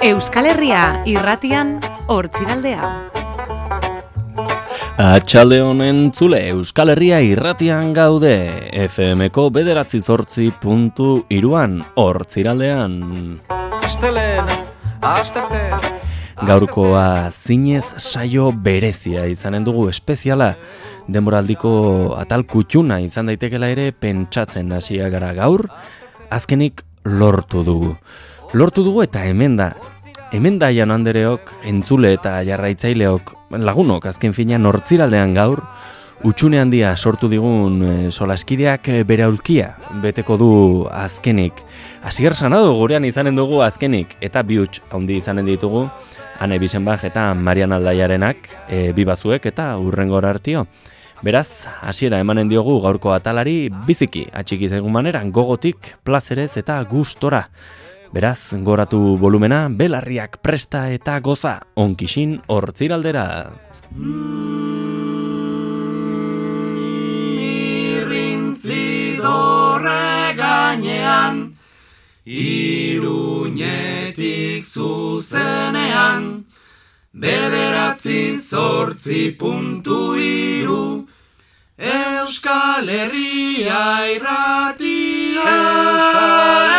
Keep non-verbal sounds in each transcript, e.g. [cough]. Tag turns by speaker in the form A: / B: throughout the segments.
A: Euskal Herria irratian hortziraldea.
B: Atxalde honen zule Euskal Herria irratian gaude FMko bederatzi zortzi puntu iruan hortziraldean
C: Astelena, astertea
B: Gaurkoa zinez saio berezia izanen dugu espeziala denboraldiko atal kutxuna izan daitekela ere pentsatzen hasia gara gaur azkenik lortu dugu Lortu dugu eta hemen da Hemen da Jan Andereok, entzule eta jarraitzaileok, lagunok azken finean hortziraldean gaur, utxune handia sortu digun e, solaskideak e, bere aulkia beteko du azkenik. Asier Sanado gurean izanen dugu azkenik, eta bi huts handi izanen ditugu, Ane Bisenbach eta Marian Aldaiarenak, e, bi bazuek eta urrengor hartio. Beraz, hasiera emanen diogu gaurko atalari biziki, atxiki zaigun maneran gogotik, plazerez eta gustora. Beraz, goratu volumena, belarriak presta eta goza, onkisin hortziraldera.
C: Irrintzi dorre gainean Iruñetik zuzenean Bederatzi zortzi puntu iru Euskal Herria irratia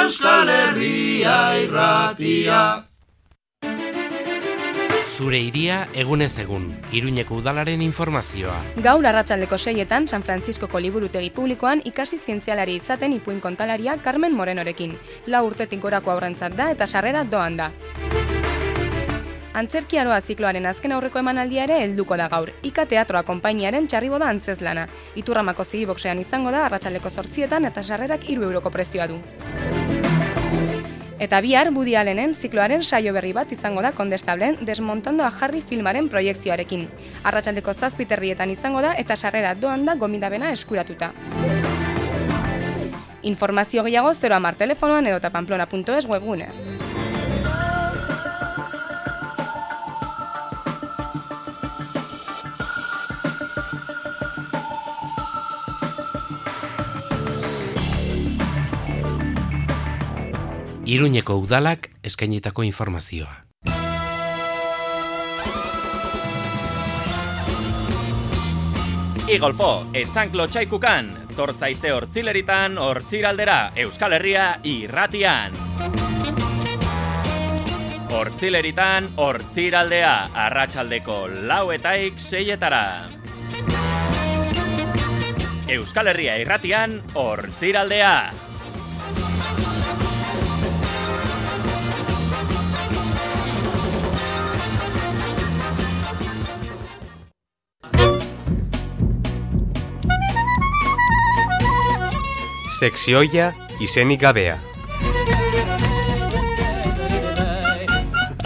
C: Euskal Herria irratia
D: Zure iria egunez egun, Iruñeko udalaren informazioa.
E: Gaur arratsaldeko seietan San Frantziskoko liburutegi publikoan ikasi zientzialari izaten ipuin kontalaria Carmen Morenorekin. Lau urtetik gorako aurrentzat da eta sarrera doan da. Antzerkiaroa zikloaren azken aurreko emanaldia ere helduko da gaur. Ika Teatroa konpainiaren txarriboda antzezlana. Iturramako zigiboksean izango da arratsaldeko sortzietan eta sarrerak iru euroko prezioa du. Eta bihar Woody Allenen zikloaren saio berri bat izango da kondestablen desmontando a Harry filmaren proiektzioarekin. Arratsaldeko zazpiterrietan izango da eta sarrera doan da gomidabena eskuratuta. Informazio gehiago 0 amar telefonoan edota pamplona.es webgune.
D: Iruñeko udalak eskainitako informazioa.
F: Igolfo, etzanklo txaikukan, tortzaite hortzileritan, hortziraldera, Euskal Herria irratian. Hortzileritan, hortziraldea, arratsaldeko lauetaik seietara. Euskal Herria irratian, hortziraldea.
G: Sekzioia izenik gabea.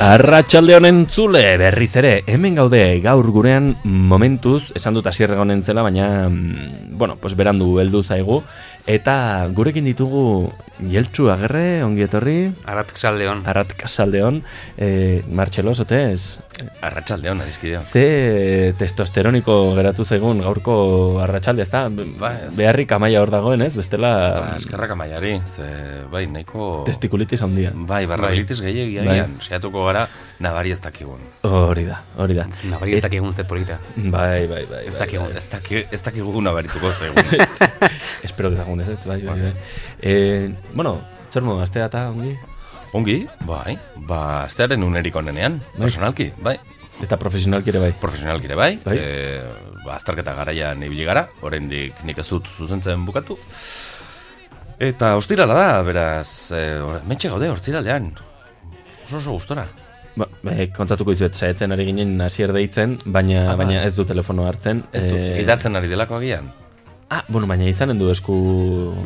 B: Arratxalde honen zule berriz ere, hemen gaude gaur gurean momentuz, esan dut asierra honen zela, baina, mm, bueno, pues berandu heldu zaigu, eta gurekin ditugu jeltsu agerre, ongi etorri,
G: Arat Xaldeon.
B: arrat kasalde hon, e, Martxelo, sotez,
H: Arratxaldeon, adizkideo.
B: ze testosteroniko geratu zaigun gaurko arratsalde ez da?
H: Ba, ez.
B: Beharrik amaia hor dagoen, ez? Bestela...
H: Ba, eskerrak amaiari, ze, bai, nahiko...
B: Testikulitis handia.
H: Bai, barrabilitis gehiagia
B: Bai.
H: gian, saiatuko gara, nabari ez dakigun.
B: Hori da, hori da.
G: Nabari ez dakigun zer polita.
B: Eh, Bai, bai, bai.
G: Ez
B: bai,
G: dakigu.
H: Ez, daki, ez dakigu nabarituko zegoen.
B: [laughs] Espero dezagun ez, ez, bai, bai, bai. Eh, bueno, zer modu, astea eta ongi?
H: Ongi, bai, ba, astearen unerik onenean, personalki, bai,
B: Eta profesionalki ere bai.
H: profesionalki ere bai,
B: Bai.
H: E, ba, azterketa garaian ibili gara, oraindik nik ez dut zuzentzen bukatu. Eta ostirala da, beraz, e, or, mentxe gaude, ostiralean, oso oso gustora.
B: Ba, eh, kontatuko dizuet, saetzen ari ginen hasier deitzen, baina,
H: Ah, ba.
B: baina ez du telefono hartzen.
H: Ez du,
B: eh,
H: idatzen ari delako agian.
B: Ah, bueno, baina izanen du esku...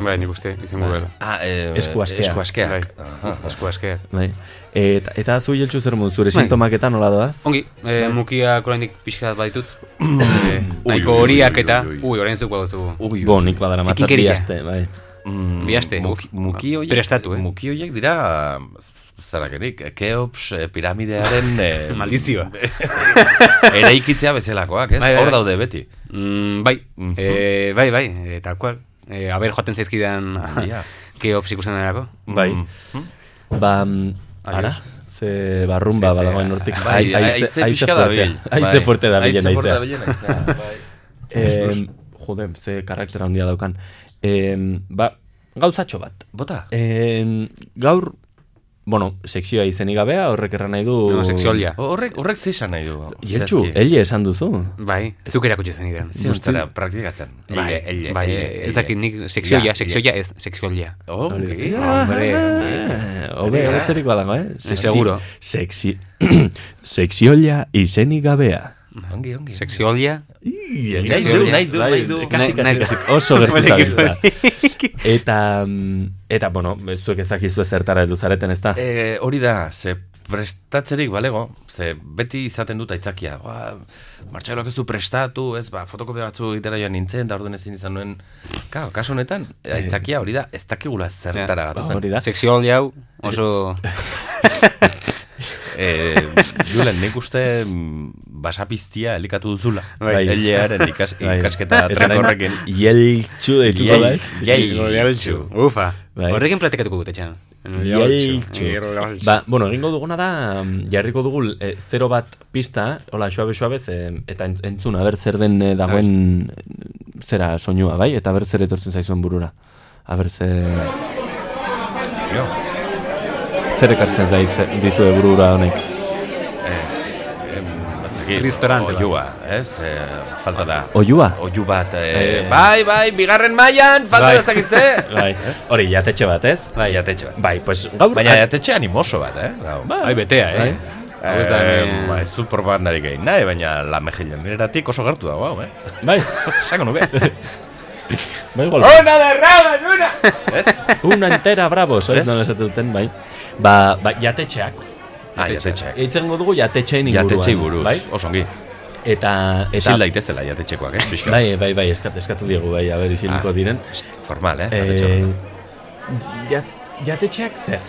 G: Bai, nik uste, izango
B: Bai.
G: dela.
H: Ah, e,
B: Esku askeak.
H: Esku
G: Bai,
H: askeak. Aha.
G: esku askeak.
B: Bai. Eta, eta zu jeltsu zer modu, zure
G: Bai.
B: sintomak eta nola doaz?
G: Ongi, eh, mukia korainik pixka bat
H: [coughs]
G: baditut. eh, nahiko
H: Bai. ui,
G: horiak
H: ui,
G: eta,
H: ui, ui.
G: ui, orain zuk baduzu.
H: Ui,
B: Bo, nik badara matzat bi
G: Zikinkeria.
B: aste, bai.
H: Mm,
G: Bihaste.
H: muki- Muki horiek,
G: Prestatu, eh?
H: muki horiek dira, z- zerakenik, Keops eh, piramidearen eh,
G: [laughs]
H: [laughs]
G: Maldizioa.
H: eraikitzea bezalakoak, ez?
G: Bai, bai,
H: Hor
G: bai.
H: daude beti.
G: Mm, bai,
H: Mhm.
G: eh, bai, bai, eh, tal cual. Eh, aber joaten zaizkidan [laughs]
H: Ja.
G: keops ikusten denerako.
B: Bai.
H: Mm.
B: Ba, mm, ara,
G: Adios.
B: ze ba, barrumba badagoen hortik.
H: Bai, aize pixka da bil.
B: Aize fuerte da bilen,
H: Aize fuerte
B: aizea.
H: da bilen, aizea. bai.
B: [laughs] Em, Jode, ze karaktera handia daukan. Em, Ba, gauzatxo bat.
H: Bota?
B: Em, Gaur, bueno, sekzioa izenik gabea, horrek erran nahi du...
G: No, seksualia.
H: Horrek, horrek zizan nahi du.
B: Jeltxu,
H: zehazki.
B: heli esan duzu.
G: Bai, zuk erakutsi zen idean.
H: Ze ustara praktikatzen.
G: Bai,
H: Ele, ele,
G: bai,
H: ele, ele.
G: ez dakit nik sekzioia,
H: Ja,
G: sekzioia ez, sekzioia.
H: Oh,
B: Hori.
H: ok.
G: Hombre,
B: Hobe, hobetzerik badago, eh? Sexi-
G: Seguro.
B: Sexi... [clears throat] Sekzioia izenik gabea.
H: Ongi, ongi.
G: Sekzioia,
B: Nahi
G: du, nahi
H: du, nahi du.
B: Kasi, kasi,
G: Bai, Nahi-
B: kasi.
G: [laughs]
B: Oso gertu
G: Poliki,
B: zabiltza.
G: [laughs]
B: Eta, mm, eta, bueno, zuek ezakizu zertara edu zareten, ez da?
H: Eh, hori da, ze prestatzerik balego, ze beti izaten dut aitzakia. Ba, Martxailok ez du prestatu, ez, ba, fotokopia batzu egitera joan nintzen, da orduan ezin izan nuen, ka, kasu honetan, aitzakia hori da, ez dakigula zertara
G: Ja,
H: gatozen.
B: Eh. ba, Hori da.
G: sekzioia hau oso...
H: [laughs] Eh, Julen, nik uste mm, basapiztia elikatu duzula.
B: Bai.
H: Bai. Elearen ikas, ikasketa
B: Eta orain,
H: trekorrekin.
B: Yeltxu deituko da, ez?
H: Jeltxu.
G: Ufa,
B: Bai.
G: horrekin platikatuko dut etxean. Bai.
B: Yeltxu. Ba, bueno, egingo duguna da, mm, jarriko dugu eh, 0 bat pista, hola, suabe suabez, eh, eta en- entzuna, ber zer den eh, dagoen eh, zera soinua, bai? Eta ber zer etortzen zaizuen burura. Aber zer...
H: Jo.
B: Zer ekartzen zaiz eh, dizue burura honek?
H: eh,
G: Ristorante bat.
B: bai.
H: Oiua, Oh, ez? Eh, falta da.
B: Oiua?
H: Oiu bat. Eh, bai, bai, bigarren mailan, falta
B: Bai.
H: da zakize.
B: Bai, hori jatetxe bat, ez?
H: Bai, jatetxe bat.
B: Bai, pues [laughs] gaur... Bai.
H: Baina jatetxe animoso bat, eh? Gau.
G: Ai, betea, eh? Hau ez da,
H: Eh,
G: eh,
H: ba, ez dut propagandarik egin nahi, baina la mejilaneratik oso gertu dago, hau, eh?
B: Bai,
H: [laughs] Sako nuke,
B: bai, igual.
H: ez?
B: [laughs] Una entera bravo, soiz
H: Ez?
B: nola esaten duten, bai. Ba, ba jatetxeak.
H: Ah, jatetxeak.
B: Eitzen dugu jatetxeen inguruan.
H: Jatetxei buruz,
B: Bai?
H: osongi.
B: Eta... eta
H: Isil daitezela jatetxekoak, eh? Pixka.
B: Bai, bai, bai, eskat, eskatu diegu, bai, aber isiliko
H: Ah.
B: diren.
H: Psst, Formal, eh?
B: Eh,
H: Jatetxe
B: ja- jatetxeak zer?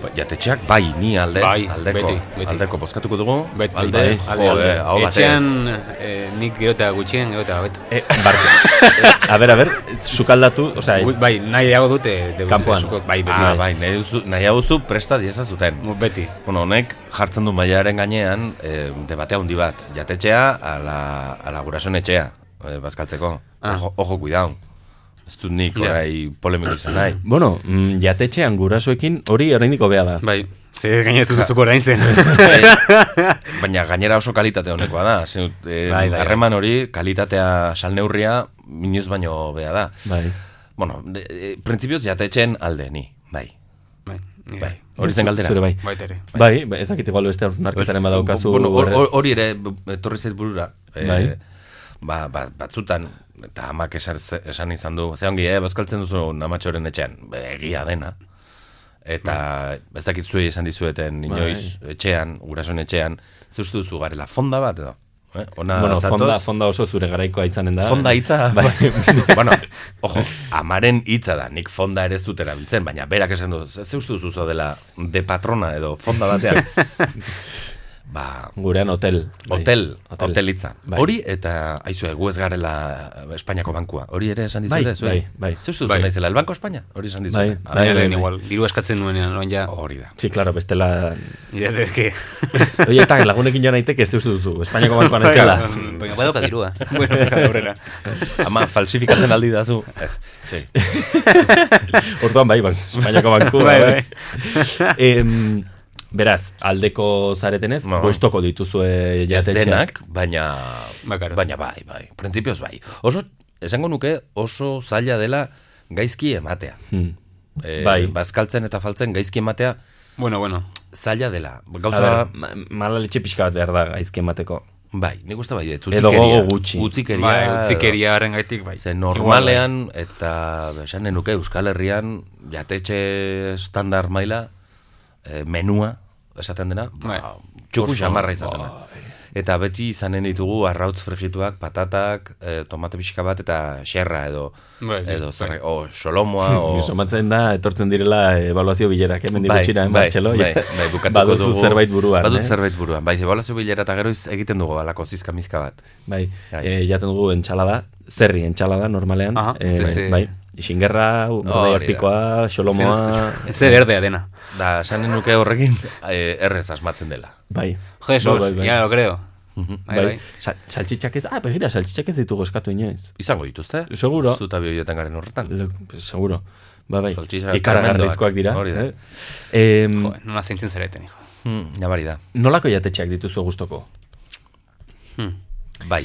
H: Ba, Jatetxeak bai, ni alde,
G: Bai,
H: aldeko,
G: beti, beti.
H: aldeko bozkatuko dugu,
G: Bet,
H: Bai, alde,
G: alde,
H: jo, eh, hau batez.
G: Etxean, eh, nik geota gutxien, geota hobeto.
B: Eh, barko. Eh,
G: [laughs]
B: a ber, a ber, sukaldatu, o sea,
G: Gu- Bai, nahi dago dute. de-
B: Kanpoan.
G: zuzko- Bai, beti.
H: Ah, bai, nahi, duzu, nahi hau zu presta dieza zuten.
G: Mu- Beti.
H: Bueno, honek jartzen du mailaren gainean eh, debate handi bat, jatetxea ala, ala gurasoen etxea, eh, bazkaltzeko.
G: Ah.
H: Ojo, ojo, cuidao. Ez dut nik
G: Ja.
H: orai polemiko izan nahi.
B: bueno, mm, jatetxean gurasoekin hori oraindik hobea da.
G: Bai, ze gainetu zuzuko orain
H: [laughs]
G: zen. [laughs]
H: Eh, [laughs] Baina gainera oso kalitate honekoa da. Zein dut, eh,
G: Bai, bai, bai.
H: Harreman hori kalitatea salneurria minuz baino bea da.
B: Bai.
H: Bueno, de, e, printzipioz jatetxen alde ni, bai.
G: Bai, ni
H: Bai.
G: bai.
H: Hori zen galdera.
B: Zure bai.
G: Baita ere.
B: Bai, bai, ez dakit igual beste hausnarketaren badaukazu. eh,
H: Bueno, hor-
B: horre-
H: hor- hori ere b- etorri zait burura. Eh,
B: Bai.
H: ba, ba, batzutan eta amak esan, esan izan du, ze ongi, eh, bazkaltzen duzu namatxoren etxean, Be, egia dena. Eta
B: Bai.
H: ez dakit zuei esan dizueten inoiz etxean, gurasoen etxean, ze uste duzu garela fonda bat edo? Eh? Ona
B: bueno,
H: zatoz?
B: fonda, fonda oso zure garaikoa izanen da.
H: Fonda hitza.
B: Bai.
H: bueno, ojo, amaren hitza da. Nik fonda ere ez dut erabiltzen, baina berak esan du, ze ze uste duzu zo dela de patrona edo fonda batean. ba,
B: Gurean hotel. bai.
H: hotel, hotel hitza.
B: Bai.
H: Hori eta aizue gu ez garela Espainiako bankua. Hori ere esan dizute,
B: Bai,
H: zuei?
B: bai, bai.
H: Ze uste duzu
G: Bai.
H: naizela el Banco España? Hori esan dizute.
B: Bai, bai,
H: Ah,
G: Baina
B: bai,
G: lehen
B: bai.
G: igual, diru eskatzen nuenean, oan ja.
H: Hori da.
B: Sí, claro, bestela... [laughs]
G: Idateke.
B: Oi, eta lagunekin joan naiteke ez duzu duzu. Espainiako bankoan ez dela.
G: Baina, badoka dirua. Bueno, aurrera.
H: Ama, falsifikatzen aldi da zu. Ez, sí.
B: [laughs] Orduan bai, ban, Espainiako bankua.
G: Bai, bai.
B: Em, beraz, aldeko zaretenez,
H: No.
B: boestoko dituzue
H: Oh. Ez
B: jatetxeak.
H: denak, baina,
G: Ba, claro.
H: baina bai, bai, printzipioz bai. Oso, esango nuke oso zaila dela gaizki ematea.
B: Hmm.
H: E,
B: Bai.
H: Bazkaltzen eta faltzen gaizki ematea
G: Bueno, bueno.
H: zaila dela.
B: A
H: Gauza,
B: ber, ma, mala letxe pixka bat behar da gaizki emateko.
H: bai, nik uste bai, ez,
B: Edo
H: utzikeria.
B: gogo gutxi.
H: Utzikeria.
G: Bai,
H: edo-
G: utzikeria horren gaitik, bai.
H: Ze normalean, eta esanen nuke Euskal Herrian, jatetxe standar maila, eh, menua, esaten dena,
G: Bai.
H: ba, txuku xamarra izaten da. Eta beti izanen ditugu arrautz frigituak, patatak, eh, tomate pixka bat, eta xerra edo,
G: Bai,
H: edo
G: bai.
H: zer, o
B: [laughs]
H: solomoa, o...
B: Somatzen da, etortzen direla evaluazio bilerak, eh, hemen
H: Bai,
B: digutxira,
H: bai,
B: Martxelo,
H: bai,
B: ja.
H: bai, bukatuko
B: baduzu
H: dugu-
B: zerbait buruan,
H: Badut
B: eh?
H: zerbait buruan, bai, ebalazio bilera eta gero iz- egiten dugu alako zizka mizka bat.
B: Bai,
H: Bai.
B: e, jaten dugu entxalada, zerri entxalada normalean,
G: Aha,
B: eh,
G: ze- ze-
B: bai, Isingerra,
H: hori da.
B: Urdaiazpikoa, Ba,
H: [laughs]
B: Xolomoa...
G: Ez de berdea dena.
H: Da, esanen nuke horrekin eh, errez asmatzen dela.
B: Bai.
G: Jesus,
B: Bai, bai, bai.
G: ya lo creo. Bai,
B: Bai,
G: bai.
B: Sa- saltxitxak ez... Ah, begira, saltxitxak ez ditugu eskatu inoiz.
H: Izango dituzte?
B: Seguro.
H: Zuta bioietan garen horretan.
B: Le, seguro. Ba, bai.
H: Saltxitxak
B: Ikaragarrizkoak dira.
H: hori da.
B: eh? Em,
G: Joder, nola zaintzen zareten, hijo.
H: Hmm, Nabari da.
B: nolako jatetxeak dituzu gustoko?
G: Hmm.
H: Bai.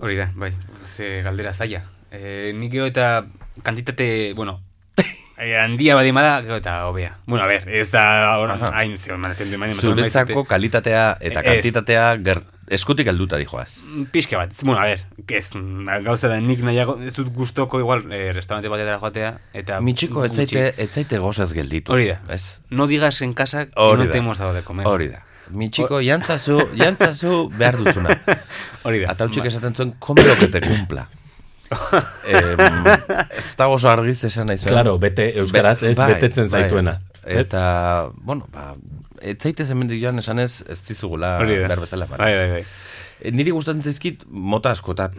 G: Hori da, bai, ze galdera zaila. E, nik gero eta kantitate, bueno, [laughs] eh, handia badi bada, gero eta hobea. Bueno, a ber, ez da hor-
H: Aha.
G: hain zeo, manaten du manen.
H: Zuretzako kalitatea eta
G: Ez.
H: kantitatea ger- eskutik helduta dijoaz.
G: Pixka bat, ez- bueno, a ber, ez, na- gauza da nik nahiago, ez dut gustoko igual eh, restaurante batetara joatea, eta...
H: Mitxiko
G: gutxi.
H: etzaite, etzaite gozaz gelditu.
G: Hori da,
H: Ez?
G: no digas en casa que
H: Hori
G: no
H: da.
G: te hemos dado de comer.
H: Hori da. Mitxiko, jantzazu, jantzazu behar duzuna.
G: [laughs] Hori da.
H: Atautxik
G: Ba-
H: esaten zuen, come lo que te
B: [laughs]
H: cumpla. em, ez da oso argiz esan nahi zuen. bai,
B: Claro, bete euskaraz ez betetzen zaituena. Ez?
H: Eta, bueno, ba, etzaite zemendik joan esanez ez dizugula
G: Hori da.
H: behar bezala. eman.
G: Bai, bai, bai.
H: E, Niri gustatzen zaizkit mota asko, eta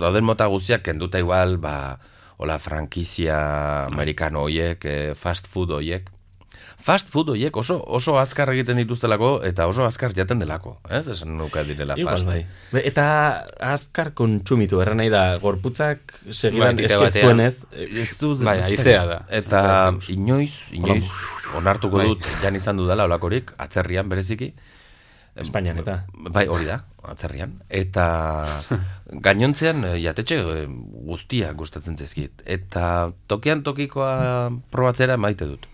H: dauden mota guztiak kenduta igual, ba, hola,
B: Ah.
H: frankizia amerikano hoiek, eh, fast food hoiek. Fast food hoiek oso, oso azkar egiten dituztelako eta oso azkar jaten delako, ez? Esan nuka direla
B: Igual
H: fast.
B: bai. Be, eta azkar kontsumitu, erra nahi da, gorputzak
G: Bai,
B: segidan
G: tira batean.
B: eskiztuen ez,
H: Ez dut-
G: Bai,
H: ez dakit.
G: haizea da.
H: Eta inoiz, inoiz, onartuko
G: Bai.
H: dut, jan izan dudala olakorik, atzerrian bereziki.
B: Espainian eta.
H: Bai, hori da, atzerrian. Eta gainontzean eh, jatetxe eh, guztiak gustatzen zaizkit. Eta tokian tokikoa probatzera maite dut.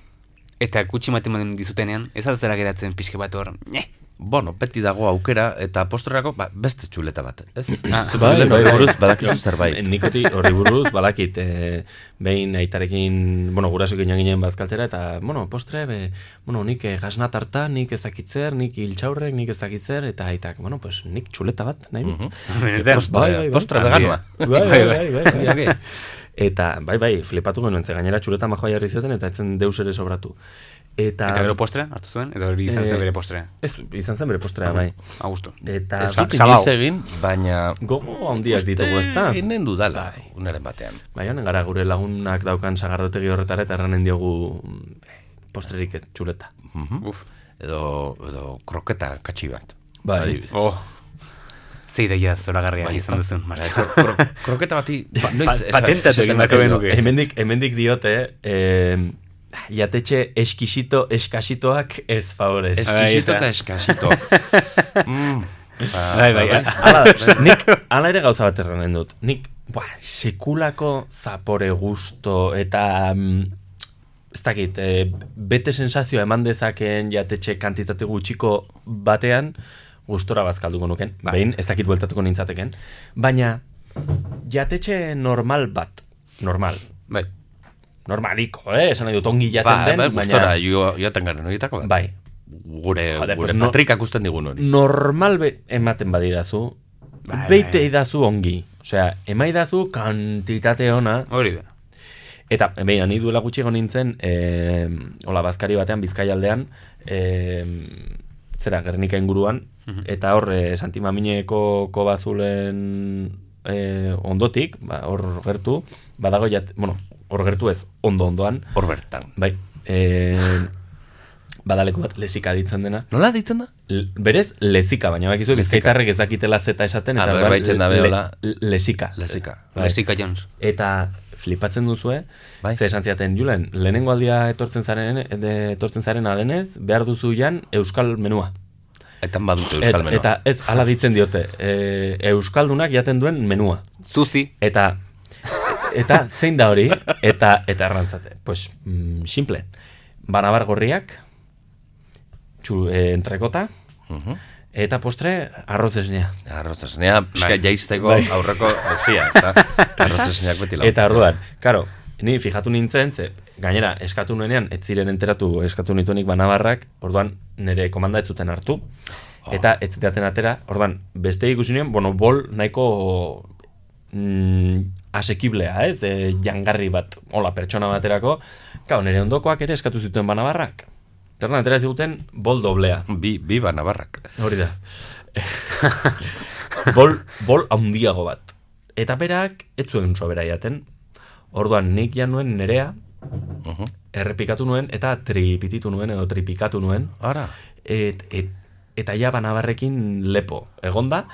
G: Eta kutsi matematen dizutenean, ez altzera geratzen pixka bat hor, ne,
H: Bueno, beti dago aukera eta postrerako ba, beste txuleta bat, ez?
B: Mm.
G: Ah,
H: Zuk lehen
B: bai,
H: hori buruz badakizu zerbait.
B: Nikoti horri buruz badakit, e, behin aitarekin, bueno, gurasok ginen ginen bazkaltzera, eta, bueno, postre, be, bueno, nik eh, gasna tarta, nik ezakitzer, nik iltxaurrek, nik ezakitzer, eta aitak, bueno, pues nik txuleta bat, nahi
G: Mhm.
B: dut.
G: Benetan.
B: Postre- bai, bai, bai.
H: Postre
G: Argia.
H: veganoa.
B: Bai, bai, bai, bai, bai.
H: Argi.
B: Eta, bai, bai, flipatu genuen, ze gainera txureta majoa jarri zioten, eta etzen deus ere sobratu. Eta,
G: Eta gero postre, hartu zuen, edo hori izan zen
B: Eh,
G: bere postre.
B: Ez, izan zen bere postrea, bai.
G: A gusto.
B: Eta
H: Ez dut
G: Zabau.
H: inoiz egin, baina...
B: gogo handiak ditugu, ez da?
H: Ginen dudala, unaren batean.
B: Bai, honen gara gure lagunak daukan sagardotegi horretara eta erranen diogu mm, postrerik ez, txuleta.
G: Uf.
H: Mhm. Edo, edo kroketa katxi bat.
B: Bai.
H: Adibidez.
G: Oh. Ze ideia zoragarria
H: Bai,
G: izan duzun, [laughs] martxo.
H: Kro- kro- Kroketa bati... ba, [laughs] noiz
G: [laughs] Pa-
H: esan-
G: patentatu
H: esaten
G: egin beharko
H: dut.
G: genuke. Ez, ez.
B: Hemendik, hemendik diote, eh, jatetxe eskisito, eskasitoak ez favorez.
H: Eskisito
G: Ahí está.
H: eta
B: [laughs]
H: eskasito. mm,
G: Bai, bai, bai.
B: Hala, nik, hala ere gauza bat erranen dut. Nik, ba, sekulako zapore gusto eta... mm, ez dakit, e, bete sensazioa eman dezakeen jatetxe kantitate gutxiko batean, gustora bazkalduko nuken. Behin, ez dakit bueltatuko nintzateken. Baina, jatetxe normal bat, normal,
G: Bai.
B: normaliko, eh? Esan nahi dut, ongi jaten
H: ba,
B: den,
H: ba, gustora,
B: baina...
H: jo- joaten garen horietako bat.
B: Bai,
H: Gure,
B: Joder,
H: gure
B: pues no-
H: patrikak usten digun hori.
B: normal be, ematen badidazu,
G: Bai,
B: beite
G: bai.
B: idazu ongi. Osea, emaidazu kantitate ona,
G: Hori da.
B: eta behin, ni duela gutxi egon nintzen, e, hola, bazkari batean, bizkaialdean, e, zera, Gernika inguruan,
G: Mhm.
B: eta hor, e, Santimamineko kobazulen e, ondotik, ba, hor gertu, badago jat, bueno, hor gertu ez, ondo ondoan,
H: Hor bertan.
B: bai, e, badaleku bat lesika ditzen dena,
H: Nola ditzen da?
B: L- Berez, lezika, baina bakizu
H: Lezika.
B: bizkaitarrek ez dakitela zeta esaten,
H: Ah,
B: eta
H: bai, baitzen dabe,
B: le-
H: hola.
B: le- lezika.
H: Lezika.
B: Bai.
G: Lesika Jones.
B: Eta flipatzen duzue,
H: Bai.
B: ze esan ziaten, Julen, lehenengo aldia etortzen zaren, de, etortzen zaren adenez, behar duzu jan euskal menua.
H: Etan badute euskal
B: Et-
H: menua.
B: Eta ez, ala ditzen diote, e, euskaldunak jaten duen menua.
G: Zuzi.
B: Eta eta zein da hori? Eta eta errantzate. Pues mm, simple. Banabar gorriak, txu, e, entrekota,
H: Mhm.
B: Eta postre, arroz esnea.
H: Arroz esnea, pixka
G: Bai.
H: jaisteko aurreko
B: [laughs]
H: ezia, ez da? Arroz esneak beti laguntzen.
B: Eta arruan, karo, ni fijatu nintzen, ze, gainera, eskatu nuenean, ez ziren enteratu eskatu nituenik banabarrak, orduan nire komanda ez zuten hartu.
H: Oh.
B: Eta ez zidaten atera, orduan, beste ikusi nuen, bueno, bol nahiko mm, asekiblea, ez? E, jangarri bat, hola, pertsona baterako. Kau, nire ondokoak ere eskatu zuten banabarrak. Eta orduan, atera ziguten bol doblea.
H: Bi, bi banabarrak.
B: Hori da. [laughs] bol, bol handiago bat. Eta berak, ez zuen sobera jaten. Orduan, nik jan nuen nerea, errepikatu nuen, eta tripititu nuen, edo tripikatu nuen,
H: Ara.
B: et, et, eta ja banabarrekin lepo. Egonda,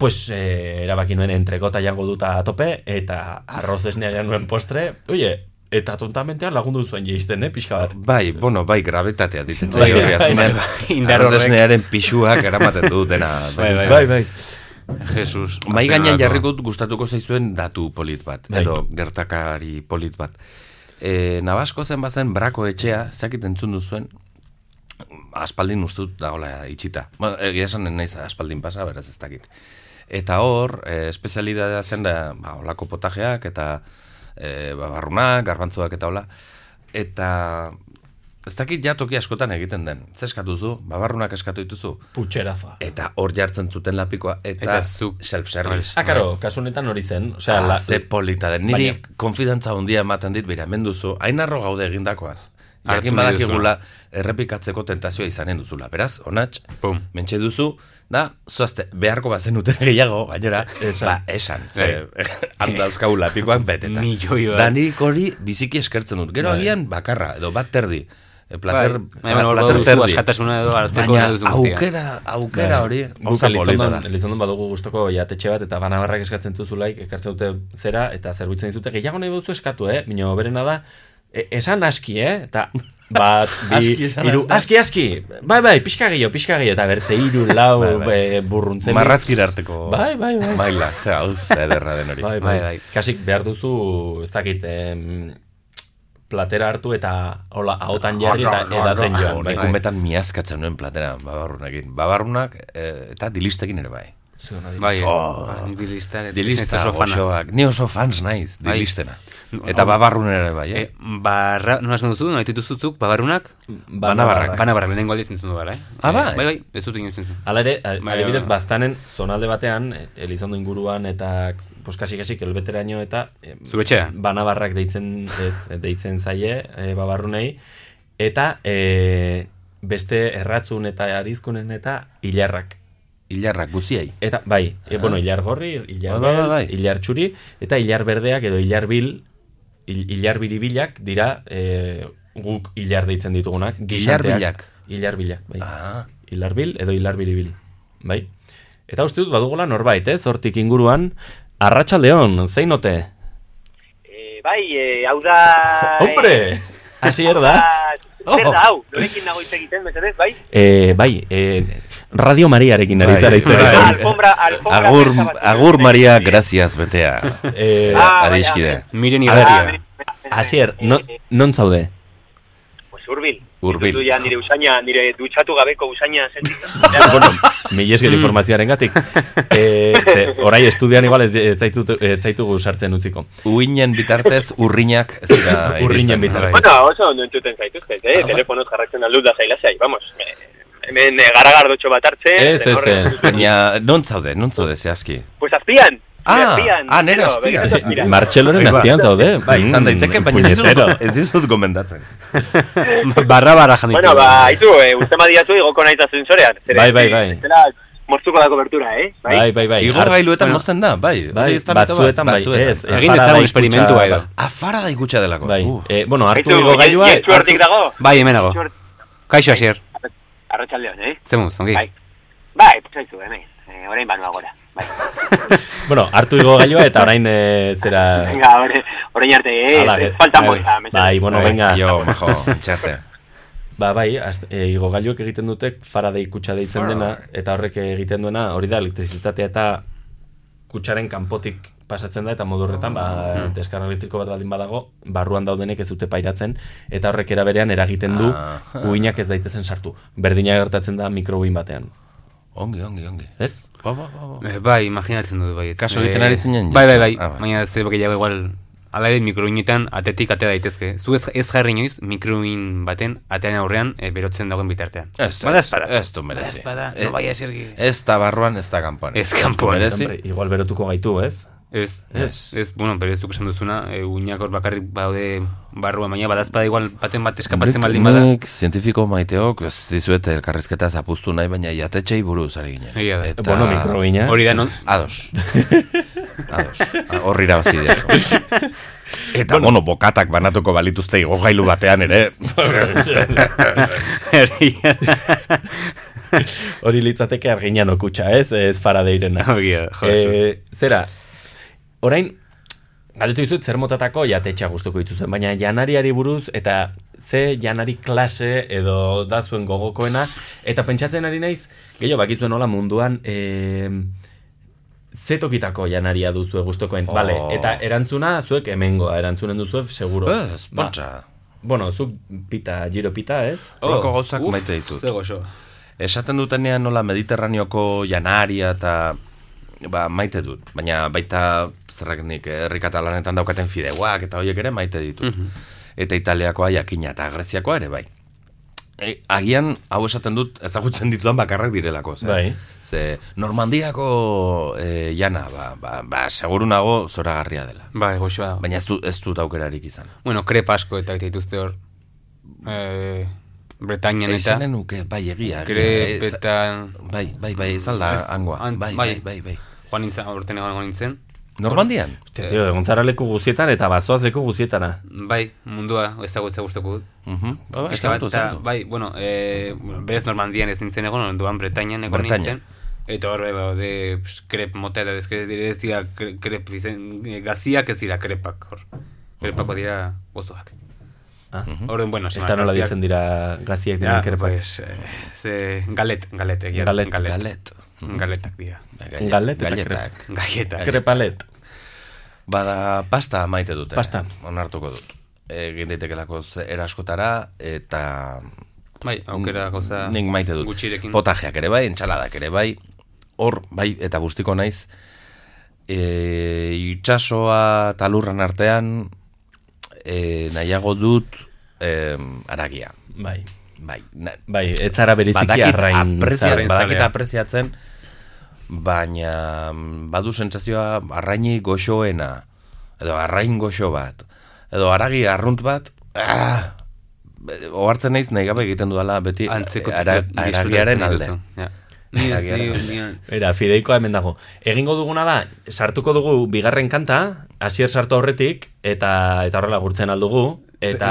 B: pues eh, erabaki nuen entrekota jango duta a tope, eta arroz esnea jan nuen postre, oie, eta tontamentean lagundu zuen jeisten, eh, pixka bat.
H: Bai, bueno, bai, grabetatea ditzen
B: Bai,
H: zaio hori
B: bai,
H: azkenean.
G: bai. Indar horrek.
H: Arrozesnearen pixuak eramaten du [laughs] dena.
G: Bai, bai,
B: bai.
G: Jesus.
H: Mai gainean
G: Azkenerako.
H: jarriko dut gustatuko zaizuen datu polit bat,
B: Bai.
H: edo gertakari polit bat. E, Nabasko zen bazen brako etxea, zakit entzun duzuen, aspaldin ustut dagola itxita. Ba, egia esan ez naiz aspaldin pasa, beraz ez dakit. Eta hor, e, espezialidadea zen da, ba, olako potajeak eta e, ba, barrunak, garbantzuak eta hola. Eta ez dakit ja toki askotan egiten den. Ze eskatu zu, ba, barrunak eskatu dituzu.
B: Putxerafa.
H: Eta hor jartzen zuten lapikoa, eta,
G: Eta zuk-
H: self-service. Bai.
B: Ah, karo, kasu honetan hori zen. Osea,
H: Ah,
B: la-
H: ze polita den. Niri konfidantza handia ematen dit, bera, hemen duzu, hain arro gaude egindakoaz.
G: Hartu
H: Jakin
G: nahi
H: badakigula errepikatzeko tentazioa izanen duzula. Beraz, onatx,
G: Pum.
H: mentxe duzu, da, zoazte, beharko bazen duten [laughs] gehiago, gainera,
B: Esan.
H: ba, esan, ze, [laughs] handauzkau lapikoak beteta.
G: Bai. Milioi bat.
H: Da nik hori biziki eskertzen dut. Gero agian bakarra, edo bat terdi. E, Plater,
G: Bai, hemen hor
H: plater
G: baduzu
H: terdi.
G: askatasuna edo hartzeko
H: Baina,
G: nahi duzun guztia.
H: aukera, aukera
B: Bai.
H: hori,
B: Guk
H: gauza polita da.
B: Elizondon, Elizondon badugu gustoko jatetxe bat eta banabarrak eskatzen duzulaik ekartzen dute zera eta zerbitzen dizute gehiago nahi baduzu eskatu, eh? Mino berena da e- esan aski, eh?
H: [laughs]
B: Eta bat, bi,
H: Aski esan
B: hiru,
H: behar da.
B: aski, aski. Bai, bai, pixka gehiago, pixka gehiago eta bertze
H: [laughs]
B: hiru, lau,
H: Bai, bai.
B: e, burruntzen.
H: Marrazkira arteko.
B: Bai, bai, bai.
H: Maila, ze hau zederra den hori.
B: Bai, bai.
G: Bai, bai.
B: Kasik behar duzu, ez dakit, em, platera hartu eta hola, ahotan jarri eta edaten joan. Bai,
H: Nik
B: bai.
H: umetan miazkatzen nuen platera, babarrunekin. Babarrunak eh, eta dilistekin ere bai.
B: Ze ona dira.
G: Bai,
H: Oh.
G: bai, ni dilista,
H: Dilista, goxoak. Ni oso fans naiz,
G: Bai.
H: dilistena. Eta babarrun ere bai, eh?
G: E, barra, nola esan duzu, noitu duzuzuk, babarunak?
H: Banabarrak.
G: Banabarrak, Ba, lehenengo aldiz entzun du gara, eh?
H: Ah,
G: Eh,
H: bai.
G: Bai, bai, ez dut inoiz entzun.
B: Hala ere, a-
G: Bai,
B: adibidez,
G: bai.
B: baztanen zonalde batean, et- elizondo inguruan eta poskasik-kasik elbeteraino eta em,
G: Zure etxean?
B: banabarrak deitzen, ez, deitzen zaie, e, babarrunei, eta e, beste erratzun eta arizkunen eta hilarrak.
H: Ilarrak guziei.
B: Eta, bai, e, bueno, hilar gorri, hilar
H: Bai, bai, bai,
B: beltz,
H: bai.
B: hilar txuri, eta hilar berdeak edo hilar bil, hil- hilar biribilak dira e, guk hilar deitzen ditugunak.
H: Ilarbilak.
B: Hilar bilak, bai.
H: Ah,
B: Ilarbil edo ilarbiribil, bai? Eta uste dut badugula norbait, eh? Zortik inguruan, Arratxaldeon, zein ote?
I: E, bai, e, hau da...
B: Hombre! Hasi
J: [laughs]
B: Oh. erda.
I: Ah, Zer da, hau, norekin nago hitz egiten, mesedez, bai?
B: Eh, bai, eh, Radio Mariarekin ari
H: Bai,
B: zara hitz egiten.
H: bai.
I: Alfombra, alfombra...
H: agur,
I: beltza bat.
H: agur Maria, gracias, betea.
B: [laughs] Eh,
I: Ah, bai,
H: Adiskide.
G: Miren
I: Ah,
G: Ibarria.
I: bere- bere-
B: Asier,
I: bere-
B: non,
I: eh,
B: non zaude?
I: Pues urbil.
H: Hurbil.
I: Ditu ja nire usaina, nire dutxatu gabeko usaina
H: [laughs]
I: sentitzen.
B: bueno, mil esker informazioaren gatik. Eh, ze, orai estudian igual ez- ez zaitu- ez zaitugu sartzen utziko.
H: Uinen bitartez, urriñak. ez
B: [laughs]
H: dira iristen.
B: Urrinen bitartez.
I: Bueno, oso ondo entzuten zaituzte,
B: Ah,
I: eh? Telefonoz jarratzen aldut da zaila zai, vamos. eh, Hemen eh, garagardotxo bat hartzen.
B: Ez, ez,
I: horren-
B: ez.
H: Baina, non zaude, non zaude zehazki?
I: Pues azpian. nire
H: Ah, ah, nere
I: Gero,
H: azpian.
I: begiratu
B: [laughs]
I: azpian.
B: Martxeloren
H: Bai, ba.
B: Eh, azpian zaude.
H: Bai, izan daiteke,
B: Mm,
H: baina ez dizut-
B: puñetero.
H: ez dizut gomendatzen.
G: Barra barra jan
I: Bueno,
G: ditugu.
I: ba, haitu, eh, uste badiatu igoko nahi zentzorean. Zeren,
B: Bai, bai, bai.
I: Zela, mortzuko da kobertura, eh?
B: Bai, bai, bai.
H: Igor
B: Har-
H: gailuetan mozten da, bai.
B: Bai,
H: hori ez da mito bat,
B: batzuetan bai, ez.
H: batzuetan.
G: Egin
B: Faraday
G: dezagun
B: kutsa-
G: esperimentua edo.
H: Afara da ikutsa delako.
B: Bai,
H: Uh.
B: eh, bueno, hartu
I: Aitu,
B: igo gailua...
I: jetxu hortik dago.
G: Bai, hemenago.
I: Jetxu hortik-
G: Kaixo, Asier.
I: Arratxaldeon, eh?
G: Zemuz, ongi.
I: Bai. Bai, putzaitu, hemen. Eh, orain banua gora. Bai.
B: Bueno, hartu igo gailua eta orain eh, zera...
I: Venga, orain, orain arte, eh?
B: Hala,
I: ez Faltan
G: bai,
I: bosta, mesedez.
B: Bai, bueno,
G: Bai,
B: venga.
H: Jo, majo, txarte.
B: Ba, bai, az- eh, igo gailuek egiten dute Faraday kutsa deitzen
H: Faraday.
B: dena, eta horrek egiten duena, hori da, elektrizitatea eta kutsaren kanpotik pasatzen da, eta modu horretan,
H: Ah.
B: ba,
H: Hmm.
B: deskarga elektriko bat baldin badago, barruan daudenek ez dute pairatzen, eta horrek eraberean eragiten du,
H: Ah.
B: uinak ez daitezen sartu. Berdina gertatzen da mikrouin batean.
H: Ongi, ongi, ongi.
B: Ez?
H: Ba, ba, ba, ba.
G: Eh, Bai, imaginatzen dut, bai.
H: Kaso egiten
G: Eh,
H: ari zinen, ja.
G: Bai, bai, bai.
H: Ah, bai.
G: Baina ez gehiago igual, ala ere mikroinetan atetik atea daitezke. Zu ez, ez jarri inoiz mikroin baten atean aurrean eh, berotzen dagoen bitartean.
B: Ba,
H: Ez,
G: Bada
H: ez,
G: espada.
H: ez du merezi.
G: Bada espada,
H: Eh,
G: no vaya a ser que-
H: Ez da barruan, ez da kanpoan.
G: Ez kanpoan.
H: du
B: Hombre,
H: merezi.
B: igual berotuko gaitu, ez?
G: Ez,
H: Ez.
G: ez, ez, bueno, pero ez duk esan duzuna, e, uñak hor bakarrik baude barruan, baina badazpada igual baten bat eskapatzen baldin bada.
H: Nik zientifiko maiteok ez dizuet elkarrizketa zapuztu nahi, baina jatetxei buruz ari ginen.
G: Egia da.
H: Eta-
B: Bueno, mikroina.
G: [laughs] Hori da, non? [laughs]
H: Ah, Ados. Ados. Horri irabazi dira. Eta, bueno, bokatak banatuko balituzte igogailu batean ere.
G: [laughs]
H: [laughs]
B: Hori litzateke arginan okutxa, ez? Ez faradeirena.
G: Ogia, jo,
B: Eh, zera, orain, galdetu dizut zer motatako jatetxa gustuko dituzen, baina janariari buruz eta ze janari klase edo da zuen gogokoena, eta pentsatzen ari naiz, gehiago bakizuen nola munduan, eh, ze tokitako janaria duzue gustokoen,
H: Oh.
B: bale, eta erantzuna zuek hemengoa, erantzunen duzue seguro. Ba,
H: Ez, pentsa.
B: bueno, zuk pita, giro pita, ez?
H: Horako gauzak maite ditut.
G: Oh, Ze goxo.
H: Esaten dutenean nola mediterraneoko janaria eta ba, maite dut. Baina baita zerrak nik eh, herri katalanetan daukaten fideuak eta horiek ere maite ditut. Eta italiakoa jakina eta greziakoa ere bai. E, agian, hau esaten dut, ezagutzen ditudan bakarrak direlako. Ze,
B: Bai.
H: ze Normandiako e, jana, ba, ba, ba, seguru nago zoragarria dela.
G: Bai, goxoa.
H: Baina ez du, ez dut aukerarik izan.
G: Bueno, krepa asko eta dituzte hor. Eh, Bretañan eta...
H: Esanen nuke, bai, egia. egia, ez-
G: Krepetan...
H: Bai, bai, bai, ez alda
G: Ez,
H: hangoa.
G: han-
H: Bai, bai, bai, bai.
G: Joan nintzen, aurten egon egon nintzen. Eh,
H: Normandian?
B: Hostia, tío, egon zara leku guzietan eta bazoaz leku guztietara.
G: Bai, mundua ezagutza guztoko dut.
H: Mhm. Ba,
G: Pixka bat,
H: ezagutu,
G: eta,
H: ezagutu.
G: bai, bueno, e, bueno, berez Normandian ez nintzen egon, onduan Bretañan egon
H: Bretaña.
G: nintzen. Eta hor, bai, baude, pues, krep mota eta ez krep dire, ez dira kre- krep izen, eh, gaziak ez dira krepak, hor. Krepako dira gozoak.
B: Mhm. Ah.
G: Horren, bueno, sema,
B: Eta nola
G: gaziak-
B: ditzen dira gaziak
G: Ja,
B: dira kerpak.
G: pues, eh, ze, galet, galet, egia.
B: Galet, Mhm.
H: galet.
G: Galetak dira.
B: Galet eta
H: Bai, Galetak.
G: Galletak.
B: Krepalet.
H: Bada pasta maite dute.
B: Pasta.
H: Onartuko dut. Egin daitekelako ze- eraskotara eta...
G: Bai, aukera
B: Mm.
G: goza
H: Nik maite dut.
G: gutxirekin.
H: Potajeak ere bai, entxaladak ere bai. Hor, bai, eta guztiko naiz. E, itxasoa talurran artean e, nahiago dut e, aragia.
B: Bai.
H: Bai, na,
B: Bai, ez zara bereziki
H: badakit,
B: arrain.
H: aprezia,
G: arrainzalea.
H: badakit apreziatzen, baina mm, badu sentsazioa arraini goxoena, edo arrain goxo bat, edo aragi arrunt bat, ah, ohartzen naiz nahi gabe egiten dudala beti
G: Antzeko
H: ara, aragiaren alde.
G: Ja. Ni ez,
H: Aragiaren
G: ni-
H: alde.
G: ni-
B: Era, fideikoa hemen dago. Egingo duguna da, sartuko dugu bigarren kanta, hasier sartu aurretik, eta eta horrela gurtzen aldugu. Eta,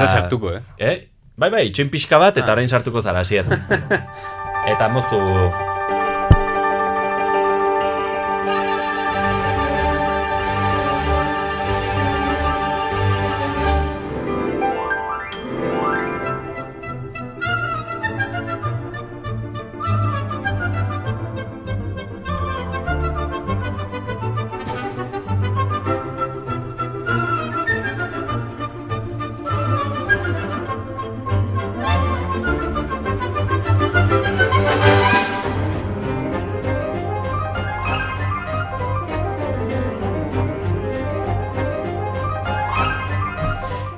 G: Ez da sartuko, eh?
B: Eh? Bai, bai, itxoin pixka bat,
G: Ah.
B: eta orain sartuko
G: [laughs]
B: zara, hasier. eta moztu...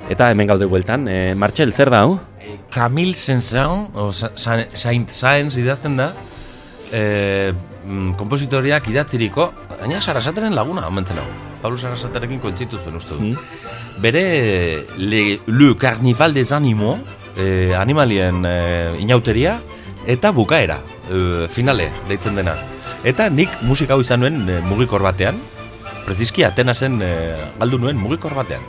B: Eta hemen gaude bueltan, e, Martxel, zer da, hau?
H: Camille Saint-Saëns, o Sa- Sa- Saint-Saëns idazten da, e, mm, kompositoriak idatziriko, baina Sarasateren laguna, omentzen hau. Pablo Sarasaterekin kontzitu zuen uste dut.
B: Mm.
H: Bere le, le Carnival des Animaux, e, animalien e, inauteria, eta bukaera, e, finale, deitzen dena. Eta nik musika hau izan nuen e, mugikor batean, Preziski Atenasen e, galdu nuen mugikor
B: [laughs]
H: batean.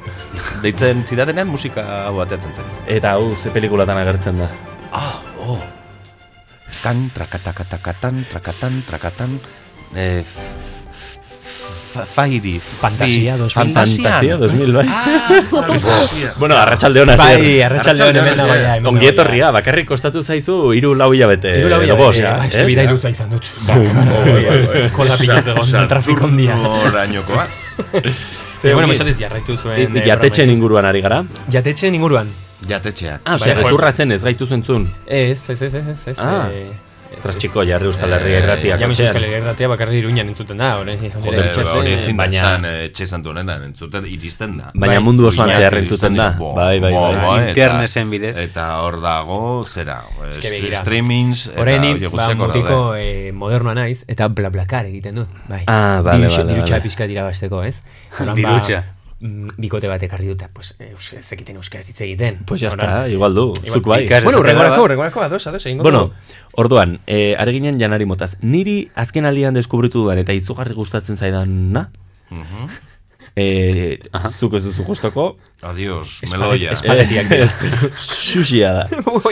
H: Deitzen zidatenean musika hau ateatzen zen.
B: Eta hau, ze pelikulatan agertzen da.
H: Ah, oh. Tan, trakatakatatan, trakatan, trakatan. Eh, f- f- fairi.
J: Fantasia 2000.
B: Fantasia 2000, bai.
H: Ah, [laughs] fantasia.
B: Bueno, arratsalde hona
J: Bai, arratsalde hon hemen dago ja.
B: Ongi etorria, bakarrik kostatu zaizu hiru lau hilabete.
J: Hiru lau
B: edo Eh, bost, Ba,
J: hilabete, bai,
B: ez?
J: eh, ez Ba, bidai luza izan dut. [laughs] Kola pila zegoen, trafiko handia.
H: Saturnorainokoa.
J: Ze, bueno,
B: ongi-
J: mesatez jarraitu
B: I-
J: zuen. eh,
B: Jatetxeen
J: programekin.
B: inguruan ari gara.
J: Jatetxeen inguruan.
H: Jatetxeak.
B: Ah, osea,
J: Bai, jo.
B: gezurra zen ez gaitu zentzun.
J: Ez, ez, ez, ez, ez, ez.
B: Ah.
J: eh, ez,
B: Ostras,
J: ez.
B: txiko, jarri Euskal Herria
H: Eh,
B: irratia
J: Ja, mis Euskal
B: kotxean.
J: Herria irratia bakarri iruñan entzuten da, orain.
H: Joder,
J: Nire
H: ba, hori ezin da
B: baina-
H: esan eh, etxe santu honetan, entzuten iristen da.
B: Baina
J: Bai,
B: mundu osoan
H: Iñaki
B: zehar entzuten
H: iristen
B: da.
H: dira, bo,
B: Bai, bai,
H: bo,
B: bai.
H: bo, eta-
G: Interneten bidez.
H: Eta hor dago, zera,
J: Ez que
H: eh,
J: begira.
H: streamings, eta
J: Orain,
H: hori
J: ba,
H: guztiak hor daude.
J: mutiko eh, modernoa naiz, eta blablakar egiten du. Bai.
B: Ah, vale,
J: Dirutxa-
B: vale,
J: Dirutxa
B: vale.
J: pixka dira basteko,
H: [laughs]
J: ez? Orduan,
G: Dirutxa.
J: ba, mm, Bikote batek ardi dut, pues, eh, euskara ez zekiten euskaraz hitz egiten.
B: Pues ya
J: Orduan,
B: está, igual du,
J: igual
B: zuk bai.
G: pikas.
J: Bueno,
G: Ez da
J: urrengorako,
G: bat.
J: urrengorako, ados, ados, egingo
B: Bueno,
J: dugu.
B: orduan, e, are ginen janari
H: Mhm.
B: motaz. Niri azken aldian deskubritu dudan eta izugarri gustatzen zaidana, E, zuk ez duzu gustoko.
H: Adios,
B: Espageti-
H: meloia.
B: espagetiak dira.
H: [laughs]
B: Xuxia [laughs] da.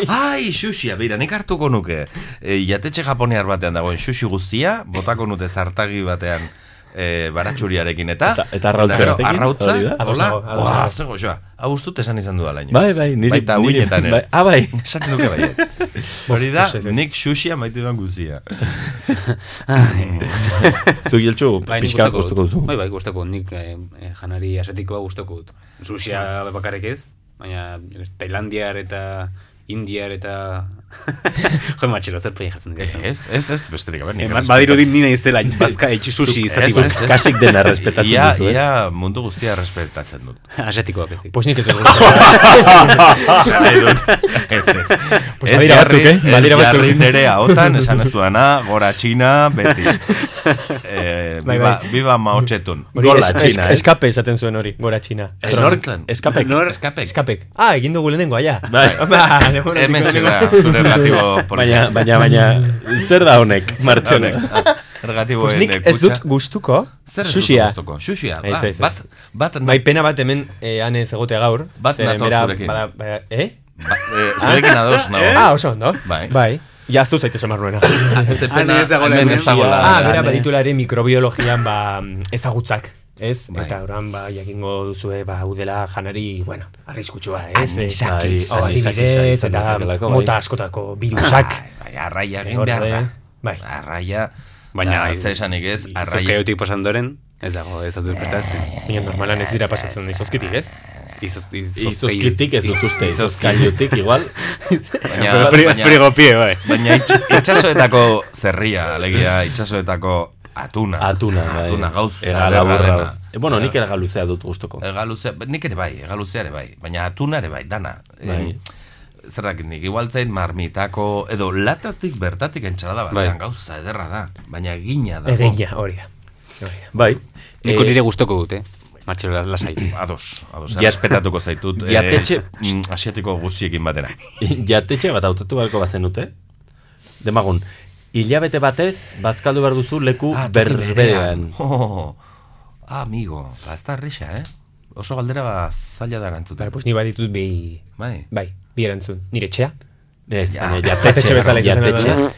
H: Ai, xuxia, beira, nik hartuko nuke. E, jatetxe japonear batean dagoen xuxi guztia, botako nute zartagi batean e, baratxuriarekin eta...
B: Eta- eta arrautza
H: gero,
B: batekin,
H: Arrautza,
B: hori da? Ados
H: hola,
B: nago, ados
H: oa,
B: nago.
H: ze goxoa. Hau ustut esan izan duela inoiz.
B: Bai, bai, niri-
H: Baita
B: niri-
H: uinetan ere.
B: bai, ah, bai.
H: Esaten duke
B: [laughs]
H: bai. Hori da,
B: Ez, ez, ez.
H: nik xuxia maite duan guzia.
B: [laughs]
H: [laughs] Eh,
B: Zuk giltxu,
G: Ah, Bai, nik
B: pixka bat
G: gustoko
B: gustoko
G: dut.
B: duzu.
G: Bai, bai, gustoko dut. nik eh, eh, janari asetikoa gustoko dut.
H: Ah.
G: Susia bakarrik ez, baina eh, Tailandiar eta Indiar
H: [laughs]
G: eta... jo, matxero, zer pegi jartzen dira.
H: Ez, ez, ez, besterik gabe. nik
G: Eh,
B: ba-
H: errespetu-
G: Badiru dit nina
H: [laughs]
G: izela, bazka itxu sushi
H: Zuk-
G: izatiko.
H: ez, ez, ez. [laughs] ia, Ia mundu guztia respetatzen dut.
G: eh? [laughs] Asiatikoak ezik.
H: Pues nik
G: [laughs]
H: ez dut.
G: Esan
H: nahi dut. Ez, ez.
G: Pues
H: Ez
G: badira batzuk,
H: jarri-
G: eh? Badira
H: ez jarri
G: batzuk.
H: nere ahotan, esan ez dudana, gora Txina,
J: [laughs]
G: [laughs]
H: beti. Eh,
J: Bai,
H: biba,
J: bai.
H: biba maotxetun.
J: Hori
H: Gola
J: es- es-
H: Txina, eh?
J: Eskape esaten zuen hori, gora txina.
H: Snorkelen.
J: Eskapek.
H: Nor-
J: eskapek. Ah, egin dugu lehenengo, aia. [laughs]
B: Bai.
J: Ba, lehenengo
H: Hemen
J: lehenengo.
H: txeda, zure relatibo
B: Baina, baina, baina, zer da honek, martxonek?
J: [laughs]
H: Ergatiboen
J: Pues nik ez dut gustuko.
H: Zer ez duzu
J: Xuxia.
H: gustuko? Xuxia, ba,
J: Ez, ez, ez.
H: bat- bat-
J: Bai, pena bat hemen eh, ane ez egotea gaur.
H: Bat
J: zeren
H: nator
J: bera-
H: zurekin.
J: bada- bada- eh?
H: Ba- eh, zurekin ados nago.
J: Ah, oso ondo.
H: Bai.
J: Bai. Ja, aztu zaitez emar nuena.
H: Ze pena, Ane Ah, ez dagoela hemen ez hemen. dagoela.
J: Ah, bera,
H: Ane.
J: badituela ere mikrobiologian ba, ezagutzak. Ez?
H: Bai.
J: Eta oran, ba, jakingo duzue, ba, udela janari, bueno, arriskutsua, ez?
B: Anisakis.
J: Bai, hau,
B: Anisakis
J: adibidez,
B: izan dezakelako,
J: eta
B: bai.
J: mota askotako virusak.
H: Bai, arraia egin
J: Hor
H: behar da.
J: daude. Bai.
H: Arraia,
G: Baina,
H: da, zer esanik ez, arraia.
G: Zuzkaiotik pasandoren, ez dago, ez
H: Eh,
G: dut despertatzen.
J: Baina normalan ez dira pasatzen izozkitik, ez?
H: eh,
B: Izozkitik ez dut uste, izozkailutik igual.
H: Baina,
G: Fri- frigopie, bai.
H: Baina itx- itxasoetako zerria, alegia, itxasoetako atuna.
B: Atuna, bai.
H: Atuna gauz.
B: Hegala burra. Eh, bueno, nik hegaluzea dut gustoko.
H: Egaluzea, nik ere bai, egaluzea ere bai. Baina atuna ere bai, dana.
B: Bai.
H: Em, Zer dakit nik, igual zain marmitako, edo latatik bertatik entxalada bat,
G: Bai.
H: gauza ederra da, baina egina da.
J: Egina, hori da.
B: Bai.
G: Nik
H: Eh,
G: hori ere gustoko dut, eh? Matxelo lasai.
H: Ados, ados,
B: Ja-
H: errespetatuko zaitut. eh,
B: Jatetxe-
H: mm, asiatiko guziekin batera.
B: [laughs] Jatetxe bat hautatu beharko bazenute. Demagun, hilabete batez, bazkaldu behar duzu leku
H: Ah, toki
B: berberean.
H: berean. Oh, ah, amigo, ba, ez da risa, eh? Oso galdera ba, zaila da erantzuten.
J: Bara, pues ni baditut bi...
H: Bai.
J: Bai, bi erantzun. Nire txea?
B: Ez,
H: Ja.
B: baina
J: Jatetxe
B: jatetxe,
J: bezala izaten da,
B: jatetxe.
J: da.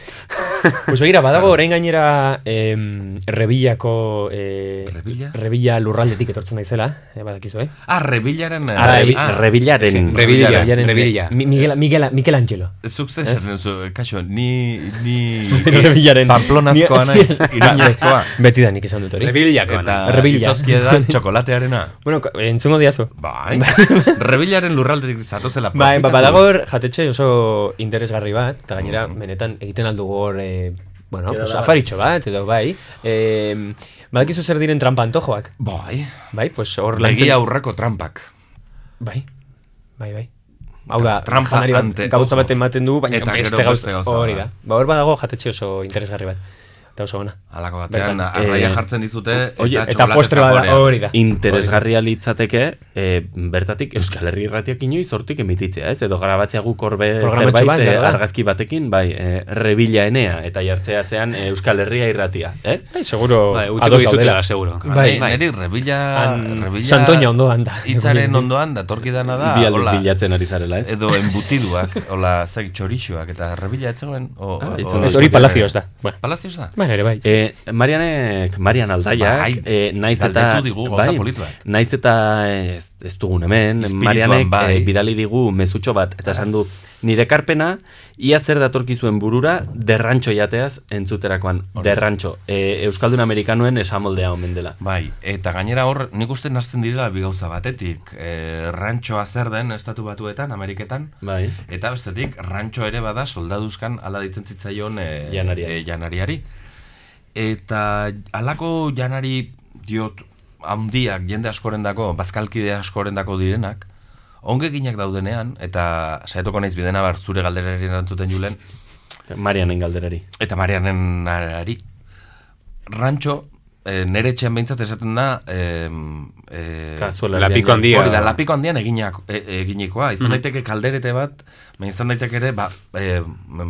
J: Pues begira, badago orain gainera em, rebillako eh,
H: Rebilla?
J: rebilla lurraldetik etortzen naizela, eh, badakizu, eh?
H: Ah, rebilaren... eh,
B: Rebi-
H: ah,
B: Rebilaren.
G: Rebilla,
J: Rebillaren-
G: rebilla.
J: eh, Mi- Miguel, Miguel, Michelangelo.
H: Zuk zer
J: [laughs]
H: esaten duzu, kaixo, ni... ni
J: Rebillaren.
H: Pamplonazkoa
J: [laughs]
H: naiz, iruñezkoa.
J: Beti da nik izan dut hori.
G: Rebilillakoa
H: Eta
G: naiz.
J: Rebilla.
H: izozkia
J: [laughs]
H: da txokolatearena.
J: Bueno, ko- entzungo diazu. [laughs]
H: Bai. Rebilaren lurraldetik zatozela.
J: Bai, ba,
H: profitatu.
J: badago hor jatetxe oso interesgarri bat, eta gainera,
H: Mm.
J: benetan egiten aldugu hor, eh, bueno, pues, afaritxo bat, edo bai. Eh, badakizu zer diren trampantojoak.
H: Bai.
J: Bai, pues hor lantzen...
H: Egia aurreko trampak.
J: Bai, bai, bai. Hau da,
H: Trampa
J: janari bat,
H: ante,
J: gauza
H: ojo.
J: bat ematen du, baina
H: Eta
J: beste
H: gero
J: gauza,
H: beste gauza
J: hori
H: da.
J: da. Ba, hor badago jatetxe oso interesgarri bat. Eta oso ona.
H: Alako batean,
J: Bertan,
H: arraia
J: eh,
H: jartzen dizute,
B: oie,
H: eta,
J: eta
H: txokolate
J: postre bada,
H: zaborea.
J: hori da.
B: Interesgarria litzateke, eh, bertatik Euskal Herri irratiak inoiz hortik emititzea, ez? Edo grabatzea guk horbe
J: Programatxo
B: zerbait
J: bat,
B: eh,
J: gara.
B: argazki batekin, bai, eh, rebila enea, eta jartzeatzean eh, Euskal Herria irratia, eh?
J: Bai, seguro,
G: Bai, utziko
J: ados
G: dizutela,
J: gaudela.
G: seguro.
J: Bai,
H: Bai, bai. Neri rebila...
J: Han-
H: rebila
J: Santoña ondoan da.
H: Itzaren ondoan datorkidana da,
B: Bi aldiz
H: hola,
B: bilatzen ari zarela, ez?
H: edo embutiduak, hola, zaik txorixoak, eta rebila etzegoen... O,
B: Ah,
H: o-
B: izan
H: o-
B: Ez,
J: hori palazios da. Bueno.
H: Palazios da?
J: Baina ere, bai.
B: E, Marianek, Marian Aldaiak,
H: Bai,
B: eh, naiz eta... bai,
H: galdetu digu gauza polit bat.
B: Naiz eta eh, ez, ez dugun hemen,
H: Espirituan
B: Marianek
H: bai.
B: eh, bidali digu mezutxo bat, eta esan du, nire karpena, ia zer datorkizuen burura, derrantxo jateaz entzuterakoan, derrantxo. E, Euskaldun Amerikanoen esamoldea omen dela.
H: Bai, eta gainera hor, nik uste nazten direla bi gauza batetik. E, rantxoa zer den estatu batuetan, Ameriketan,
B: Bai.
H: eta bestetik, rantxo ere bada soldaduzkan ala ditzen zitzaion e,
B: Janariari.
H: e, janariari. Eta halako janari diot handiak, jende askorendako, bazkalkide askorendako direnak, ongekinak daudenean, eta saietuko naiz bidena bar zure galderari erantzuten julen,
B: Marianen galderari.
H: eta Marianen arari. Rantxo, e, nere etxean behintzat esaten da... E,
B: Kazuela
G: lapiko
B: erdian.
G: handia.
H: Hori da, lapiko handian eginak, e, eginikoa. Izan daiteke kalderete bat, baina izan daiteke ere ba, e,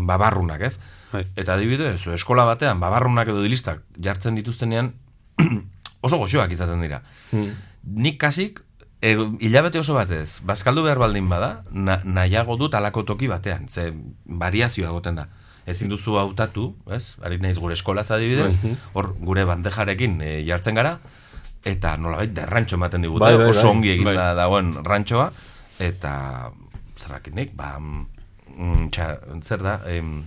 H: babarrunak, ez?
G: Bai.
H: Eta adibidez, eskola [clears throat] batean, babarrunak edo dilistak jartzen dituztenean oso goxoak izaten dira. nik kasik, e, hilabete oso batez, bazkaldu behar baldin bada, na, nahiago dut alako toki batean, ze variazioa egoten da. Ezin duzu hautatu, ez? Ari naiz gure eskolaz adibidez,
G: Mhm.
H: hor gure bandejarekin e, jartzen gara, eta nolabait derrantxo ematen digute,
G: Bai, bai,
H: oso
G: bai.
H: ongi eginda
G: Bai.
H: dagoen rantxoa, eta zerrakinik, ba, mm, txa, zer da, em,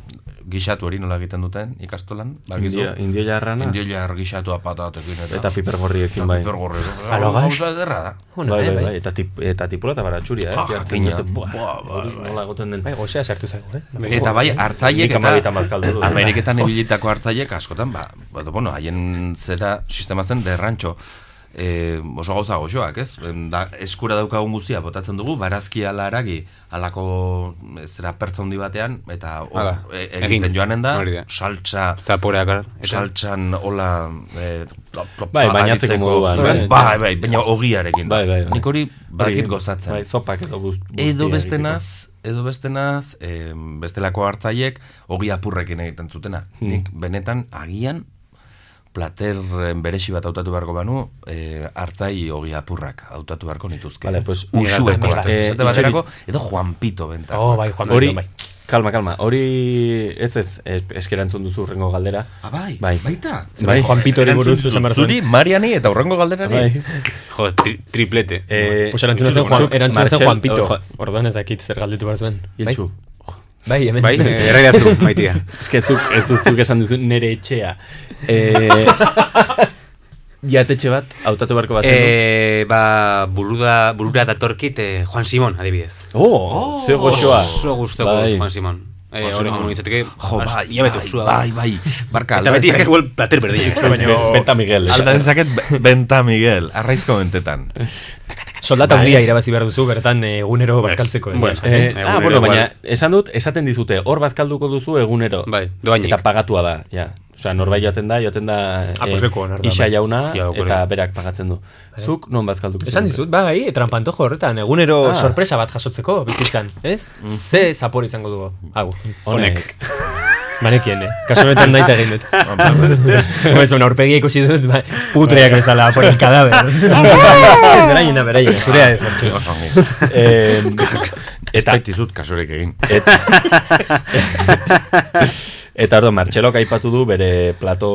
H: gixatu hori nola egiten duten ikastolan, bakizu?
B: Indio- indioia arrana?
H: Indioia ar- gixatua patatekin eta...
B: Eta pipergorriekin bai.
H: Eta pipergorriekin.
B: Alogas?
H: Gauza ederra da.
B: Bai, bai, bai. Eta, tip, eta tipula eta baratxuria, eh?
H: Ah,
B: Jartzen
H: jakina.
B: dute, buah,
H: Buah, bai,
B: hori Nola egoten den.
J: Bai, gozea sartu zaigu, eh?
H: Eta bai, hartzaiek
B: Nik
H: eta
B: amabitan bazkaldu dut. Oh,
H: Ameriketan ibilitako hartzaiek askotan, ba, ba bueno, haien zera sistema zen derrantxo. E, oso gauza goxoak, ez? Em, Da, eskura daukagun guztia botatzen dugu, barazki ala haragi, alako e, zera pertza handi batean, eta hor,
G: Hala,
H: e,
G: egin,
H: egiten joanen da,
G: hori da.
H: saltza,
G: Zaporeak, ara, eta-
H: saltzan, hola, e, top, top,
B: Bai, bainatzeko
H: aditzeko-
B: moduan, bai.
H: bai, bai, baina ogiarekin.
B: Bai, bai, bai.
H: Nik hori
B: Hori,
H: badakit gozatzen.
B: Bai, zopak edo guzti.
H: Edo bestenaz, edo bestenaz, em, bestelako hartzaiek ogi apurrekin egiten zutena.
B: Hmm.
H: Nik benetan agian plater eh, beresi bat hautatu beharko banu, eh, hartzai ogi apurrak hautatu beharko nituzke.
B: Vale, pues,
H: Usu
B: nire
H: epos,
B: galdera.
H: esate
B: Eh,
H: baterako, edo Juan Pito benta.
J: Oh, bai, Juan
B: Hori,
J: Benito, bai.
B: kalma, kalma, hori ez ez, es- eskerantzun duzu urrengo galdera.
H: Ah, bai,
B: bai.
H: baita.
B: Bai, Juan Pitori
H: Erantzun
B: buruz
H: zu-
B: zuzen behar zuen.
H: Zuri, Mariani eta urrengo galderari.
B: Bai.
G: Jo, tri- triplete.
B: Eh,
J: Pues erantzuna zen Juan,
B: zuk,
J: erantzuna zen
B: Martxel,
J: Juan Pito.
B: oh, Juan-
J: Orduan ez dakit zer galdetu behar zuen.
B: Iltxu.
J: Bai, hemen.
G: Bai, eh,
J: [laughs]
G: erraidazu,
B: [laughs]
G: maitia.
B: Ez que zuk, ez zuzuk esan duzu nere etxea. E, [laughs] jatetxe bat, hautatu beharko bat.
G: Eh, ba, buruda, burura datorkit eh, Juan Simon, adibidez.
B: oh, ze goxoa.
G: Oso gustoko
B: Bai.
G: Juan Simon. Eh,
H: Juan
G: hori
H: Simon.
G: komunitzateke,
H: Jo,
G: as-
H: bai,
G: hilabete
H: bai,
G: usua.
H: bai, bai. Barka,
G: Eta
H: alda
G: beti
H: dezaket-
G: igual plater
H: [laughs]
G: berdina.
B: Baina- Benta Miguel. eh.
H: Alda dezaket be- Benta Miguel, arraizko bentetan.
J: Soldata handia irabazi behar duzu, bertan eh, egunero bazkaltzeko. eh.
G: Bueno,
J: Eh,
B: Eh,
G: Egunero,
B: ah, bueno,
G: igual.
B: baina esan dut, esaten dizute, hor bazkalduko duzu egunero.
G: Bai, dohainik.
B: Eta pagatua da, ja. Osea, norbait joaten da, joaten da
J: Ah, pues lekuan, arda,
B: isa
J: bai.
B: jauna
G: Hostia, locura.
B: eta berak pagatzen du. Zuk non bazkalduko
J: Eh. Esan
B: zenuke?
J: dizut, bai, eh, trampantojo horretan, egunero
B: Ah. Mm.
J: sorpresa bat jasotzeko bizitzan, ez? Ze zapor izango dugu, hau, honek. Banekien, eh? Kaso honetan daita egin
B: [laughs]
H: [laughs]
J: dut.
H: Ah,
J: Ba,
H: ba,
J: [laughs] Homez, una aurpegia ikusi dut, ba, putreak bezala, por el [laughs]
B: [laughs]
J: cadáver. [laughs] Ez, beraiena, beraiena, zurea ez, martxo.
H: Oso ongi.
B: Eh,
H: Eta
B: eta,
H: baitizut kasorek egin.
B: [laughs] Eta ordo, Martxelok aipatu du bere plato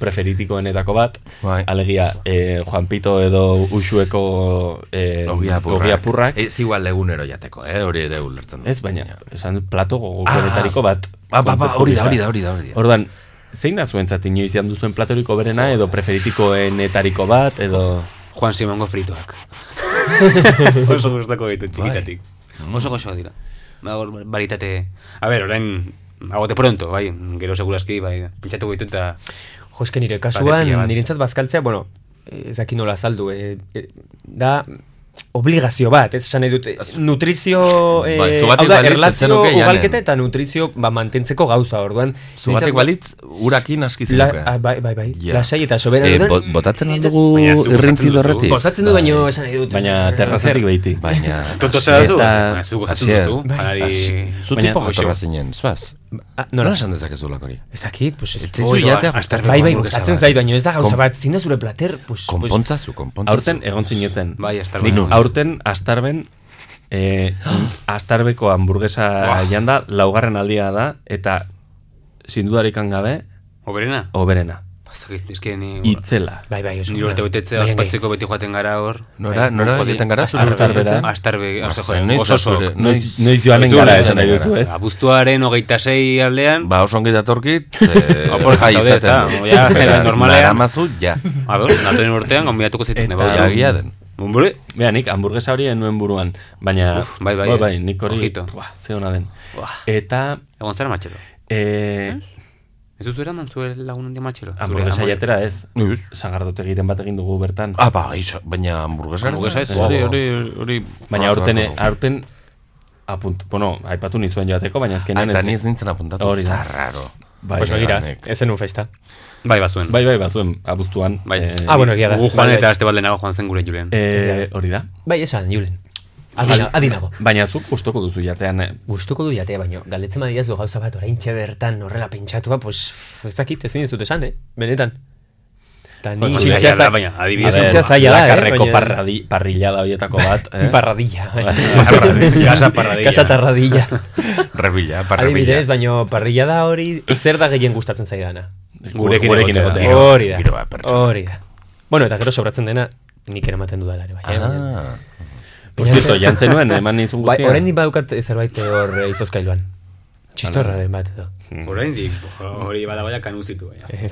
B: preferitikoenetako bat,
H: Bai.
B: alegia eh, Juan Pito edo Uxueko eh, ogiapurrak.
H: Ez igual egunero jateko, eh? hori ere ulertzen dut.
B: Ez, baina, esan dut, plato gogokoenetariko bat.
H: Ah, ba, ba,
B: kontzeptu gisa.
H: hori da, hori da, hori da, hori da.
B: Ordan, zein da zuen zati inoiz jan duzuen platoriko berena edo preferitikoenetariko bat edo...
G: Juan Simongo frituak. [laughs] Oso gustoko ditu txikitatik. Oso goxoak dira. Gaur baritate... A ber, orain... Agote pronto, bai, gero segurazki, bai, pentsatu gaitu eta...
J: Jo, eske nire
G: Bate
J: kasuan,
G: pila bat.
J: nirentzat bazkaltzea, bueno, ez dakit nola azaldu, eh, eh, da obligazio bat, ez esan nahi dut, eh, nutrizio, eh,
H: Bai,
J: hau
H: zugatik
J: da,
H: balitz ez
J: erlazio
H: zenuke janen.
J: ugalketa eta nutrizio ba, mantentzeko gauza, orduan.
H: Zugatik
J: niretzat-
H: balitz, urakin aski
J: La,
H: zenuke.
J: ah, bai, bai, bai,
H: Ja.
J: lasai eta sobera.
H: Eh,
J: orduan-
H: bo- botatzen al
J: niretzat-
H: dugu
G: Baina ez du gozatzen
H: irrintzi
G: duzu.
H: dorretik.
J: Gozatzen du, baino esan nahi dut.
B: Baina terrazatik
G: [laughs]
B: behiti.
H: Baina...
G: Tonto zera duzu?
B: Eta-
G: Ez du gozatzen
H: Asier,
G: duzu,
J: Bai.
G: janari...
H: Asi- Zu
B: Baina-
H: tipo
B: Goxo.
H: jatorra zinen, zuaz.
J: Ah,
H: Nola
J: nola?
H: esan dezakezu hori?
J: Ez dakit, pues...
H: Ez zaizu
J: Oi,
H: jatea
J: ba,
H: gustatzen
J: Bai, bai,
H: hamburguesa
J: gustatzen
H: bat.
J: zait, baina ez da gauza
H: Kon-
J: bat, zin da zure plater, pues... pues-
H: Konpontzazu, konpontzazu.
B: Aurten egon zineten.
G: Bai, Astarben.
B: Nik
G: Nun?
B: aurten astarben
H: [gasps]
B: eh, astarbeko hamburguesa
G: Buah.
B: janda laugarren aldia da eta sindudarik gabe
G: Oberena?
B: oberena.
G: Bazakit, Ba, Ez que ni...
B: Itzela.
J: Bai, bai, oso.
G: Nire urte betetzea
J: Baina,
G: ospatzeko beti joaten gara hor.
B: Bai,
H: Nora, nora egiten gara? zure
B: Astar
H: urte
B: bera.
H: betetzen?
G: Astarbe,
H: Ba,
G: oso
H: zen,
G: joan,
H: noiz
G: oso
H: zure-
G: sok.
B: Noiz, noiz joanen
H: Noiz
B: gara
H: joanen
B: esan nahi
H: gara.
B: duzu, ez?
G: Abuztuaren hogeita sei aldean,
H: Ba, oso ongi
G: [laughs]
H: datorkit, eh,
G: Opor
H: jai
G: zaude,
H: izaten
G: ezta?
H: du.
G: Ja,
H: Beraz,
G: normalean.
H: daramazu, ja.
G: ados, natoren urtean, gombidatuko zituen.
B: Eta-
G: bai.
H: Ja, egia den.
G: Hombre,
B: Bea, nik hamburguesa hori enuen buruan, baina...
G: Uf, bai, bai,
B: Bai,
G: eh.
B: nik hori...
G: Ojito.
B: Buah, ze hona den.
G: Buah.
B: Eta...
G: egon zara matxelo.
B: E,
G: Ez duzu eraman zuen lagun handi matxelo?
B: hamburguesa jatera ez.
H: Noiz.
B: Sagardotegiren bat egin dugu bertan.
H: Ah, ba, iso, baina hamburguesa.
G: Hamburguesa ez.
H: Hori, hori, hori.
B: Baina
H: Ah,
B: aurten,
H: ah, ah.
B: aurten apunt, bueno, aipatu nizuen joateko, baina
H: Ah,
B: azkenean...
H: Eta
B: ez-
H: ni ez nintzen apuntatu.
B: Hori da.
H: Zarraro.
B: Bai,
J: Pues
B: bai,
J: begira,
H: nik.
J: ez zenun festa.
G: Bai, bazuen.
B: Bai, bai, bazuen, abuztuan.
G: Bai.
B: eh,
J: Ah, bueno, egia da.
G: Gu joan
J: Bai,
G: eta
J: bai.
G: aste baldenago joan zen gure Julen.
B: eh, hori da. Bai.
J: Bai, esan, Julen. Adina, adinago.
B: Baina zuk gustoko duzu jatean. eh?
J: Gustuko du jatea, baino, galdetzen badiaz du gauza bat orain bertan horrela pentsatua, pues, ez dakit, ezin dizut esan, eh? Benetan. Ta ni isiltzea zaila-
G: baina,
J: adibidez, isiltzea zaila da, eh,
B: Lakarreko
J: baina-
B: parradi, parrillada hoietako bat. Eh?
J: [laughs] Parradilla.
B: [laughs] Parradilla.
J: Casa parradilla. Casa
B: [laughs]
J: tarradilla.
H: Rebilla,
J: Adibidez, baino parrilla da hori zer da gehien gustatzen zaidana?
G: Gurekin Gurekin egotea. egotea.
J: Hori
G: Giro
J: da.
G: bat, pertsona.
J: Hori da. Bueno, eta gero sobratzen dena nik eramaten dudala ere bai. eh, baina-
B: Ah. Por cierto, jan zenuen, eman nizun
J: Bai,
B: guztia.
J: oraindik badukat zerbait hor eh, izozkailuan. Txistorra
B: Ala.
J: den bat edo.
H: Hmm.
G: Oraindik, hori bada baina kanuzitu. baina. [laughs] Eh,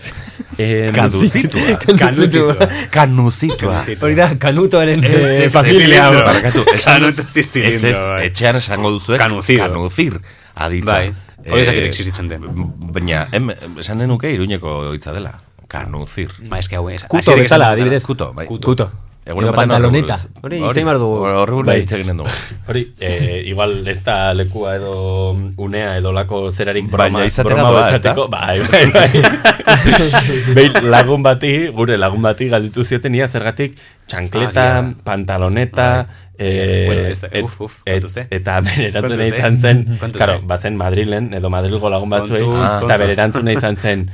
B: Em,
H: Eh,
J: [laughs]
H: Kanuzitua.
G: Kanuzitua.
H: Kanuzitua.
J: Hori da, kanutoaren
H: Ez,
J: eh,
H: ez,
J: familia.
H: ez,
J: hau.
H: barkatu, esan dut-
G: Kanutu zizilindro,
H: ez, ez,
G: bai.
H: etxean esango duzu
G: Kanuzido.
H: Kanuzir aditza.
G: Bai, hori ez dakit
H: Eh,
G: existitzen den.
H: Baina, em, em, esan denuke iruñeko hitza dela. Kanuzir.
G: Ba, eske hau ez.
J: Kuto
G: hasirik esan
J: bezala,
G: dut-
J: adibidez.
H: Kuto, bai.
J: Kuto.
H: Egunen
J: Edo
H: batean
J: pantaloneta.
H: horri
J: Hori
H: buruz.
J: hitz egin behar dugu.
H: Horri buruz
B: Bai.
H: hitz egin dugu.
B: Hori, eh, igual ez da lekua edo unea edo lako
G: Bai,
B: zerarik broma.
H: Baina izatera
G: ba,
B: broma
H: doa,
B: bat
H: ezta?
B: esateko,
G: [laughs]
B: Bai, bai, bai. [laughs] Behin lagun bati, gure lagun bati galditu zioten ia zergatik txankleta,
G: Ah, ja.
B: pantaloneta, eh,
G: Bueno, ez da-
B: et-
G: uf, uf,
B: et-
G: kontuz, eh?
B: eta
G: Kontuz,
B: bererantzuna
G: eh?
B: izan zen,
G: Kontuz,
B: karo,
G: eh?
B: bazen Madrilen edo Madrilgo lagun batzuei,
G: Kontuz,
B: ah, eta
G: kontuz.
B: bererantzuna izan
G: [laughs]
B: zen,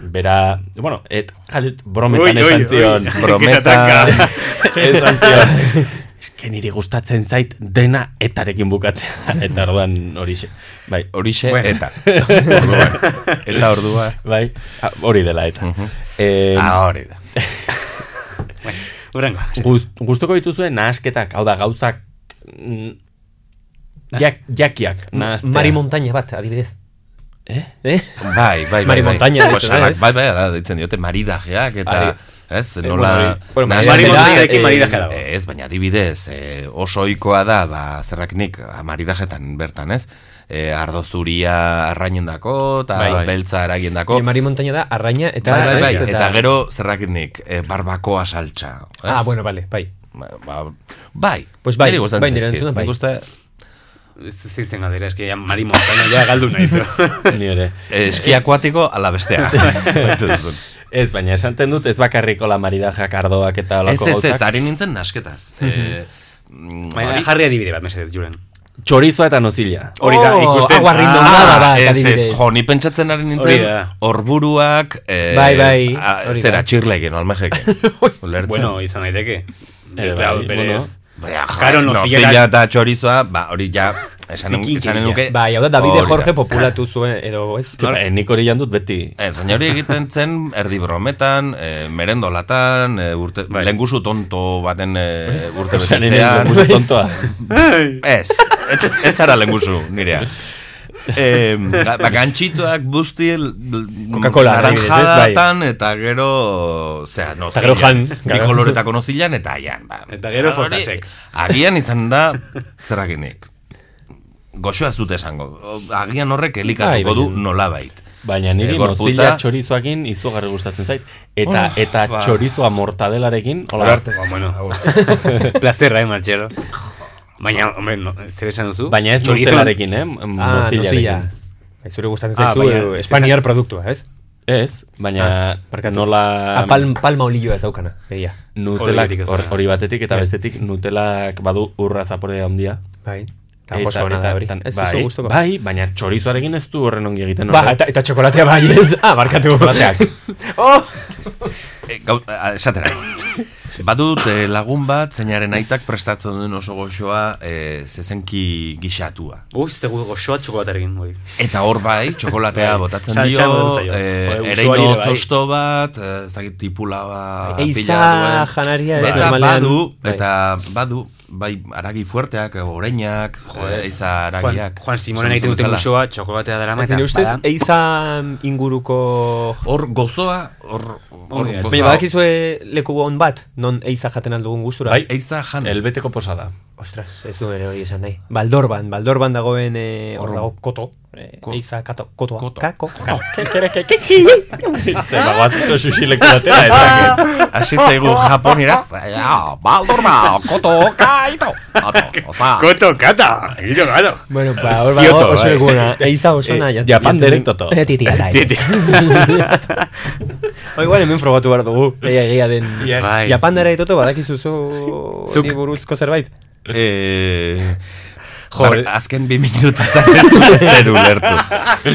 B: bera, bueno, et, jalit,
G: Ui,
B: brometan
G: ui,
B: esan
G: ui, [laughs]
B: zion,
G: que se
B: brometan,
G: ataca. [laughs]
B: esan zion, Eske niri gustatzen zait dena etarekin bukatzea. [laughs] Eta orduan horixe. Bai,
H: Horixe
G: Bueno.
B: [laughs]
H: eta. Orduan. Eta ordua.
B: bai, ah, hori dela eta. Uh
H: Mhm.
B: eh,
H: Ah, hori
B: [laughs]
H: da.
G: Bueno, Urrengo.
B: guz- gustuko dituzue nahasketak, hau da gauzak mm, jak, jakiak nahastea.
J: Mari Montaña bat, adibidez.
B: Eh?
J: Eh?
H: Bai, bai, bai.
J: Mari
H: bai.
J: Montaña deitzen
H: Osalak,
J: da, ez?
H: Bai, bai, ala deitzen diote maridajeak
J: Ari.
H: eta... Ez,
J: Eh,
H: nola...
J: bueno, hori- bueno,
H: nahastea-
G: Mari Montañarekin
H: eh,
G: maridajea dago.
H: Ez, baina adibidez, eh, oso ohikoa da, ba, zerrak nik ah, maridajetan bertan, ez? Eh, ardo zuria arrainen dako, eta
G: Bai, bai.
H: beltza aragien dako.
J: Eh, Mari Montaña da arraina eta...
H: Bai, bai, bai.
J: ez,
H: Eta gero zerrak nik, eh, barbakoa saltsa. ez?
J: Ah, bueno, vale, bai.
H: Ba, ba, bai.
J: Pues bai,
H: niri gustatzen
J: bai, nire
H: zaizkit.
J: entzuna, bai.
H: Nik uste,
G: Zitzen galdera, eske ja Mari Montaña ja galdu naiz.
B: [laughs] Ni ere.
H: eh, eski akuatiko ala
B: [laughs]
H: bestea. Baitu duzun.
B: Ez, baina esanten dut ez bakarriko la maridajak ardoak eta
H: ez,
B: olako
H: ez, ez,
B: gauzak. Mhm.
H: ari nintzen nasketaz. Eh, mm,
G: Baina
H: hori-
G: jarri adibide bat, mesedez, Julen.
B: Txorizoa eta Oh, nozila.
G: Hori da, ikusten.
J: Agua rindongada
H: Ah,
J: bat,
H: ez, ez,
J: adibidez.
H: jo, ni pentsatzen ari
G: Hori
H: nintzen,
G: da.
H: orburuak, eh,
J: Bai, bai,
H: a-
J: hori da.
H: zera, txirlekin,
J: [laughs]
H: olmejeken. Ulertzen.
G: Bueno, izan daiteke.
J: Eh,
B: Ere
G: Ez da,
B: bai,
G: berez.
H: Baina, jo,
G: Karo,
H: nozilla
G: nozillak-
H: eta txorizoa, ba, hori ja, esanen
G: Zikinkeria.
H: esanen nuke.
J: Bai, hau da, Davide
H: hori da.
J: Jorge populatu zuen, edo ez?
B: Ba, eh, nik hori jan dut beti.
H: Bai, Ez, baina hori egiten zen erdi brometan, e, merendolatan, e, urte,
G: Bai.
H: lengusu tonto baten e,
J: Bai.
H: urte
B: Osa, nire
H: betetzean.
B: lengusu tontoa.
G: Bai.
H: Ez, ez, ez zara lengusu, nirea. E, ba, gantxituak busti l- l-
J: Coca-Cola, adibidez, ez,
H: naranjadatan eta gero zera, no,
J: Eta gero jan.
H: bi koloretako nozilan eta aian ba.
G: Eta gero
H: Ba, hori,
G: fotasek.
H: agian izan da zerakinik goxoa zut esango O, agian horrek elikatuko
J: Bai,
H: du
J: baina-
H: nolabait
B: Baina niri
H: Eh, gorputza-
B: nozila txorizoakin izugarri gustatzen zait. Eta,
H: Oh,
B: eta
H: ba.
B: txorizoa mortadelarekin, hola,
H: Orarte.
G: Ba,
J: ah,
G: bueno.
B: [laughs]
G: [laughs] Plazterra, eh, Martxero. Baina, hombre, no, zer esan duzu?
B: baina ez
G: Chorizo-
B: mortelarekin, eh? m-
J: Ah, nozilla.
B: mozillarekin.
J: Bai, Zure gustatzen
G: Ah,
J: zaizu,
G: baina-
J: edo
B: eh,
J: espaniar produktua, ez?
B: Ez, baina
J: barkatu.
B: nola
J: Ah, pal- palma olioa ez daukana, egia.
B: nutelak,
G: Hori batik ez
B: hor-
G: da.
B: hori batetik eta bestetik nutelak badu urra zapore handia.
J: Bai. Eta oso ona da hori.
B: eta-
J: Ez
B: bai,
J: duzu gustuko.
B: bai, baina txorizoarekin ez du horren ongi egiten.
J: Ba,
B: horrek.
J: eta, eta txokolatea bai ez. Ah, barkatu.
B: Txokolateak.
J: [laughs] oh!
H: E, gau, a- esatera. Badut eh, lagun bat, zeinaren aitak prestatzen duen oso goxoa eh, zezenki gixatua.
G: Ui, ze gu- goxoa txokolatearekin, hori.
H: Eta hor bai, txokolatea botatzen
G: saltsa
H: dio,
G: eman zaio.
H: eh,
G: Joder, usuari
H: ereino
G: ere bai.
H: zosto bat, eh, ez dakit tipula bat,
J: Eiza janaria, eh,
H: Eta
J: normalean.
H: badu,
J: Bai.
H: eta badu, bai, aragi fuerteak, eh, oreinak, eh, eiza
G: Juan,
H: aragiak.
G: Juan Simonen
H: Esan
G: egiten
H: duzu
G: duten
H: bezala.
G: goxoa txokolatea dara
J: Nire ustez, eiza inguruko...
H: Hor gozoa, hor... hor
G: Ongi,
H: gozoa.
J: Baina badakizue leku on bat, non eiza jaten aldugun gustura.
B: Bai.
H: Eiza jan.
B: Elbeteko posada.
J: Ostras, ez du ere hori esan nahi. Baldorban, Baldorban dagoen eh, hor
H: Hor-
J: dago koto. Eh,
H: Ko-
J: eiza kato, kotoa.
H: Koto.
J: Kako.
B: Zer, bagoazko xuxileko batera, ez dakit.
H: Asi zaigu japoneraz, ja, baldorma, Ah, ba, koto, kaito. Ato, oza.
G: Koto, kata! Egito, gano!
J: Bueno, ba, hor
G: Kyoto,
J: dago oso
G: bai.
J: [laughs] lekuna. Eiza oso
B: Eh,
J: nahi.
B: Japan direktoto.
J: Titia da.
G: Titi.
J: [laughs] O igual hemen frogatu behar dugu. Eia egia den.
G: Bai.
H: [laughs]
J: Japandara ditoto badakizu zu...
G: Zuk-
J: Zuk... buruzko zerbait.
H: Eh, Jo, azken bi minututan ez
G: [laughs]
H: dut zer ulertu.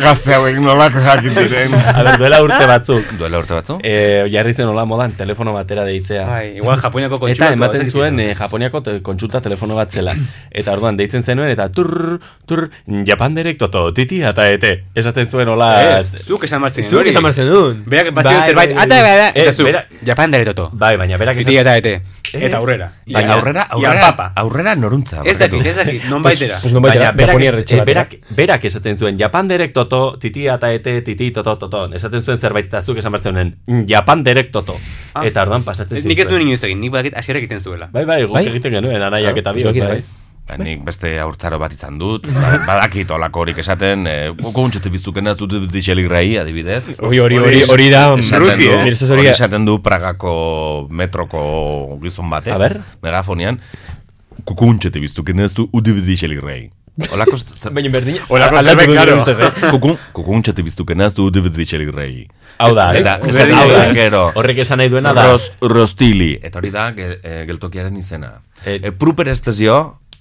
H: Gazte hauek nolako jakin diren.
B: A ber, duela urte batzuk.
H: Duela urte batzuk.
B: Eh, jarri zen hola modan, telefono batera deitzea.
G: Bai, igual Japoniako kontsulta
B: Eta ematen
G: batek
B: zuen eh, Japoniako te- kontsulta telefono bat zela. Eta orduan deitzen zenuen eta tur, tur, Japan direct toto, titi, eta ete. Esaten zuen hola...
G: Ez, Eh, zuk esan mazten
B: Zuk esan behar zenuen.
G: Berak bazio
B: Ah, Bai,
G: zerbait,
B: bai,
G: ata,
B: bai.
G: eta,
B: Ez,
G: eta zu,
B: bera-
G: Japan dare toto.
B: Bai, baina berak
G: Titi eta ete. Eta aurrera.
H: Baina aurrera, aurrera,
G: papa.
H: aurrera noruntza.
G: Ez
H: barkatu.
G: dakit, ez dakit, non baitera.
B: Baina berak, eh, berak, berak esaten zuen Japan direct toto, titi eta ete, titi toto toto. Esaten zuen zerbait eta zuk esan behar zenuen Japan direct toto.
G: Ah.
B: Eta orduan pasatzen eh.
G: Nik ez nuen inoiz egin, nik badakit asierek egiten zuela.
B: Bai, bai, guk Bai? egiten genuen, anaiak
H: eta biok, bai. Ba, Nik beste aurtzaro bat izan dut, ba- badakit olako horik esaten, eh, goko untxete biztukena ez dut ditxelik rai, adibidez.
J: Hori- hori- hori- hori da,
H: Esaten
J: Ruski,
H: du-
J: eh? Nire zuzori-
H: hori esaten du Pragako metroko gizon batek.
B: A ber?
H: Megafonian, kuku untxete biztukena ez du ditxelik rai. Olako
B: Baina berdina.
H: Olako
B: aldatu
H: zerbait,
B: du nire
H: karo.
B: ustez, eh?
H: Kuku, kuku untxete biztukena ez du ditxelik rai.
B: Hau da,
H: eta,
B: eh?
H: esaten
B: Hau
H: du,
B: da.
H: gero.
B: Horrek esan nahi duena da.
H: Ros- rostili. Eta hori da, ge- eh, geltokiaren izena.
B: Eh.
H: E, Pruper estazio,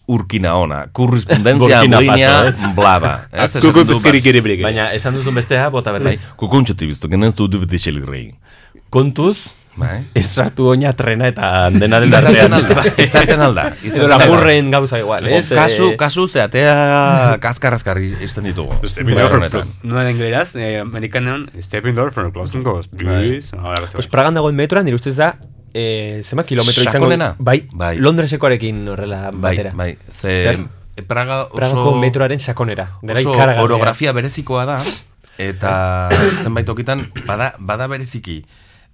H: urkina ona. Korrespondentzia
B: Burkina
H: linea
B: Faso, eh. ez? [laughs]
H: blaba. Ez?
B: Kuku
H: Esaten du, ba- Bai.
B: pizkirikiribrik. Baina esan duzun bestea bota berriz.
H: Kukuntxoti biztu, genez du dut ditxelik rei.
B: Kontuz,
H: Bai.
B: esartu oina trena
H: [laughs]
B: eta denaren artean.
H: Izaten alda, izaten alda, izaten
B: Edo
H: alda.
B: lapurren gauza igual, ez?
H: O,
J: eh,
H: kasu, kasu
J: [laughs]
H: zeatea kaskarrazkar izten ditugu.
G: Bai.
H: Bide honetan.
G: No en inglés, eh, americanon, stepping door from closing doors,
B: Bai.
G: please. Ahora, beste
J: Pues
G: bat.
J: Pragan dagoen metroan, nire ustez da, eh, zema kilometro izango...
H: Sakonena?
J: Bai,
H: Bai.
J: Londresekoarekin horrela
H: Bai,
J: batera.
H: bai, ze- Praga oso-
J: Pragako metroaren sakonera. Dela
H: Oso
J: ikaragarria.
H: orografia berezikoa da,
J: [coughs]
H: eta zenbait okitan, bada, bada bereziki,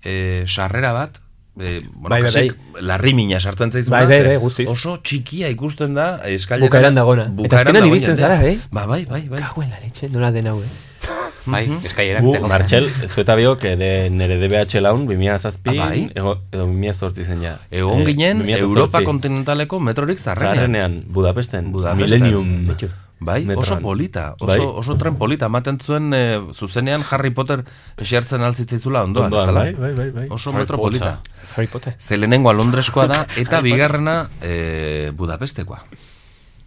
H: eh, sarrera bat, eh, bueno,
J: Bai, bai,
H: kasik, larri mina sartzen zaizu.
J: Bai,
H: da,
J: bai,
H: ze
J: bai, guztiz.
H: Oso txikia ikusten da, eskailera.
J: Bukaeran dagona. Eta azkenan iristen zara, eh?
H: Ba, bai, bai, bai.
J: Kagoen la leche, nola den hau, eh?
H: [laughs]
G: Bai, eskailerak
B: Gu,
G: ze gauza.
B: Martxel, zu eta biok, eh, de, nere DBH laun, 2007,
H: Ah, bai.
B: ego, edo 2008 zen ja.
H: Egon
B: Eh,
H: ginen
B: 2008.
H: Europa kontinentaleko metrorik zarrenean.
B: Zarrenean, Budapesten.
H: Budapesten.
B: Millennium.
H: Bai, oso
B: metroan.
H: polita, oso,
B: Bai.
H: oso tren polita, ematen zuen eh, zuzenean Harry Potter esertzen altzitzaizula ondoan,
B: Ondoan,
H: ezta?
B: bai, bai, bai, bai.
H: Oso
B: Harry
H: metro
B: Potter.
H: polita.
J: Harry Potter.
H: Ze lehenengoa Londreskoa da, eta bigarrena eh, Budapestekoa.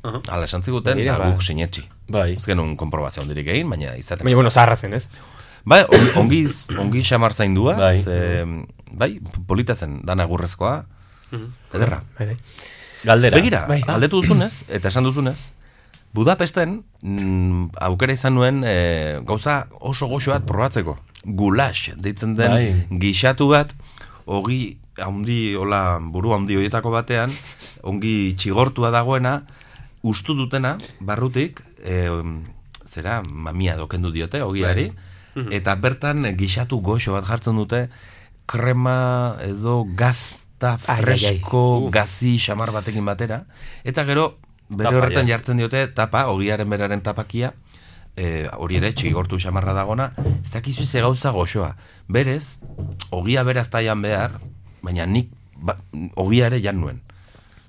H: Hala esan ziguten,
J: Begira,
H: da,
J: ba.
H: guk sinetxi.
J: Bai.
H: Ez genuen konprobazio handirik egin, baina izaten.
J: Baina, bueno, zaharra zen, ez?
H: Bai, ongi, ongi, ongi xamar zaindua,
J: Bai.
H: ze, bai, polita zen, dan agurrezkoa,
J: Mhm.
H: ederra.
J: Bai, bai.
B: Galdera.
H: Begira,
B: Bai.
H: galdetu duzunez, eta esan duzunez, Budapesten mm, aukera izan nuen e, gauza oso goxo bat probatzeko. Gulash deitzen den
B: Bai.
H: gixatu bat, ogi handi, hola, buru handi horietako batean, ongi txigortua dagoena, ustu dutena, barrutik, e, zera, mamia dokendu diote, ogiari,
G: Mhm.
H: eta bertan gixatu goxo bat jartzen dute, krema edo gazta
G: Ai, ai, ai.
H: fresko gazi xamar batekin batera eta gero bere
G: Tapa,
H: horretan
G: ja.
H: jartzen diote tapa ogiaren beraren tapakia e, hori ere txigortu xamarra dagona ez dakizu ze gauza goxoa berez ogia beraz taian behar baina nik ba, ogia ere jan nuen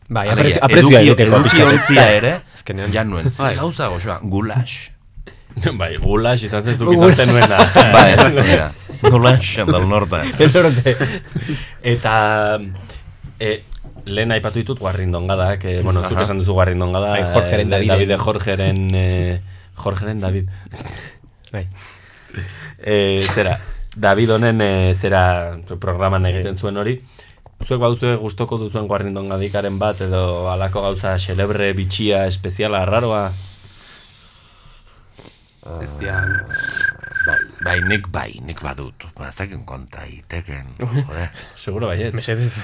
J: Bai, aprezi-
H: Alegia,
J: aprezioa
H: eduki-
J: egitekoa
H: eduki
J: pixka bat.
B: [laughs]
H: ontzia ere
J: Azkenean.
H: jan nuen ze
J: Bai.
H: gauza goxoa gulash
B: bai, gulash izan zen
H: [laughs]
B: zuk izan zenuena.
H: bai,
B: [laughs]
H: mira, gulash del norte
B: El norte. [laughs] Eta... E, lehen aipatu ditut guarrindongadak, eh, bueno, zuk
H: Aha.
B: esan duzu guarrindongada,
J: Bai, Jorgeren,
B: eh, de-
J: Daviden.
B: Davide Jorgeren, eh, Jorgeren David.
J: Bai.
B: Eh, zera, David honen eh, zera programan
J: Bai.
B: egiten zuen hori, zuek baduzue gustoko duzuen guarrindongadikaren bat, edo halako gauza xelebre, bitxia, espeziala, raroa,
G: Ez dira,
H: Bai, bai, nik bai, nik badut. Bazakin konta iteken. joder.
B: seguro baiet.
J: Mesedez.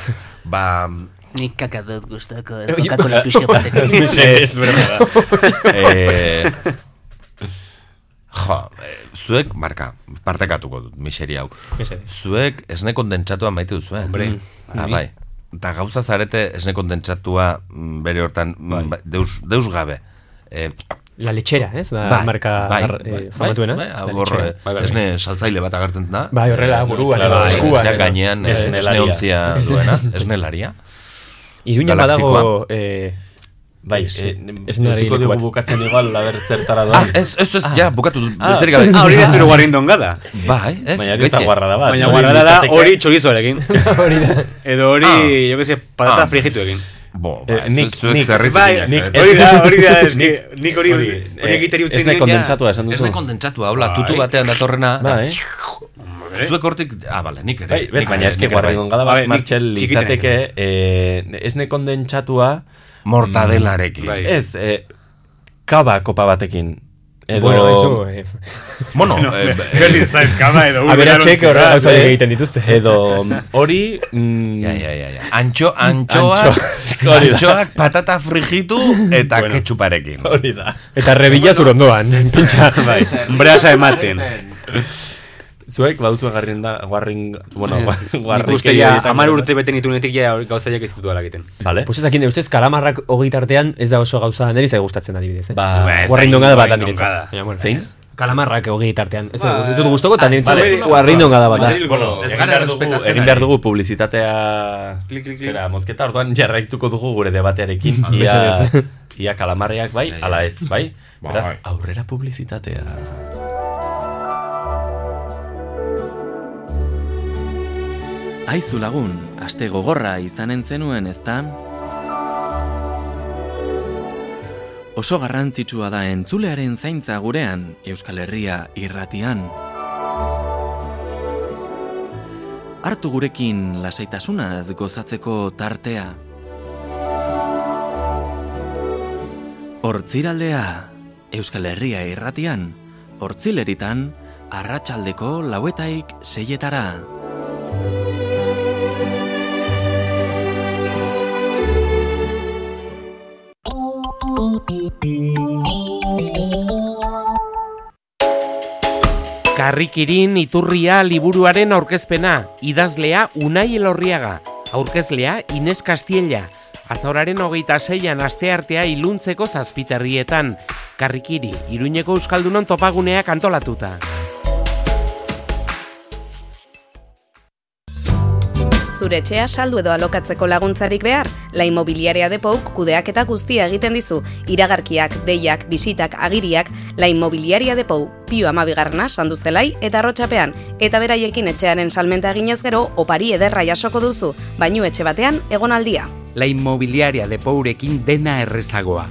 H: Ba...
K: Nik kakadot gustako
J: Eh, oye,
H: [laughs]
K: kokatu nik pixka batek.
J: Mesedez, broma [laughs] da.
H: Eh, Jo, eh, zuek, marka, partekatuko dut, miseri hau.
J: Mesedez.
H: Zuek esne kondentsatua maite duzu, eh?
G: Hombre.
H: Ah, bai. Eta gauza zarete esne kondentsatua mm, bere hortan, mm, ba- deus, deus gabe. Eh,
J: Bai. La lechera, ez? Da
H: bai,
J: marka
H: bai,
J: ar- eh,
H: bai,
J: famatuena.
H: Bai,
J: La
H: hor,
J: lechera.
H: eh, esne saltzaile bat agertzen da.
J: Bai, horrela,
H: Eh,
J: buruan,
H: claro,
J: edo eskuan,
H: esneak
J: edo-
H: gainean, eh,
J: Esnelaria.
H: esne ontzia
J: [laughs]
H: duena,
B: [laughs]
H: esnelaria.
J: Iruña
H: Galaktikoa.
J: badago... Eh,
B: Bai,
J: ez-
B: eh,
J: ez nire
B: utziko
J: leku
B: dugu
J: bat.
B: bukatzen igual, laber zertara doan.
H: Ah, ez, ez, ez, ja, bukatu, dut,
B: Ah.
H: besterik gabe.
G: Ah, hori da zure guarrindongada.
H: Bai, ez,
B: Baina hori ez da
H: gaizki.
B: guarrada bat.
G: Baina
B: Hori
G: guarrada da
B: [laughs] litzateke-
G: hori chorizoarekin. Edo hori,
H: Ah.
G: yo que sé, patata
H: Ah.
G: frijituekin.
H: Bo,
B: Eh,
H: ba,
B: nik-
H: zu- zuek
B: nik-
H: zerri
B: bai,
H: zikina
B: nik-
H: zarete.
B: hori da,
H: [laughs]
B: hori da, eske, [laughs] nik hori- hori egiteari utzi Bai.
H: ez nahi
B: diot, ja. Ez
H: Ez
B: nahi
H: nahi kondentsatua, hola, tutu batean datorrena. Zuek hortik, ah, bale, nik ere.
B: Bai, bez, baina eske guardi gongala bat, Martxel litzateke, eh, esne kondentsatua...
H: Mortadelarekin.
B: Mm, Ez, eh, kaba kopa batekin. Edo...
J: Bueno, eso, eh.
H: Bueno,
J: No,
H: eh,
B: [laughs]
J: berriz zait, kaba edo ur
B: Aberatsek
J: erabiltzen
B: horra
J: da,
B: gauza horiek
J: ez?
B: egiten dituzte. Edo hori... Mm,
H: ja, ja, ja, ja. Antxo, antxoak,
B: [laughs] Hori da.
H: antxoak patata frijitu eta bueno, ketxuparekin.
B: Hori da.
J: Eta rebilla
B: [laughs]
J: zurondoan, pintxa.
H: Bai.
G: Brasa ematen.
B: Zuek baduzu garrin da, guarrin, bueno,
H: ba.
B: [laughs]
G: Nik
B: guarrin...
G: uste ja, amar urte beten ditunetik ja hor- gauzaiak ez ditu egiten.
B: Vale.
J: Pues ez dakit, ustez kalamarrak hogei tartean ez da oso gauza niri zai gustatzen adibidez, eh?
B: Ba, Ba, ez
J: guarrindongada
B: dakit,
J: bat da
B: guarrindongada.
J: niretzat. Baina, bueno.
B: Zein?
J: Kalamarrak hogei tartean. Ez
B: Ba,
J: dut gustoko,
B: ah,
J: eta niretzat
B: vale.
J: guarrindongada bat da.
B: Bueno,
H: Ez
B: egin
H: gara
B: behar dugu,
H: errespetatzen
B: egin
H: ari.
B: behar dugu publizitatea zera, mozketa orduan jarraituko dugu gure debatearekin ia,
J: Mesedez.
B: ia kalamarreak bai, ala ez, bai?
J: Bai.
B: Beraz, aurrera publizitatea. Aizu lagun, aste gogorra izanen zenuen, ezta? Oso garrantzitsua da entzulearen zaintza gurean, Euskal Herria irratian. hartu gurekin lasaitasunaz gozatzeko tartea. Hortziraldea, Euskal Herria irratian, hortzileritan, arratsaldeko lauetaik seietara.
D: Karrikirin iturria liburuaren aurkezpena, idazlea Unai Elorriaga, aurkezlea Ines Kastiella, azauraren hogeita seian asteartea iluntzeko zazpiterrietan, Karrikiri, Iruñeko Euskaldunon topaguneak antolatuta.
L: Zure etxea saldu edo alokatzeko laguntzarik behar, La Inmobiliaria Depouk kudeaketa guztia egiten dizu, iragarkiak, deiak, bisitak, agiriak, La Inmobiliaria Depou, pio amabigarna, sanduzelai eta arrotxapean, eta beraiekin etxearen salmenta eginez gero, opari ederra jasoko duzu, bainu etxe batean egonaldia.
M: La inmobiliaria de Pourekin dena errezagoa.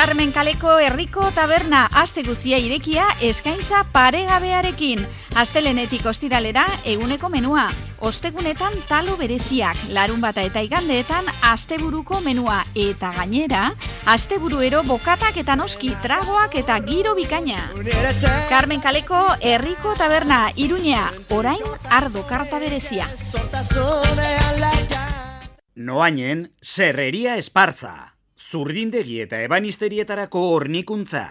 N: Carmen Kaleko herriko taberna aste guztia irekia eskaintza paregabearekin. Astelenetik ostiralera eguneko menua. Ostegunetan talo bereziak, larun bata eta igandeetan asteburuko menua. Eta gainera, asteburuero bokatak eta noski tragoak eta giro bikaina. Carmen Kaleko herriko taberna iruñea, orain ardo karta berezia.
O: Noainen, serreria espartza. Zurdindegi eta ebanisterietarako hornikuntza.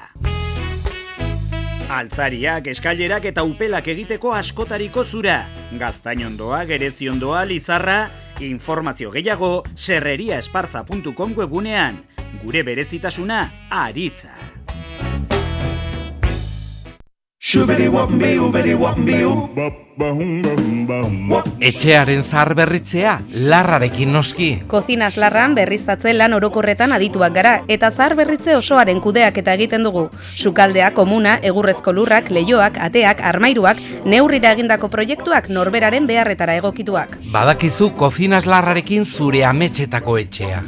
O: Altzariak, eskailerak eta upelak egiteko askotariko zura. Gaztainondoa, gereziondoa, lizarra, informazio gehiago serreriaesparza.com webunean. Gure berezitasuna, aritza.
M: Etxearen zahar berritzea, larrarekin noski.
L: Kozinas larran berriztatze lan orokorretan adituak gara eta zahar berritze osoaren kudeaketa egiten dugu. Sukaldea, komuna, egurrezko lurrak, leioak, ateak, armairuak, neurrira egindako proiektuak norberaren beharretara egokituak.
M: Badakizu kozinas larrarekin zure ametxetako etxea.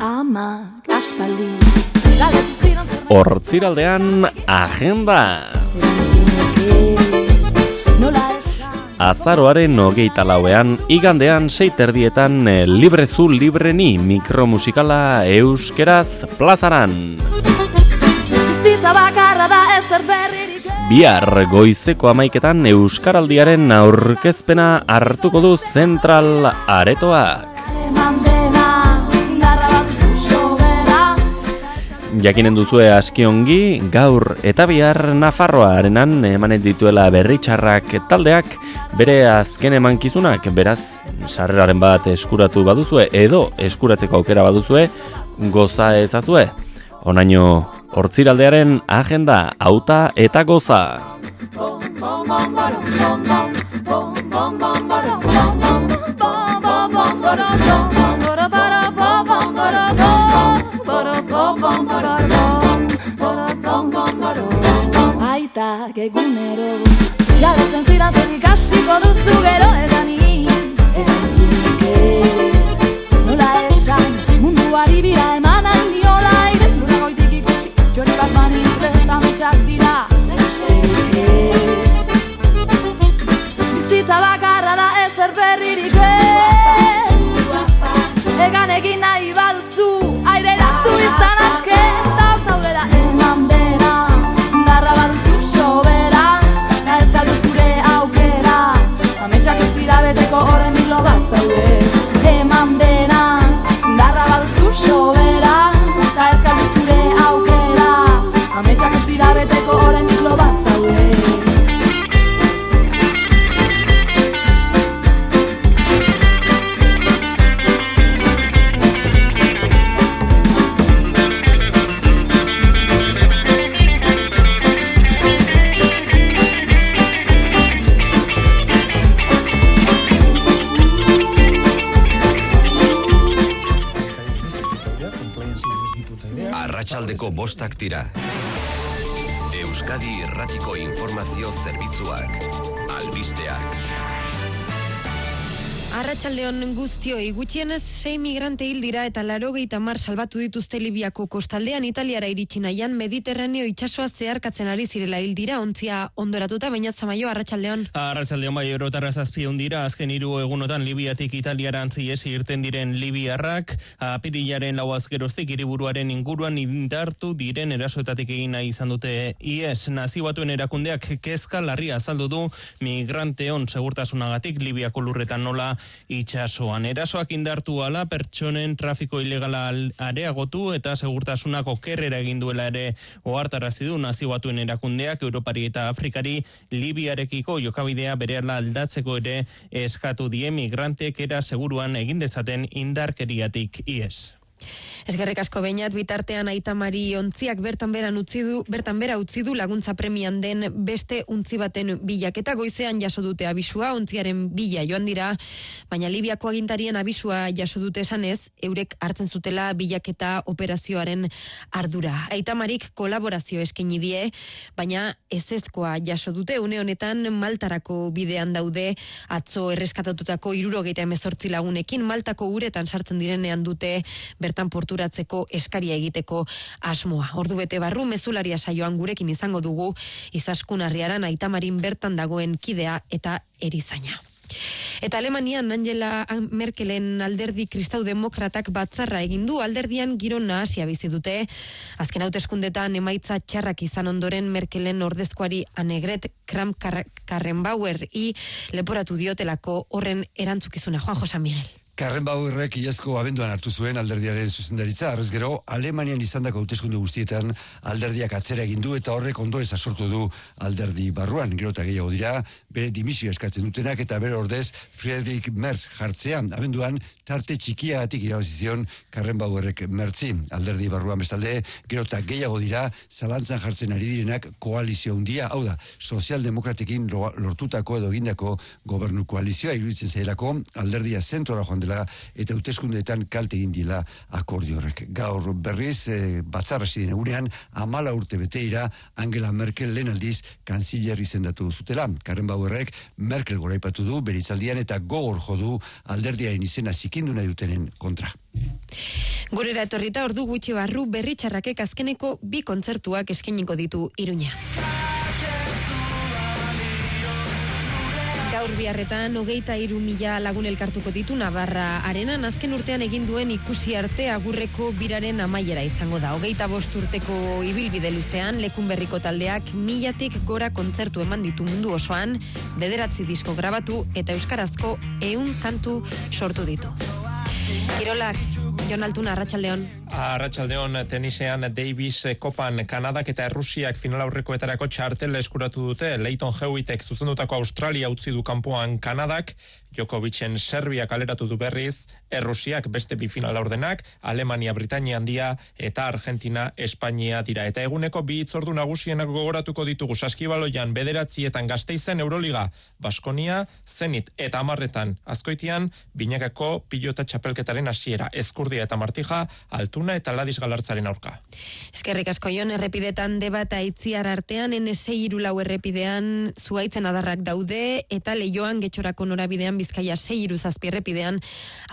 P: Ama, aspaldi
B: Hortziraldean agenda! Azaroaren hogeita lauean, igandean seiterdietan eh, librezu libreni mikromusikala euskeraz plazaran.
P: Bizitza bakarra da ezer berririk
B: Bihar goizeko amaiketan Euskaraldiaren aurkezpena hartuko du Zentral Aretoak.
P: eman dena Indarra bat fuso dena
B: Jakinen duzue askiongi, gaur eta bihar Nafarroarenan emanet dituela berritxarrak taldeak bere azken emankizunak, beraz, sarreraren bat eskuratu baduzue edo eskuratzeko aukera baduzue, goza ezazue. Onaino
Q: Hortziraldearen agenda auta eta goza.
P: Aitak egunero Jabetzen zidan zer ikasiko duzu gero eta ni Erantzunik ez Nola esan munduari bira eman hain diola Airez lurra goitik ikusi Jori bat maniz bezamutxak dira Erantzunik ez Bizitza bakarra da ezer berririk ez Egan egin nahi baduzu Aireratu izan aske Eta zaudela eman bera Darra baduzu sobera Eta ez da duzure aukera Ametsak ez dira beteko horren hilo bat zaude Eman bera Darra baduzu sobera Eta ez da duzure aukera Ametsak ez dira beteko horren hilo bat zaude
R: Arratsaldeko bostak tira. Euskadi Irratiko Informazio Zerbitzuak. Albisteak.
S: Arratsaldeon guztioi gutxienez sei migrante hil dira eta larogeita mar salbatu dituzte Libiako kostaldean Italiara iritsi nahian Mediterraneo itsasoa zeharkatzen ari zirela hil dira ontzia ondoratuta baina zamaio arratsaldeon.
B: Arratsaldeon bai eurotarra zazpion dira azken hiru egunotan Libiatik Italiara antziesi irten diren Libiarrak apirilaren lau azgeroztik hiriburuaren inguruan indartu diren erasoetatik egin nahi izan dute IES nazio batuen erakundeak kezka larria azaldu du migranteon segurtasunagatik Libiako lurretan nola itsasoan. Erasoak indartu ala pertsonen trafiko ilegala al- areagotu eta segurtasunako kerrera egin duela ere ohartarazi du nazio batuen erakundeak Europari eta Afrikari Libiarekiko jokabidea berehala aldatzeko ere eskatu die migranteek era seguruan egin dezaten indarkeriatik ies.
S: Eskerrik asko beinat bitartean aita Mari ontziak bertan beran utzi du, bertan bera utzi du laguntza premian den beste untzi baten bilaketa goizean jaso dute abisua ontziaren bila joan dira, baina Libiako agintarien abisua jaso dute esanez, eurek hartzen zutela bilaketa operazioaren ardura. Aita Marik kolaborazio eskaini die, baina ezezkoa jaso dute une honetan Maltarako bidean daude atzo erreskatatutako hirurogeita hemezortzi lagunekin Maltako uretan sartzen direnean dute bertan porturatzeko eskaria egiteko asmoa. Ordu bete barru mezularia saioan gurekin izango dugu izaskun harriaran aitamarin bertan dagoen kidea eta erizaina. Eta Alemanian Angela Merkelen alderdi kristau demokratak batzarra egin du alderdian giro nahasia bizi dute. Azken hauteskundetan emaitza txarrak izan ondoren Merkelen ordezkoari Anegret Kram Karrenbauer i leporatu diotelako horren erantzukizuna Juan José Miguel.
T: Karrenbauerrek iazko abenduan hartu zuen alderdiaren zuzendaritza, arrez gero, Alemanian izandako hauteskunde guztietan alderdiak atzera egin du eta horrek ondo sortu du alderdi barruan, gero eta gehiago dira, bere dimisio eskatzen dutenak eta bere ordez Friedrich Merz jartzea, abenduan tarte txikiagatik irabazizion Karrenbauerrek Mertzi, alderdi barruan bestalde, gero eta gehiago dira, zalantzan jartzen ari direnak koalizio handia, hau da, sozialdemokratekin lo- lortutako edo egindako gobernu koalizioa iruditzen zailako alderdia zentrora joan dela eta hauteskundeetan kalte egin dila akordio horrek. Gaur berriz eh, batzarra ziren egunean amala urte beteira Angela Merkel lehen aldiz kanziler izendatu zutela. Karen Bauerrek Merkel goraipatu du beritzaldian eta gogor jo du alderdiaren izena zikindu nahi dutenen kontra.
S: Gurera etorrita ordu gutxi barru berri txarrakek azkeneko bi kontzertuak eskainiko ditu Iruña. Gaur biharretan hogeita iru mila lagun elkartuko ditu Navarra arenan azken urtean egin duen ikusi arte agurreko biraren amaiera izango da. Hogeita bost urteko ibilbide luzean lekun berriko taldeak milatik gora kontzertu eman ditu mundu osoan, bederatzi disko grabatu eta euskarazko ehun kantu sortu ditu. Kirolak, Jon Altuna, Arratxaldeon.
U: Arratxaldeon tenisean Davis kopan Kanadak eta Errusiak final aurrekoetarako txartel eskuratu dute. Leighton Hewitek zuzendutako Australia utzi du kanpoan Kanadak, Jokovicen Serbia kaleratu du berriz, Errusiak beste bi final aurdenak, Alemania Britania handia eta Argentina Espainia dira. Eta eguneko bi itzordu nagusienak gogoratuko ditugu saskibaloian bederatzietan gazteizen Euroliga, Baskonia, Zenit eta Amarretan, azkoitian, binakako pilota txapelketaren hasiera, ezkurdia eta martija, altuna eta ladis galartzaren aurka.
S: Eskerrik asko Jon, errepidetan debata itziar artean, NS irulau errepidean zuaitzen adarrak daude, eta leioan getxorako norabidean bizkaia 6 iruzazpi errepidean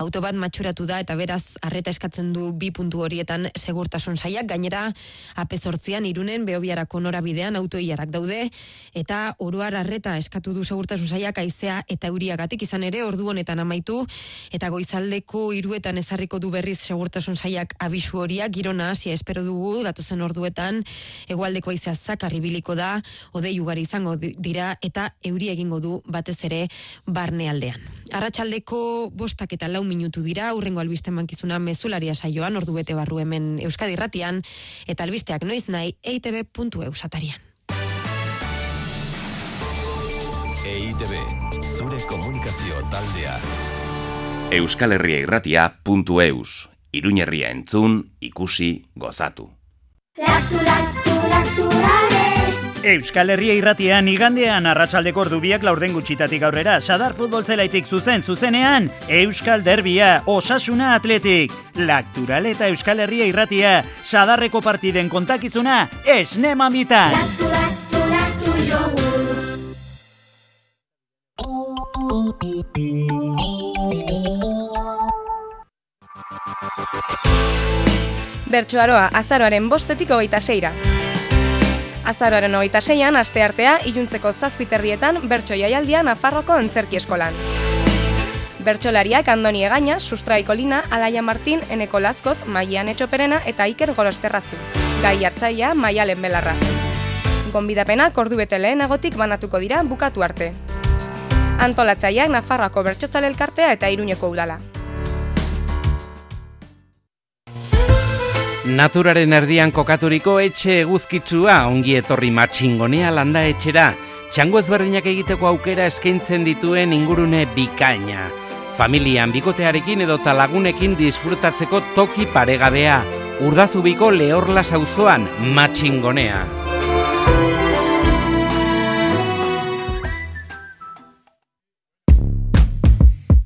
S: auto bat matxuratu da, eta beraz, arreta eskatzen du bi puntu horietan segurtasun saiak, gainera, apezortzian irunen behobiarako norabidean auto ilarak daude, eta oroar arreta eskatu du segurtasun saiak aizea eta euriagatik izan ere ordu honetan amaitu, eta goizaldeko iruetan ezarriko du berriz segurtasun saiak abisu horia, girona hasia espero dugu, datozen orduetan, egualdeko aizea zakarri biliko da, odei ugari izango di- dira, eta euri egingo du batez ere barnealdean. Arratsaldeko bostak eta lau minutu dira, aurrengo albiste mankizuna mezularia saioan, ordu bete barru hemen Euskadi irratian, eta albisteak noiz nahi eitb.eu satarian.
V: E EITB, zure komunikazio taldea.
R: Euskal Herria irratia.eus. Iruñerria entzun, ikusi, gozatu.
O: Euskal Herria irratian igandean arratsaldeko ordubiak laurden gutxitatik aurrera, sadar futbol zelaitik zuzen zuzenean, Euskal Derbia, Osasuna Atletik, Laktural eta Euskal Herria irratia, sadarreko partiden kontakizuna, esne mamitan.
E: Bertsoaroa azaroaren bostetik hogeita seira. Azaroaren hogeita seian, aste artea, iluntzeko zazpiterrietan bertso jaialdia Nafarroko antzerki eskolan. Bertsolariak Andoni Egaña, Sustraiko Lina, Alaia Martin, Eneko Lazkoz, Maian Etxoperena eta Iker Golosterrazu. Gai hartzaia Maialen Belarra. Gonbidapena kordu bete lehenagotik banatuko dira bukatu arte. Antolatzaileak Nafarroako Bertsozale Elkartea eta Iruñeko Udala.
M: Naturaren erdian kokaturiko etxe eguzkitsua ongi etorri matxingonea landa etxera. Txango ezberdinak egiteko aukera eskaintzen dituen ingurune bikaina. Familian bikotearekin edo talagunekin disfrutatzeko toki paregabea. Urdazubiko lehorla sauzoan matxingonea.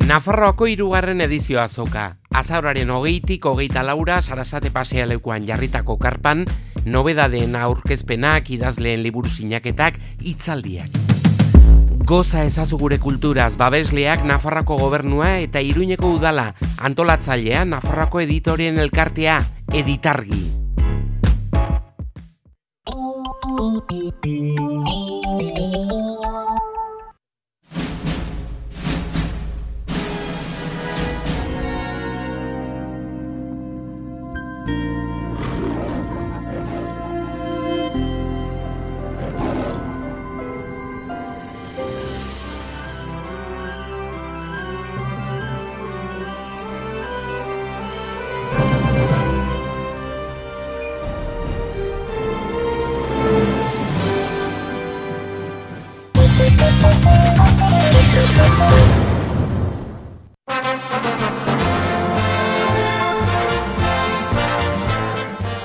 M: Nafarroako hirugarren edizio azoka. Azauraren hogeitik hogeita laura sarasate pasea lekuan jarritako karpan, nobedadeen aurkezpenak, idazleen liburu sinaketak, hitzaldiak. Goza ezazu gure kulturaz, babesleak Nafarrako gobernua eta Iruñeko udala, antolatzailea Nafarrako editorien elkartea, editargi.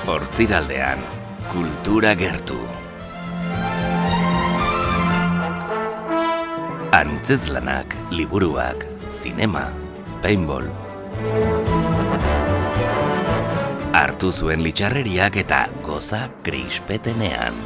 R: Hortziraldean, kultura gertu. Antzeslanak, liburuak, zinema, paintball. Hartu zuen litxarreriak eta goza krispetenean.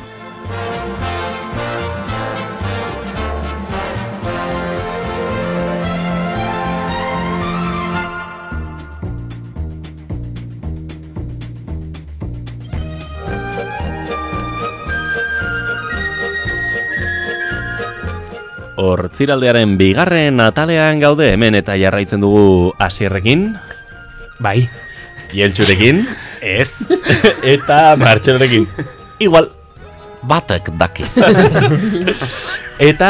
B: Hortziraldearen bigarren atalean gaude hemen eta jarraitzen dugu asierrekin. Bai. [laughs] Jeltxurekin. Ez. eta martxelorekin. Igual.
H: batek
J: [laughs]
H: daki.
B: Eta,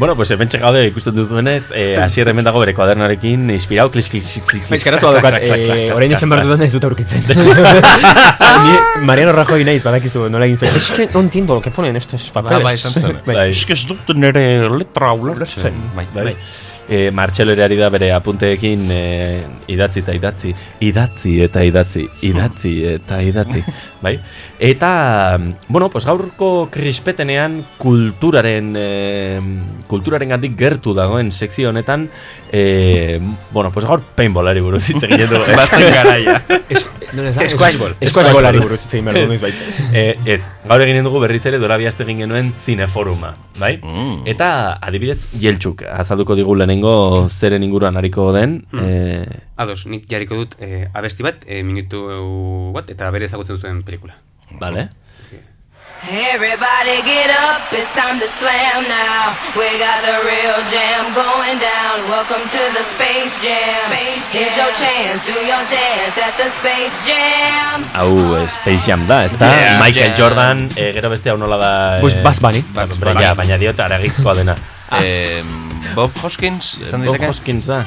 B: bueno, pues hementxe gaude ikusten duzuenez, eh, asier hemen dago bere kuadernoarekin inspirau, klis, klis, klis, klis, klis,
J: Euskarazua daukat, Bai, eh, orain esan behar dudan ez dut aurkitzen. Ah, Ni Mariano Rajoy naiz, badakizu, nola egin zuen. Es que no entiendo lo que ponen estos
B: Ba,
J: papeles. [laughs] Bai.
B: Es que ez dut nere letra ulertzen. Bai, bai. E, Martxelo ere ari da bere apunteekin e, idatzi eta idatzi, idatzi eta idatzi, idatzi eta idatzi, bai? Eta, bueno, pues gaurko krispetenean kulturaren, e, kulturaren gandik gertu dagoen sekzio honetan, e, bueno, pues gaur paintballari buruz hitz egiten dugu. [laughs]
J: Batzen garaia. Es- nola da?
B: Squashball.
J: Squashballari buruz hitz egin behar dugu
B: Ez.
J: noizbait.
B: Eh, ez, gaur eginen dugu berriz ere dora bihazte egin genuen zineforuma, bai? Eta adibidez, jeltxuk, azalduko digu lehenengo zeren inguruan hariko den,
G: Hmm.
B: eh,
G: Ados, nik jarriko dut eh, abesti bat, eh, minutu bat, eta bere ezagutzen zuen pelikula.
B: Vale.
P: Everybody get up, it's time to slam now. We got the real jam going down. Welcome to the Space Jam. Here's your chance, do your dance at the Space Jam.
B: hau eh, Space Jam da, ez da?
J: Yeah,
B: Michael
J: yeah.
B: Jordan, eh, gero beste hau nola da... Eh,
J: Buzz- Buzz Bunny.
B: ba-
J: Buzz
B: hombre,
J: Bunny.
B: ja, baina diot, aragizkoa dena.
H: [laughs] Eh, Bob Hoskins, izan
B: Bob
H: dizake?
B: Hoskins da.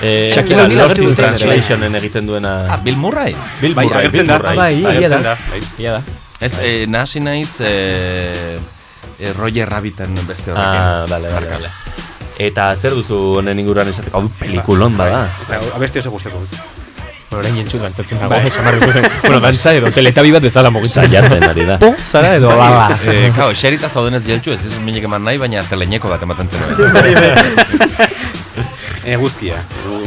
B: Eh,
H: Shakira
B: Shakira
H: Bill
B: Lost in
H: agertzen da.
B: Translationen egiten duena...
H: Ah, Bill Murray?
B: Bill
H: Bai,
B: Murray,
H: agertzen
B: Bill
H: da.
B: Murray.
H: Ah, bai, egia
B: agertzen
H: da.
B: bai. Egia da.
H: Ez, eh, nahasi naiz eh, eh, Roger Rabbiten beste horrekin.
B: Ah, vale, vale, vale. Eta zer duzu honen inguruan esateko, hau pelikulon bada.
G: Eta abesti oso guzteko dut.
J: Orain jentsu dantzatzen dago,
B: Bai.
J: esan behar duzu zen. Bueno, dantza edo, teletabi bat bezala mugitzen.
B: Saiatzen ari da.
J: Po, zara edo, ba,
H: Bai,
J: bala.
H: [laughs] Eh, kao, xerita zaudenez jeltxu, ez izan minik eman nahi, baina teleneko bat ematen zen. bai. [laughs] Eh,
G: Eguzkia,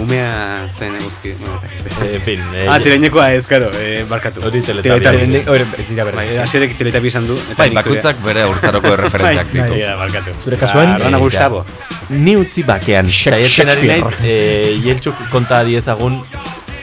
G: umea zen eguzki. Bueno, ez dakit.
B: Eh, en fin, eh,
G: ah, teleinekoa ez, karo, eh, barkatu. Hori
B: teletabi.
G: Hori, ez dira berri. Bai, aserek teletabi izan du. eta
H: Bai,
G: nik zurea.
H: bakoitzak bere
G: [laughs]
H: urtaroko erreferentziak
G: Bai,
H: ditu.
G: bai, barkatu.
B: Zure kasuan,
G: Ba, Rana
B: eh,
G: Gustavo.
B: Ni utzi bakean, saiatzen ari
G: Shakespeare.
B: naiz, eh, jeltxuk konta diezagun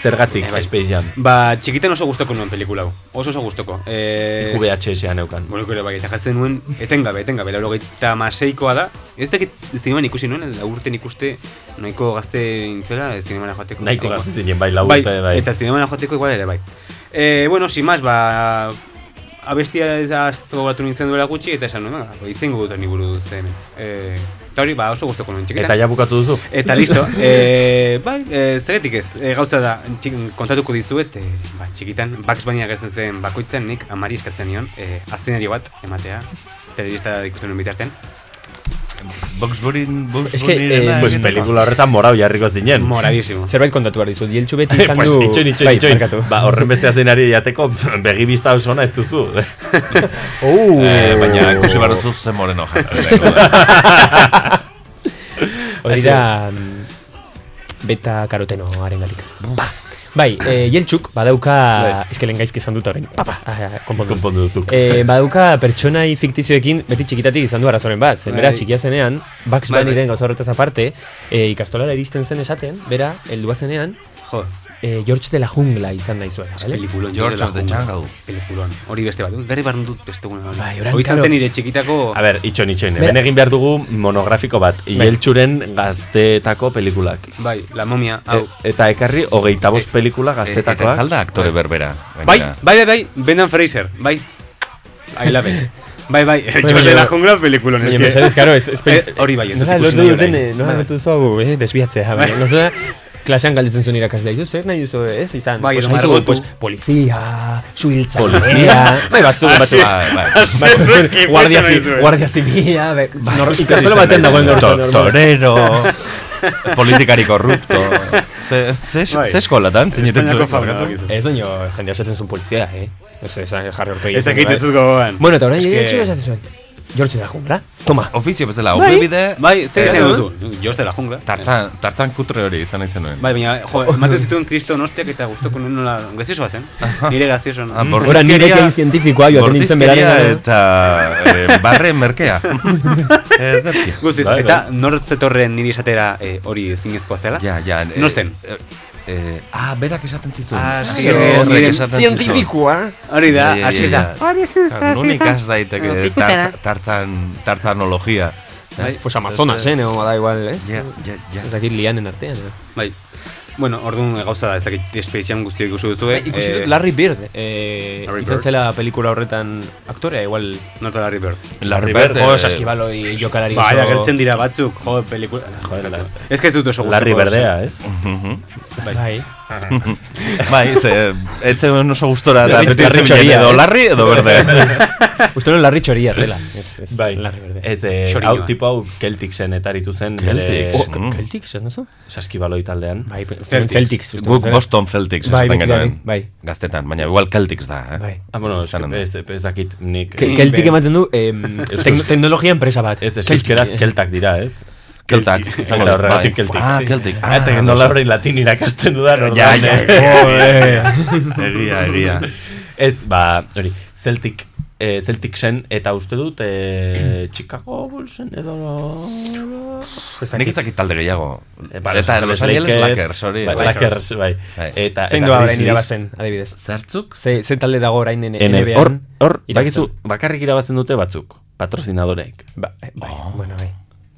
B: zergatik
G: Eh, bai.
B: Space Jam.
G: Ba, txikitan oso gustoko nuen pelikula hau. Oso oso gustoko. Eh,
B: Nik VHS-ean neukan.
G: Bueno, ere bai, eta jartzen nuen etengabe, etengabe, laurogeita maseikoa da. Ez dakit zineman ikusi nuen, eta urten ikuste nahiko gazte intzela zinemana joateko.
B: Nahiko
G: Igual.
B: gazte zinen, bai, lau urte, bai.
G: Eta zinemana joateko igual ere bai. Eh, bueno, sin más, ba, abestia ez azto batu nintzen duela gutxi, eta esan nuen, ba, itzengo dut honi buruz zen. Eh, eta hori, ba, oso gustoko nuen txikitan.
B: Eta ja bukatu duzu?
G: Eta
J: [laughs]
G: listo. eh, bai, eh, zergatik ez, eh, gauza da, txik, kontatuko dizuet, eh, ba, txikitan, Bugs Bunny agertzen zen bakoitzen nik amari eskatzen nion, eh, aztenari bat, ematea, telebista ikusten nuen bitartean.
H: Bugs Bunny...
J: Es que, eh,
B: pues pelikula horretan morau jarriko zinen.
G: Moradísimo.
J: Zerbait kontatu behar dizut, jeltsu beti izan
B: [laughs] pues
J: du...
B: itxoin, itxoin,
J: Bai,
B: itxoin.
J: barkatu.
B: Ba, horren beste azenari jateko [laughs] begibista oso ona ez
G: [laughs]
B: duzu.
J: Oh.
H: Eh, baina ikusi behar duzu zen
J: [laughs]
H: moreno jartzen.
J: Hori da mm, beta karoteno haren galik. Ba. Bai,
B: eh,
J: e, jeltxuk
G: Bai.
J: badauka, eskelen gaizki esan dut orain, papa, ah, konpondu.
B: Konpondu duzuk.
J: E, badauka pertsonai fiktizioekin beti txikitatik izan du arazoren bat, zen bera
B: Bai.
J: txikia zenean, Bugs
B: Bai, bai.
J: Bunnyren gauza horretaz aparte, e, ikastolara iristen zen esaten, bera, heldua zenean,
G: jo,
J: e, George de la jungla izan nahi zuen, bale?
G: Pelikulon, Pelikulon. Hori beste bat, berri barren dut beste guna.
J: Bai, orain,
G: Hori izan
J: claro.
G: zen nire txikitako...
B: A ber, itxoin, itxoin.
G: Bera-
B: Hemen egin behar dugu monografiko bat. Ieltsuren gazteetako pelikulak.
G: Bai, la momia,
J: Eh,
G: hau.
B: E- eta ekarri hogeita
J: E-
B: bost pelikula gaztetakoak.
H: eta ez al da aktore berbera,
G: Bai,
H: gainera.
G: bai, bai, bai, Brendan Fraser, bai. I love it. Bai, bai, George de la jungla pelikulon.
J: Baina,
G: eske.
J: mesedez, karo, ez... ez
G: Eh, Hori bai, ez
J: Nola
G: dut ikusi
J: lotu
G: nahi
J: duten,
G: orain.
J: eh, nola
G: Bai.
J: lotu duzu hau, eh, desbiatzea, bai.
G: Bai.
J: Nola, klasean galdetzen zuen irakasleak, "Zu zer nahi duzu, ez izan?
G: Bai,
J: Pues
G: edo
J: nahi dugu,
G: margotu.
J: pues, polizia, suhiltza,
B: Polizia.
J: bai, batzu, batzu,
B: Hasi-
J: Bai,
B: Bai.
J: guardia, zi-
B: Bai.
J: guardia zibila, bai,
B: Ba,
J: nor-
B: ikusi
J: ikastola
B: izan
J: batean
B: nahi
J: dagoen gaur
B: duen. To-
J: normal.
H: torero, [laughs] politikari korrupto. Ze, ze,
J: Bai.
H: ze eskolatan, zineten zuen.
J: Ez baino, jendea esaten zuen polizia, eh? Ez esan jarri horpegi.
H: Ez dakit ez dut
G: gogoan.
J: Bueno, eta orain,
H: Eske-
J: George esaten zuen. George de la jungla, toma.
H: Ofizio bezala,
J: Bai.
H: obribide...
J: Bai,
G: zer izan duzu?
H: Jos de la jungla. Eh, Tartzan, tartzan kutre hori izan izan nuen.
G: Bai, baina, jo,
H: [laughs]
G: ematen zituen kriston ostiak eta gustoko nuen nola gracioso bazen. Nire gracioso.
H: Ah,
G: Mm.
H: bortizkeria- bortizkeria
G: beraren.
H: eta eh,
G: [laughs]
H: barre merkea. Eh, derkia.
G: Guztiz,
H: Bai,
G: eta
H: bai.
G: nor zetorren nire esatera eh, hori zinezkoa zela?
H: Ja, ja. eh,
G: Nor zen?
H: eh, eh, ah, berak esaten zituen.
G: Ah, sí,
H: Zio horrek
G: horrek
H: esaten Bai, zizun.
G: zientifikoa. Hori da,
H: Ja, ja,
G: hasi
H: ja,
G: da.
H: ja.
G: Hori zuen,
H: Ah, Nun
G: hasi da.
H: ikas daiteke
G: Pikutara.
H: tart- tartzan, tartzanologia.
J: Bai, pues Amazonas, eh, no, da igual, eh?
H: Ja, ja, ja.
J: Ez dakit lianen artean, eh?
G: Bai. Bueno, orduan gauza da, ez dakit espedizian guztiak ikusi duzu. eh,
J: Bai, ikusi dut Larry Bird, eh, izan zela pelikula horretan aktorea, igual...
G: Nota Larry Bird.
J: Larry Bird, eh,
B: eh,
J: jo, saskibaloi jokalari
G: Ba,
J: oso-
G: agertzen dira batzuk, jo, pelikula... Jo, ez que ez dut oso guztoko.
H: Larry Berdea, ez?
G: Bai.
B: [laughs]
H: [laughs] bai, ze, etze oso gustora, eta
B: Bai.
J: Larry-
H: beti
J: Larry
H: larri txori
J: berdea,
H: edo
J: eh?
H: larri edo berde.
B: [laughs]
J: Uste nuen larri txoria zela. Ez, ez,
B: Bai.
J: larri berdea.
B: Ez, eh,
J: Txorioa.
B: hau tipo hau Celticsen etaritu zen.
J: Celtics,
B: bere- Oh,
J: mm. Celtics, ez duzu?
B: Saskibaloi taldean.
J: Bai, pe- Celtics. Celtics uste dut,
H: Guk
J: eh?
H: Boston Celtics
J: Bai,
H: esaten
J: beti
H: genuen.
J: dabil, bai.
H: Gaztetan, baina igual Celtics da, eh?
J: Bai.
B: Ah, bueno, ez,
H: Izanen da.
B: ez, ez dakit nik...
J: Ke- Celtic ematen du, em, tekno- teknologia enpresa bat. eh.
B: Ez, ez,
J: Celtic.
B: euskeraz keltak dira, ez?
H: Keltak,
B: izan
H: bai.
B: gara horregatik keltik.
H: Ah, Celtic.
B: Ah, eta
H: Ah,
B: gendo
H: oso.
B: labre latin irakasten dudan, orduan.
H: Ja, ja, ja.
B: Joder. [laughs]
H: Egia, egia.
B: Ez, ba, hori, Celtic, eh, Celtic zen, eta uste dut, eh, Chicago Bullsen edo...
H: Nik ezakit talde gehiago.
B: Eh, ba, Los
H: Eta
B: Angeles
H: Los Angeles
B: Lakers,
H: Lakers, hori.
B: bai, Lakers, bai. Eta-
J: Zein
B: eta
J: du orain
B: Grizzlies-
J: irabazen, adibidez?
H: Zertzuk?
J: Ze, ze talde dago orain N-
B: Ene-
J: NBA-an?
B: Hor, hor,
J: Irabazen.
B: bakizu, bakarrik irabazen dute batzuk, patrocinadoreik.
J: Ba, eh, bai,
H: Ah.
J: bueno, bai.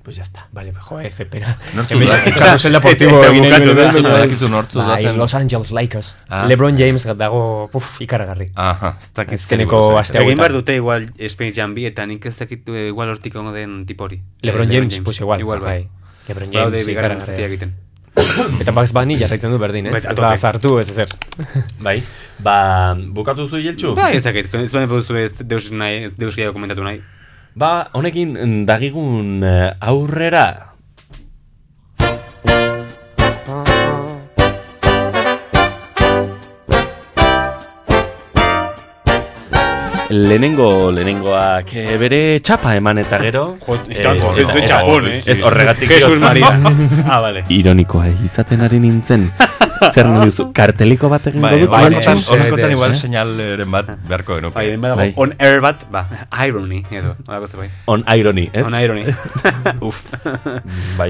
J: Pues ya está. Vale, pues, joe, ze pena.
B: Nortzu
J: Hemen-
B: da-
J: Eta-
H: [laughs]
B: Carrusel Deportivo
J: eta
B: egin nahi
J: bukatu
B: duena,
J: da.
H: ba,
B: zure badakizu nortzu
J: Bai,
B: dazen.
J: Los Angeles Lakers.
B: Ah.
J: LeBron James dago, puf, ikaragarri.
H: Aha, ez dakit.
J: Azkeneko aste
G: Egin behar
J: hauetan.
G: dute igual Space Jam bi, eta nik ez dakit eh, igual hortik ongo den tipori.
J: Eh, LeBron James, pues igual. eh,
G: Igual, bai.
J: LeBron
G: Badaude
J: James
G: bigarren
J: ikaragarria.
G: zatia egiten.
J: [laughs] Eta Bugs Bunny jarraitzen du berdin,
G: Bai,
J: ez?
G: a
J: Ez da
G: tope.
J: zartu, ez [laughs] ezer.
B: Bai, ba, bukatu zu jeltxu?
G: Bai, ez dakit, ez baina poduzu ez deus, nahi, ez deus gehiago komentatu nahi.
B: Ba, honekin mm, dagigun eh, aurrera. Lehenengo, lehenengoak eh, bere txapa eman eta gero. Jo,
G: tanto, ez du txapon, eh?
B: Ez horregatik.
G: Jesus
B: diot.
G: Maria.
B: [laughs]
G: Ah, vale.
B: Ironikoa izaten ari [laughs] nintzen. Zer nahi duzu, karteliko bat egingo
H: Bai,
B: dut?
H: bai,
B: Mantxan?
H: honetan- honetan igual
B: Eh?
H: seinaleren bat beharko genuke.
G: Bai, den badago
B: Bai.
G: on air bat, ba, irony, edo, holako zerbait.
B: On irony, ez?
G: On irony.
B: [laughs] Uf. bai.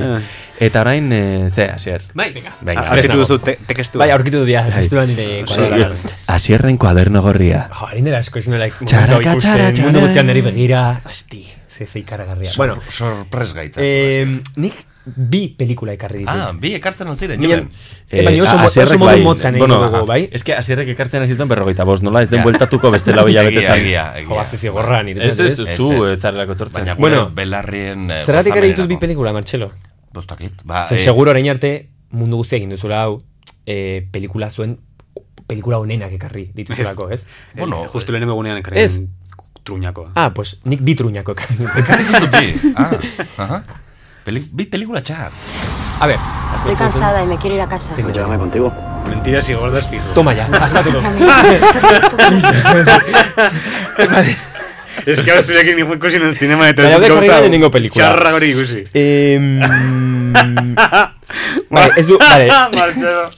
B: Eta orain, eh, ze, asier.
J: Bai, venga.
B: Venga,
G: A- aurkitu
B: nago.
G: duzu te- tekestua.
J: Bai, aurkitu dut, ja,
B: Bai.
J: ez du da nire
B: Oso,
J: kuadernoan.
B: Asierren kuaderno gorria.
J: Jo, harin dela asko ez nuela
B: Txarraka,
J: momentu ikusten,
B: txarra,
J: mundu
B: txarra.
J: guztian niri begira, hosti, ze ze ikaragarria.
H: Sor-
J: bueno,
H: sorpres gaitza zu,
J: Eh, nik bi pelikula ekarri ditut.
H: Ah, bi ekartzen altziren,
J: Baina-
H: joan.
J: Eh, baina oso,
B: a-
J: mo-
B: Asierrek
J: oso modu
B: bai,
J: motzan egin
B: bueno,
J: dugu,
B: a-
J: bai?
B: Ez que asierrek ekartzen ez dituen berrogeita bost, nola ez den bueltatuko beste lau hilabetetan.
H: Egia, egia.
J: Jo, bazte zigorra nire.
B: Ez, ez, zu ez zarelako etortzen.
H: bai. Baina,
J: Bueno,
H: bueno, belarrien... eh,
J: Zergatik ere ditut bi
H: gozamenerako.
J: pelikula, Martxelo?
H: Bostakit, ba,
J: Ze,
H: eh,
J: seguro orain arte mundu guztia egin duzula hau, eh, pelikula zuen pelikula honenak ekarri dituzulako, ez?
G: Bueno, eh, justu lehenengo egunean ekarri
J: Ez.
G: den truñakoa.
J: Ah, pues nik bi [laughs] truñako ekarri.
H: Ekarri ditut bi. Ah, aha. Peli- bi pelikula txar.
J: A ver,
A: Estoy cansada y me quiero ir a casa.
G: Llévame contigo. Mentiras y gordas fijo.
J: Toma ya, asmatelo.
G: Es que ahora estoy aquí ni fue ikusi en el cinema eta ez
J: Baina
G: dut
J: dekarri
G: gauza
J: da lehenengo pelikula.
G: Txarra hori ikusi.
J: Em...
G: [laughs]
J: vale, ez
G: Ba.
J: du, vale.
G: Martxelo.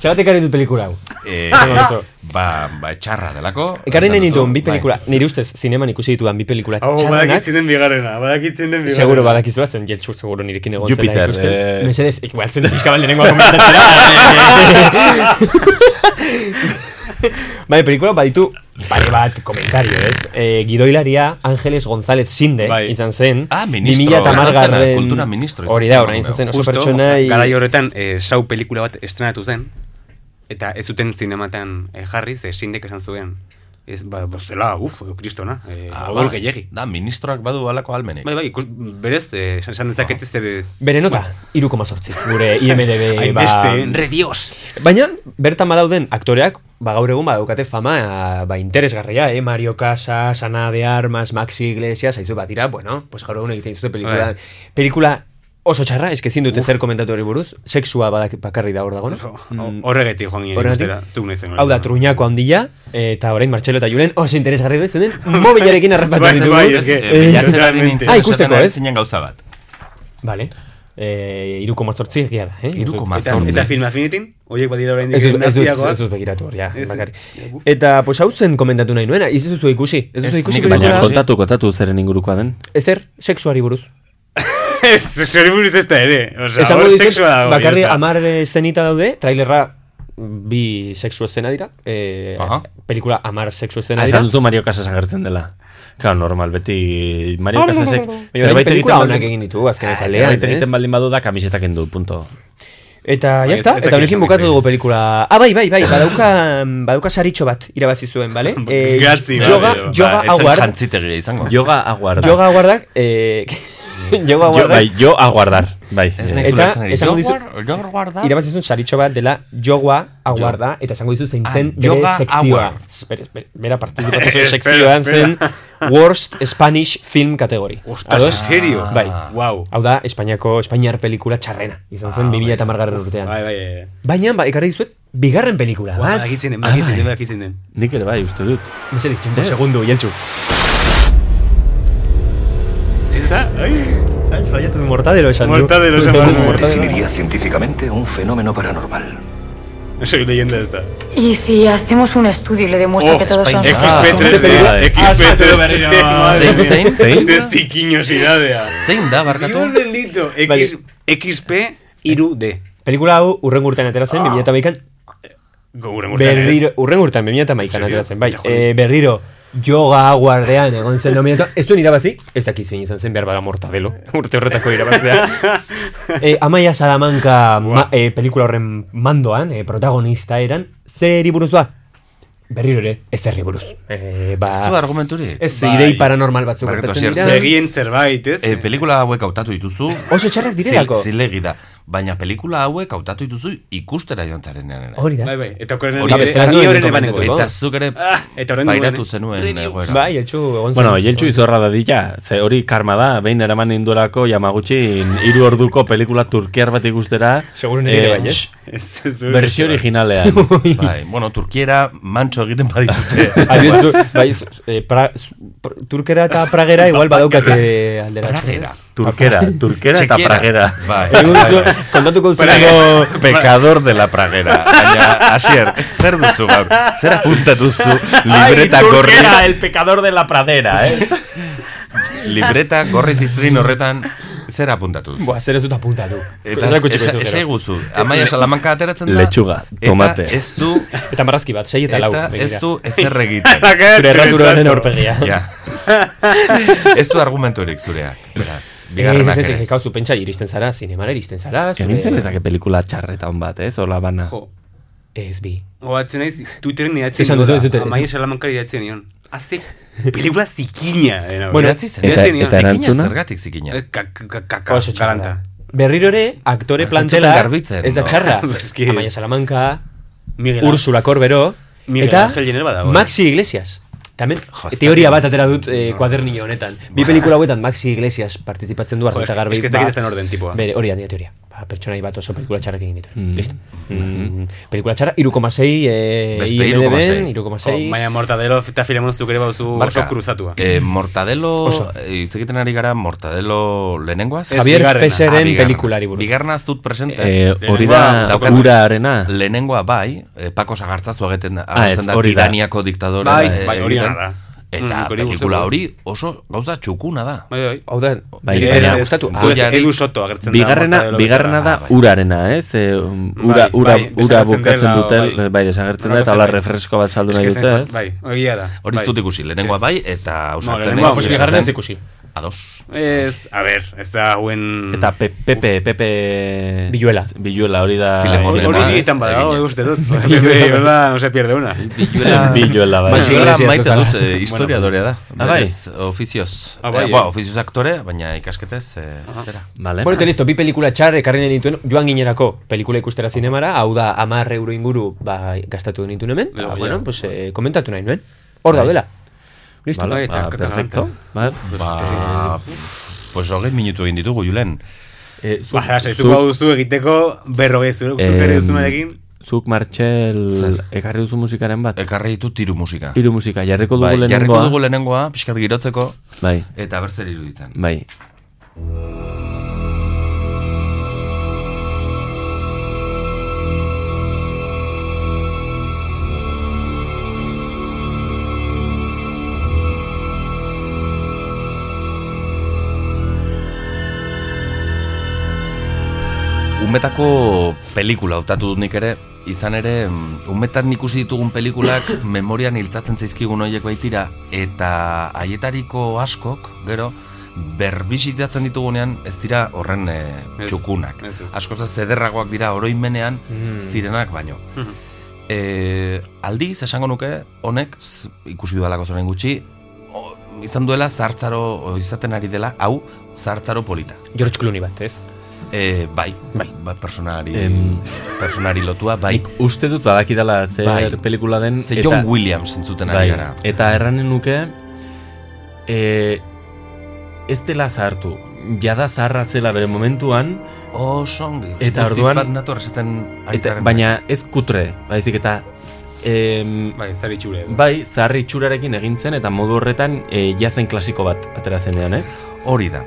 J: Zergatik ekarri dut pelikula hau?
H: Eh,
J: Esango duzu.
H: ba, ba, txarra delako.
J: Ekarri nahi
H: esan duzu.
J: nituen bi
H: Bai.
J: pelikula, nire ustez, zineman ikusi ditudan bi pelikula
G: Hau,
J: txarrenak,
G: badakitzen den Oh, bigarrena, badakitzen den bigarrena.
J: seguro badakizula zen jeltsur seguro nirekin egon zela
G: Jupiter,
J: ikusten.
G: eh.
J: Mesedez, igual zen pixka bat
H: [laughs]
J: lehenengoa komentatzera. Bai, pelikula baditu, pare bat komentario, ez? Eh, gidoilaria Ángeles González Sinde izan zen.
H: Ah, ministro,
J: 2010
H: izan zena, kultura ministro izan
J: Hori
H: zen,
J: da, orain izan
H: emakume
J: zen
H: hau.
J: oso
H: Justo,
J: pertsonai...
G: Garai horretan, eh, sau pelikula bat estrenatu zen, eta ez zuten zinematan eh, jarri, ze sindek esan zuen. Ez, ba, bozela, uf, kristona, eh,
H: Ah,
G: odol
H: ba,
G: gehiagi.
H: Da, ministroak badu Ah. alako almenik.
G: Bai, bai, ikus, berez, eh, esan esan dezakete ze...
J: Bere nota,
H: Bai.
J: iruko mazortzi,
G: [laughs]
J: gure IMDB ba...
G: Hainbeste, redios.
J: Baina, bertan badauden aktoreak, ba gaur egun badaukate fama, ba interesgarria, eh? Mario Casas, Ana de Armas, Maxi Iglesias, haizu bat dira, bueno, pues gaur egun egiten dituzte pelikula.
G: Bai.
J: Pelikula oso txarra, eske ezin dute zer komentatu hori buruz, sexua badak bakarri da hor dago, no? Mm.
G: Horregatik joan ginen
J: Horregatik.
G: ikustera, ez dugu nahi zen.
J: Hau da, truñako handia, eta orain Martxelo eta Julen oso interesgarri du
H: [laughs]
J: izan den, mobilarekin arrapatu
H: Bai,
J: ditugu.
H: bai, ez que,
J: Eh,
H: bilatzen ari nintzen,
J: Ah,
H: esaten
J: ikusteko,
H: ari
J: ez?
H: zinen gauza bat.
J: Vale. Eh, iruko mazortzi egia da, eh?
H: Hiru koma
G: Eta,
H: zortzi.
G: eta film afinitin, horiek badira orain
J: Ez dut, ez dut,
G: naziagoak.
J: ez dut begiratu hor, ja,
G: Ez-
J: bakari. Eta, pues, hau zen komentatu nahi nuena, ez duzu ikusi. Ez
B: Ez,
J: duzu ikusi
B: nik baina
J: pelikula?
B: kontatu, kontatu zeren ingurukoa den.
J: Ezer, sexuari buruz.
G: Ez, zori buruz ez da ere. Osa,
J: Esango
G: hor
J: dizut,
G: seksua dago.
J: Bakarri
G: ya está.
J: amar eszenita daude, trailerra bi sexu eszena dira. Eh, pelikula amar sexu eszena
B: Ah,
J: dira.
B: Esan duzu Mario Casas agertzen dela. Claro, normal, beti Mario
J: Ah, no, no, no,
B: Casasek
J: no. Baina orain pelikula onak egin ditu, azkeneko aldean,
B: Ah, Zerbait
J: ez?
B: egiten baldin badu da kamisetak endu, punto.
J: Eta
G: Bai,
J: ya
G: ez-
J: está,
G: ez
J: eta
G: dakit
J: honekin
G: esan
J: bukatu
G: ditzen.
J: dugu pelikula. Ah, bai, bai, bai, badauka, badauka saritxo bat irabazi zuen, bale? Eh,
H: [laughs] Gatzi,
J: yoga,
H: bai, bai,
J: yoga
H: ba, ez zen
J: aguard.
H: jantzitegia izango.
B: Yoga aguarda.
J: Yoga aguardak, eh, [laughs] yoga
B: Jo,
J: aguardak.
B: bai, jo aguardar. Bai.
J: Ez
B: Eh,
J: naiz eta esango dizu
H: Jaguar- Jaguar da?
J: irabazi zuen saritxo bat dela jogoa aguarda eta esango dizu zein
H: Ah,
J: zen bere
H: yoga
J: sekzioa.
H: aguard.
J: Espera, espera, bera
G: [laughs]
J: participatu zuen
H: Espera,
J: sekzioan zen
H: espera.
J: worst Spanish film kategori.
H: Ah,
G: Ostras,
J: Ados?
G: ¿en serio?
J: Bai.
G: Wow.
J: Hau da, Espainiako Espainiar pelikula txarrena. Izan zen
G: Ah,
J: 2010 garren urtean.
G: Bai, bai, bai.
J: Baina, ba, ekarri dizuet, bigarren pelikula.
G: Ua,
J: bat.
G: badakitzen den,
J: Ah,
G: badakitzen
J: bai.
G: den, badakitzen den.
B: Nik ere bai, uste dut.
J: Mesedez, txungo
B: Eh?
J: segundu, jeltzu.
G: Ez da? Ai, ai,
J: saiatu du mortadero esan du.
R: Definiría científicamente un fenómeno paranormal.
G: Soy leyenda esta.
C: Y si hacemos un estudio y le demuestro que todos son
G: XP3D,
H: Ah,
G: XP3D.
H: zein, zein, zein?
G: zikiniosidadea.
H: Zein da, barkatu?
G: Dios bendito,
J: Bai.
G: X,
J: Eh,
G: XP iru D.
J: Pelikula hau urren urtean atera
G: Ah.
J: zen, 2011an.
G: Gure
J: Berriro, urren urtean, 2011an atera zen, bai. Eh, berriro, yoga aguardean egon zen nominatu. Ez duen irabazi, ez dakit zein izan zen behar bada mortadelo. [laughs] Urte horretako irabazlea. eh, Amaia Salamanca ma, eh, pelikula horren mandoan, eh, protagonista eran, zeri buruz ba? Berriro ere, ez zerri buruz. Eh, ba,
H: Ez du argumenturik.
J: Ez,
H: Bai.
J: idei paranormal batzuk
H: Barkatu,
J: gertatzen
H: Asier,
J: dira.
H: segien
G: zerbait, ez?
H: Eh, pelikula hauek hautatu dituzu.
J: [laughs] Oso txarrak direlako.
H: Zil- Zilegi da. Baina pelikula hauek hautatu dituzu ikustera joan zarenean.
J: Hori da.
G: Bai, bai, eta okorren
H: Hori
G: ere,
H: beste
G: ni
H: nuen
G: horren
H: komentatuko.
G: ebaneko.
H: Eta zuk ere
G: Ah, eta orain
H: pairatu
G: nuen, eh?
H: zenuen egoera.
J: Bai, jeltxu egon zen.
B: Bueno, jeltxu izorra da dira, ze hori karma da, behin eraman nindurako Yamaguchi hiru orduko pelikula turkiar bat ikustera.
J: Seguro
H: nire bai,
G: eh?
H: ez?
J: [laughs]
H: este
B: ez? Bersio
G: [laughs]
B: originalean.
H: bai, bueno, turkiera mantxo egiten [laughs] baditute.
J: Adibidez, du- bai, z- eh, pra, z- pr- turkera eta pragera igual badaukate aldera.
H: Pragera.
J: [laughs]
B: Turkera, turkera eta
H: Txekiera.
B: pragera.
H: Bai,
J: Egun
H: bai,
J: zu-
H: bai.
J: kontatuko duzu
H: Pragera.
J: nago-
H: Pecador de la pragera. Baina, asier, zer duzu gaur? Zer apuntatu zu libreta gorri?
B: el pecador de la pradera, eh?
H: Libreta gorri zizrin horretan zer apuntatu duzu?
J: Buah, zer ez dut apuntatu.
H: Eta
J: Ez erakutsi
H: esa-
J: goizukero.
H: esa iguzu. Amaia Salamanca ateratzen da.
B: Lechuga,
H: eta
B: tomate.
H: Ez du
J: Eta marrazki bat, sei eta lau.
H: Eta
J: begira.
H: ez du ezer
J: [laughs]
H: egiten.
J: Zure erraturaren aurpegia.
H: Ja.
J: Eh,
H: ez du argumenturik zureak, beraz.
J: Bigarrenak
H: Bigarrenak
J: ez, ez,
H: ere.
J: ez, kauzu pentsa iristen zara, zinemara iristen zara. zure-
B: Egin zen ezake pelikula txarreta hon bat, ez? Ola bana.
G: Jo.
J: Ez bi.
G: Oatzen naiz, Twitteren
B: Ze
G: idatzen
B: esan
G: niola,
B: dute, ez dute, ez
G: Amaia
B: dute.
G: Salamankari idatzen nion. Azte, pelikula zikina. dena,
J: Bueno,
G: idatzi zen.
J: eta-
G: Idatzi nion.
J: eta
G: Zikina,
J: erantzuna?
H: zergatik zikina?
G: Eh, ka- ka- ka- ka-
J: Oso txarra
G: galanta.
J: da. Berriro ere, aktore
G: Ez
J: plantela
G: zuten garbitzen,
J: ez da
G: no?
J: txarra.
G: Eski [laughs] ez.
J: Amaia Salamanca,
G: Miguel
J: Úrsula Corbero,
G: Miguel
J: eta
G: Ángel Jenner badago, eh?
J: Maxi Iglesias. Tamen, teoria bat atera dut eh, kuadernillo honetan. Bi pelikula hauetan Maxi Iglesias participatzen du
G: Jo,
J: Argenta
G: eske-
J: Garbi.
G: eske ez dakit
J: ba-
G: ez den orden tipoa.
J: Bere, hori da nire teoria. Ba, pertsonai bat oso pelikula txarrak egin ditu.
G: Mm.
J: Listo. Mm, pelikula txarra, 3,6 eh, IMDb-en, 3,6.
G: Jo, Baina Oh, mortadelo eta filemonzuk ere bauzu oso kruzatua.
H: Eh, mortadelo,
G: Oso.
H: eh, hitz egiten ari gara mortadelo lehenengoaz.
G: Ez, Javier bigarrena. Feseren
B: pelikulari
H: buruz. Bigarna ez dut presente.
B: Eh, hori
H: Lehenengoa,
B: da
H: daukat.
B: urarena.
H: Lehenengoa bai, eh, Pako Sagartzazu egiten da,
B: Ah, ez,
H: agertzen da
B: hori da.
H: Tiraniako diktadore.
B: Bai,
H: eh,
B: bai, hori
H: egiten.
B: da da. Mm,
H: Eta
B: hori
H: pelikula
B: gustatu.
H: hori oso gauza txukuna da.
G: Bai, bai.
J: Hau da,
B: Bai, baina-
G: Edu Ah, Soto agertzen da.
B: Bigarrena,
G: mortadelo
B: bigarrena
G: bezala. Ah,
B: da urarena, ez? Eh, um, ura,
G: Bai,
B: ura,
G: bai,
B: ura
G: desagertzen
B: bukatzen
G: dela,
B: dute,
G: bai.
B: bai, desagertzen da,
G: Horrelako
B: eta hola
G: zerbait.
B: refresko bat saldu
G: Eske
B: nahi
G: ez
B: dute,
G: naiz-
B: ez?
G: Bai, egia da.
H: Hori ez
G: bai.
H: dut ikusi, lehenengoa
G: Ez.
H: bai, eta
G: No,
H: usatzen
G: lehenengoa,
H: naiz.
G: pues, bigarrena ez
J: ikusi.
H: Ados.
G: Ez, a ber, ez da hauen...
B: Eta pe, Pepe, Pepe...
J: Biluela.
B: Biluela, hori da...
G: Hori hori egiten badago, uste [laughs]
B: [laughs]
G: dut. Biluela, no se pierde una.
B: Biluela, bai.
H: Biluela
B: Iglesias
H: maite
B: bezala.
H: dut, eh,
B: Bueno,
H: historiadorea da.
B: Ah, bai.
H: Berez, Ofizioz.
B: Ah, bai,
H: Eh,
B: eh.
H: ba, ofizioz aktore, baina ikasketez, eh, zera.
J: Bueno, eta listo, bi pelikula txar ekarri nahi nituen joan ginerako pelikula ikustera zinemara, hau da 10 euro inguru ba, gastatu nituen hemen, eta,
B: Bai,
J: bueno,
B: ja.
J: pues, eh, komentatu nahi nuen. Hor
B: Bai.
J: daudela. Listo.
B: Vale, ba, perfecto. Ba,
H: Ba, pff, pues hogei minutu egin ditugu, Julen.
B: Eh,
G: Ba, zaizuko duzu egiteko berrogei zure, zure
B: Em,
G: berri duzunarekin.
B: Eh, Zuk, Martxel,
H: Zer?
B: ekarri duzu musikaren bat?
H: Ekarri ditu tiru musika.
B: Hiru musika, jarriko dugu
H: Bai,
B: lehenengoa.
H: jarriko dugu lehenengoa, pixkat girotzeko,
B: Bai.
H: eta berzer iruditzen.
B: Bai.
H: Umetako pelikula hautatu dut nik ere, izan ere, mm, umetan ikusi ditugun
G: [coughs]
H: pelikulak memorian hiltzatzen zaizkigun horiek baitira, eta haietariko askok, gero, berbisitatzen ditugunean ez dira horren e, txukunak.
G: ez, ez.
H: Askoz zederragoak dira oroimenean
G: Mm.
H: zirenak baino.
G: Mhm.
H: E, aldiz, esango nuke, honek z- ikusi dudalako zoren gutxi, o, izan duela zartzaro, o, izaten ari dela, hau, zartzaro polita.
J: George Clooney bat, ez?
H: E, bai, bai, bai personari,
B: Em,
H: personari lotua, bai.
B: Nik uste dut badakidala zer
H: Bai.
B: pelikula den. Bai,
H: Ze John Williams entzuten ari gara.
B: Eta erranen nuke, e, ez dela zahartu, jada zaharra zela bere momentuan,
H: Oso ongi.
B: eta
H: Guztiz
B: orduan...
H: bat nator esaten ari
B: eta-
H: zaren.
B: Baina ez kutre, baizik eta... Em,
G: bai, zahar itxure.
B: Bai, zahar itxurarekin egin zen eta modu horretan e, jazen klasiko bat atera zenean, ez?
H: Hori da.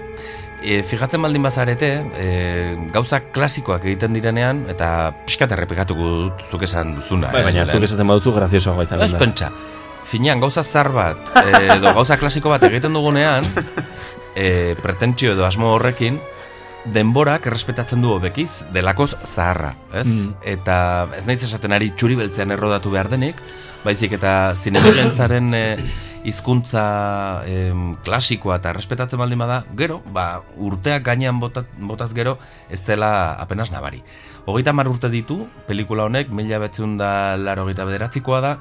H: E, fijatzen baldin bazarete, e, gauza klasikoak egiten direnean, eta pixkat errepikatuko dut zuk esan duzuna. eh,
B: Bai, baina zuk esaten baduzu graziosoagoa izanen
H: Ez
B: da.
H: pentsa, finean gauza zar bat, e, edo gauza klasiko bat egiten dugunean, e, pretentsio edo asmo horrekin, denborak errespetatzen du hobekiz, delakoz zaharra, ez?
B: Mm.
H: Eta ez naiz esaten ari txuri beltzean errodatu behar denik, baizik eta zinemegentzaren e, hizkuntza em, klasikoa eta errespetatzen baldin bada, gero, ba, urteak gainean botat, botaz gero, ez dela apenas nabari. Hogeita hamar urte ditu, pelikula honek, mila betzun da laro bederatzikoa da,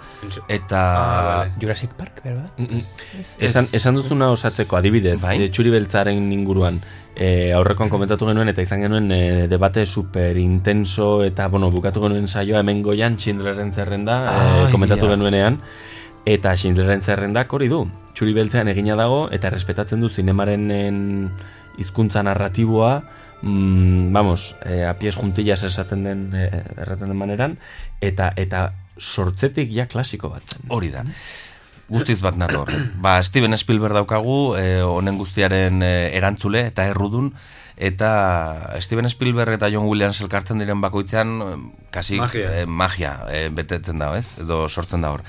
H: eta...
J: Ah, Jurassic Park, berba? bai.
H: Mm,
J: Ez.
B: Esan, esan duzuna osatzeko adibidez,
H: Bai.
B: e, txuri beltzaren inguruan e, aurrekoan komentatu genuen eta izan genuen e, debate super intenso eta bueno, bukatu genuen saioa hemen goian Schindlerren zerrenda e,
H: Ai,
B: komentatu
H: ja.
B: genuenean eta Schindlerren zerrendak hori du. Txuri beltzean egina dago eta respetatzen du zinemaren en, hizkuntza narratiboa mm, vamos, e, a pies juntillas esaten den e, erraten den maneran eta eta sortzetik ja klasiko bat zen.
H: Hori da. Guztiz bat nator. ba, Steven Spielberg daukagu, eh, honen guztiaren eh, erantzule eta errudun, eta Steven Spielberg eta John Williams elkartzen diren bakoitzean eh, kasi
G: Magia.
H: eh, magia eh, betetzen da, ez? Edo sortzen da hor.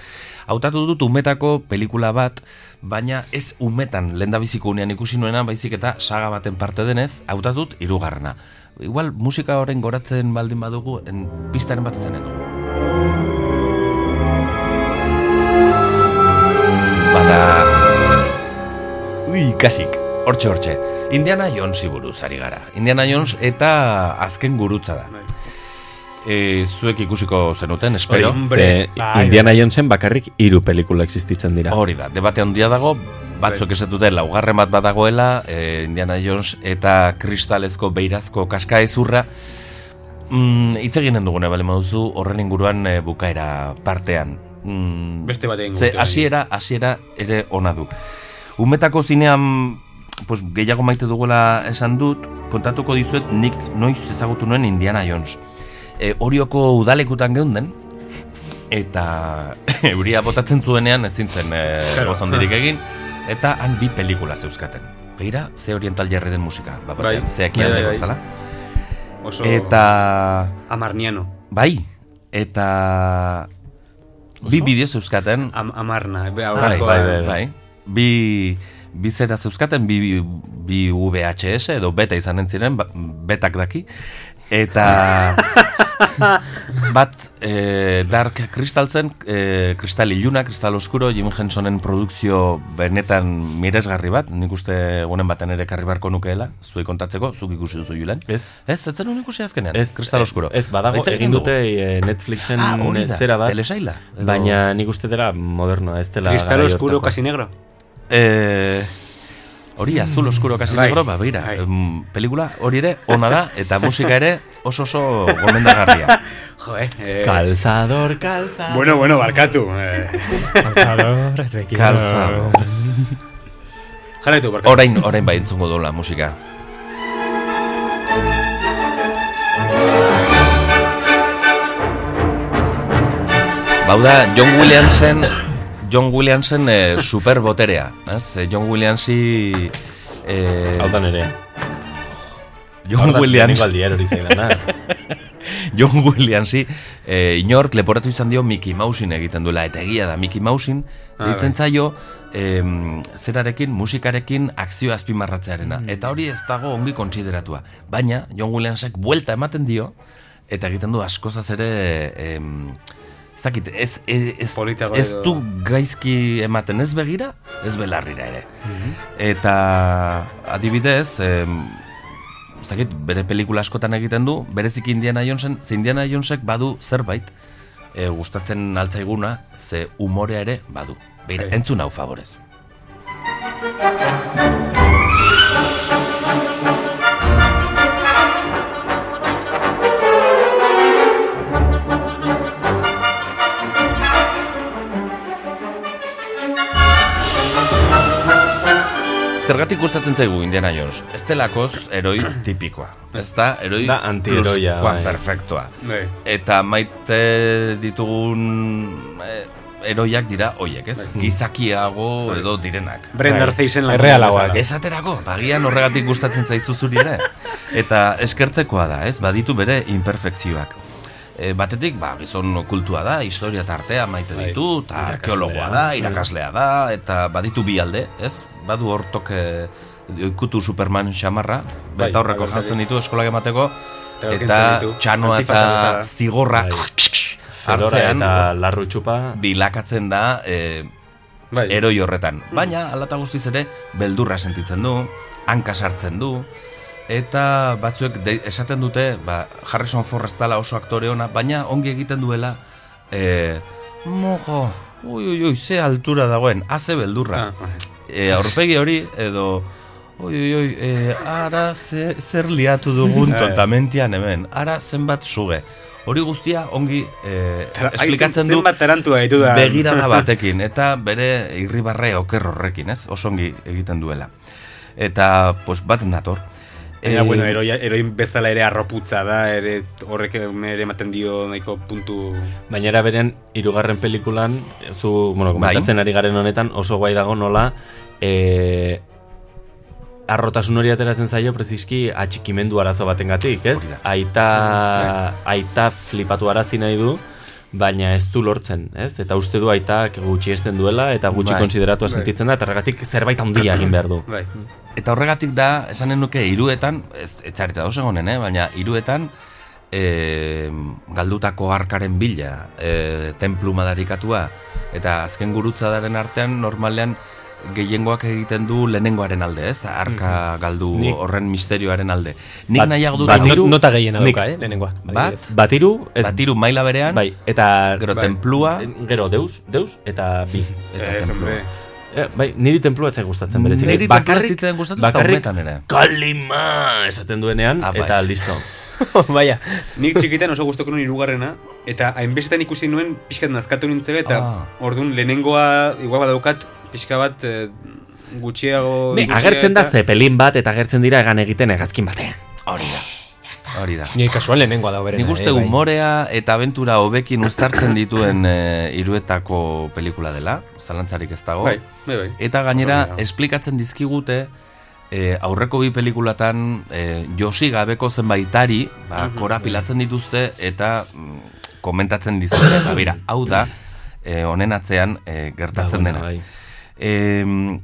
H: Hautatu dut umetako pelikula bat, baina ez umetan lehendabiziko unean ikusi nuena, baizik eta saga baten parte denez, hautatu dut hirugarrena. Igual musika horren goratzen baldin badugu, en, pistaren bat izanen dugu. Bada... Ui, kasik. Hortxe, hortxe. Indiana Jones buruz ari gara. Indiana Jones eta azken gurutza da. E, zuek ikusiko zenuten, espero.
B: Ze, Indiana Jonesen bakarrik hiru pelikula existitzen dira.
H: Hori da, debate handia dago, batzuk
G: Bai.
H: ez dute laugarren bat badagoela, e, Indiana Jones eta kristalezko beirazko kaska ezurra, mm, hitz eginen dugune, bale maduzu, horren inguruan e, bukaera partean. Mm,
G: Beste batean
H: Ze,
G: gutera.
H: hasiera, hasiera ere ona du. Umetako zinean, pues, gehiago maite dugola esan dut, kontatuko dizuet nik noiz ezagutu nuen Indiana Jones. E, Orioko udalekutan geunden, eta [laughs] euria botatzen zuenean ezin zen e,
G: Claro.
H: gozondirik egin, eta han bi pelikula zeuzkaten. Begira, ze oriental jarri den musika, bat
G: Bai.
H: batean, ze
G: Bai, bai,
H: ekialdeko
G: bai.
H: ez dela.
G: Oso
H: Eta...
G: Amarniano.
H: Bai, eta... Bi bideo zeuzkaten.
G: Am amarna. Be,
H: bai,
G: aurrekoa.
H: bai, bai, bai. Bi, bi zera zeuzkaten, bi, bi, bi VHS edo beta izanen ziren, ba- betak daki.
B: [laughs]
H: Eta bat e, Dark Crystal zen, e, Kristal Iluna, Kristal Oskuro, Jim Hensonen produkzio benetan miresgarri bat, nik uste egunen baten ere karri barko nukeela, zuei kontatzeko, zuk ikusi duzu julen.
B: Ez.
H: Ez, ez zen ikusi azkenean,
B: Ez,
H: Kristal
B: eh,
H: Oskuro.
B: Ez, badago,
H: Hitz
B: egin
H: dugu.
B: dute eh, Netflixen
H: Ah, hori da,
B: zera bat.
H: telesaila, edo-
B: Baina nik uste dela modernoa, ez dela...
G: Cristal
B: garai
G: oscuro,
B: hortako.
G: casi negro.
H: Eh, hori azul oskuro kasi
G: Bai.
H: negro, ba, begira, em, pelikula hori ere ona da, eta musika ere oso oso Oh,
G: [laughs]
H: gomendagarria.
G: Jo, eh, eh.
B: Calzador, calzador.
G: Bueno, bueno, barkatu. eh.
J: Calzador, requiero-
H: Calzador.
G: Jarraitu, barkatu.
H: Orain, orain bai entzungo dula musika. Bau da, John Williamsen John Williamsen eh, super boterea, ez? Eh, John Williamsi eh,
B: Hau da nere. Hau
H: John
B: da,
H: Williams
B: lehenengo aldia erori zaidana.
H: [laughs] John Williamsi eh, inork leporatu izan dio Mickey Mousein egiten duela eta egia da Mickey Mousein
G: Ah,
H: ditzen
G: bai.
H: zaio em, zerarekin, musikarekin akzio azpimarratzearena
G: Mm.
H: eta hori ez dago ongi kontsideratua baina John Williamsek buelta ematen dio eta egiten du askozaz ere em, dakit, ez, ez, ez,
G: Politago
H: ez
G: edo-
H: du gaizki ematen ez begira, ez belarrira ere. Eta adibidez, em, ez dakit, bere pelikula askotan egiten du, bereziki Indiana Jonesen, ze Indiana Jonesek badu zerbait, e, gustatzen altzaiguna, ze umorea ere badu. Beira, entzun hau favorez. Zergatik gustatzen zaigu Indiana Jones? Ez delakoz
B: [clears throat]
H: heroi tipikoa. Ez da, heroi
B: Da antiheroia,
H: pluskuan
B: bai.
H: perfektua.
G: Bai.
H: Eta maite ditugun eh, heroiak dira hoiek, ez?
G: Bai.
H: Gizakiago
B: Bai.
H: edo direnak.
G: Brendan Bai. Fraser lan-
H: Errealagoak.
G: bezala.
H: Esaterako, bagian horregatik gustatzen zaizu zuri
G: [laughs]
H: ere. Eta eskertzekoa da, ez? Baditu bere imperfekzioak. E, batetik, ba, gizon kultua da, historia tartea maite
G: Bai,
H: ditu, eta arkeologoa da, irakaslea da, eta baditu bi alde, ez? Badu hortok e, ikutu Superman xamarra,
G: Bai,
H: betaurreko
G: bai,
H: jantzen ditu eskolak emateko,
G: Eta
H: eta
G: kentzen ditu, Bai.
H: txanoa eta
G: antifaz bezala.
H: zigorra
B: Fedora eta
H: larru txupa bilakatzen da e, eroi horretan. Baina, alata guztiz ere, beldurra sentitzen du, hanka sartzen du, eta batzuek de, esaten dute, ba, Harrison Ford ez dela oso aktore ona, baina ongi egiten duela, e, mojo, ui, ui, ui, ze altura dagoen, haze beldurra. E, aurpegi hori, edo, ui, ui, ui, e, ara ze, zer liatu dugun
G: Eh.
H: tontamentian hemen, ara zenbat suge. Hori guztia ongi e,
G: Tara-
H: esplikatzen
G: aizen
H: du
G: zenbat tarantua ditu da.
B: [laughs]
H: begirada batekin eta bere irribarre oker horrekin, ez? Osongi egiten duela. Eta, pues, bat nator.
G: Baina,
H: Eh,
G: bueno, eroia, eroin bezala ere arroputza da, ere horrek ere ematen dio nahiko puntu...
B: Bainera beren hirugarren pelikulan, zu, bueno,
G: Bai.
B: komentatzen ari garen honetan oso guai dago nola e, arrotasun hori ateratzen zaio preziski atxikimendu arazo batengatik, ez? Aita,
H: Bai.
B: aita flipatu arazi nahi du, baina ez du lortzen, ez? Eta uste du aitak gutxi esten duela eta gutxi
H: Bai.
B: konsideratua
H: Bai.
B: sentitzen da, eta horregatik zerbait handia egin behar du.
H: Eta horregatik da, esanen nuke, iruetan, ez, etxarita dos egonen, eh? baina iruetan, e, galdutako arkaren bila, e, templu madarikatua, eta azken gurutzadaren artean, normalean, gehiengoak egiten du lehenengoaren alde, ez? Arka galdu
J: Nik-
H: horren misterioaren alde. Nik
B: Mhm. Bat-
H: nahiago dut...
B: batiru- Nota gehiena
H: Nik-
B: dauka, eh, lehenengoa.
H: Bat,
B: Batiru, ez,
H: batiru maila berean,
B: bai, eta
H: gero templua,
B: gero deus, deus eta bi.
H: Eta Ez, templua. hombre.
B: Eh, bai, niri templua ez zait gustatzen berezik.
H: Niri templua ez zitzaidan gustatu, ezta
B: bakarrik
H: honetan ere.
B: Kalima esaten duenean
H: bai.
B: eta listo.
G: Baina. Nik txikitan oso gustoko nuen irugarrena, eta hainbestetan ikusi nuen pixkat nazkatu nintzela, eta
H: Ah.
G: orduan lehenengoa igual badaukat pixka bat eh, gutxiago...
B: Ni,
G: ikusia
B: agertzen da
G: eta-
B: zepelin bat eta agertzen dira egan egiten hegazkin batean.
H: Hori da. Hori da.
J: Ni kasuan lehenengoa da berena.
H: Nik uste humorea eta aventura hobekin uztartzen dituen eh, iruetako pelikula dela, zalantzarik ez dago.
G: Bai, bai, bai.
H: Eta gainera,
G: Oso ondo dago.
H: esplikatzen dizkigute, eh, aurreko bi pelikulatan eh, josi gabeko zenbaitari, ba,
G: Mhm.
H: korapilatzen dituzte eta mm, komentatzen dizute, eta bera, hau
G: [laughs]
H: da, eh, honen atzean eh, gertatzen
B: Dagoena,
H: dena. Em,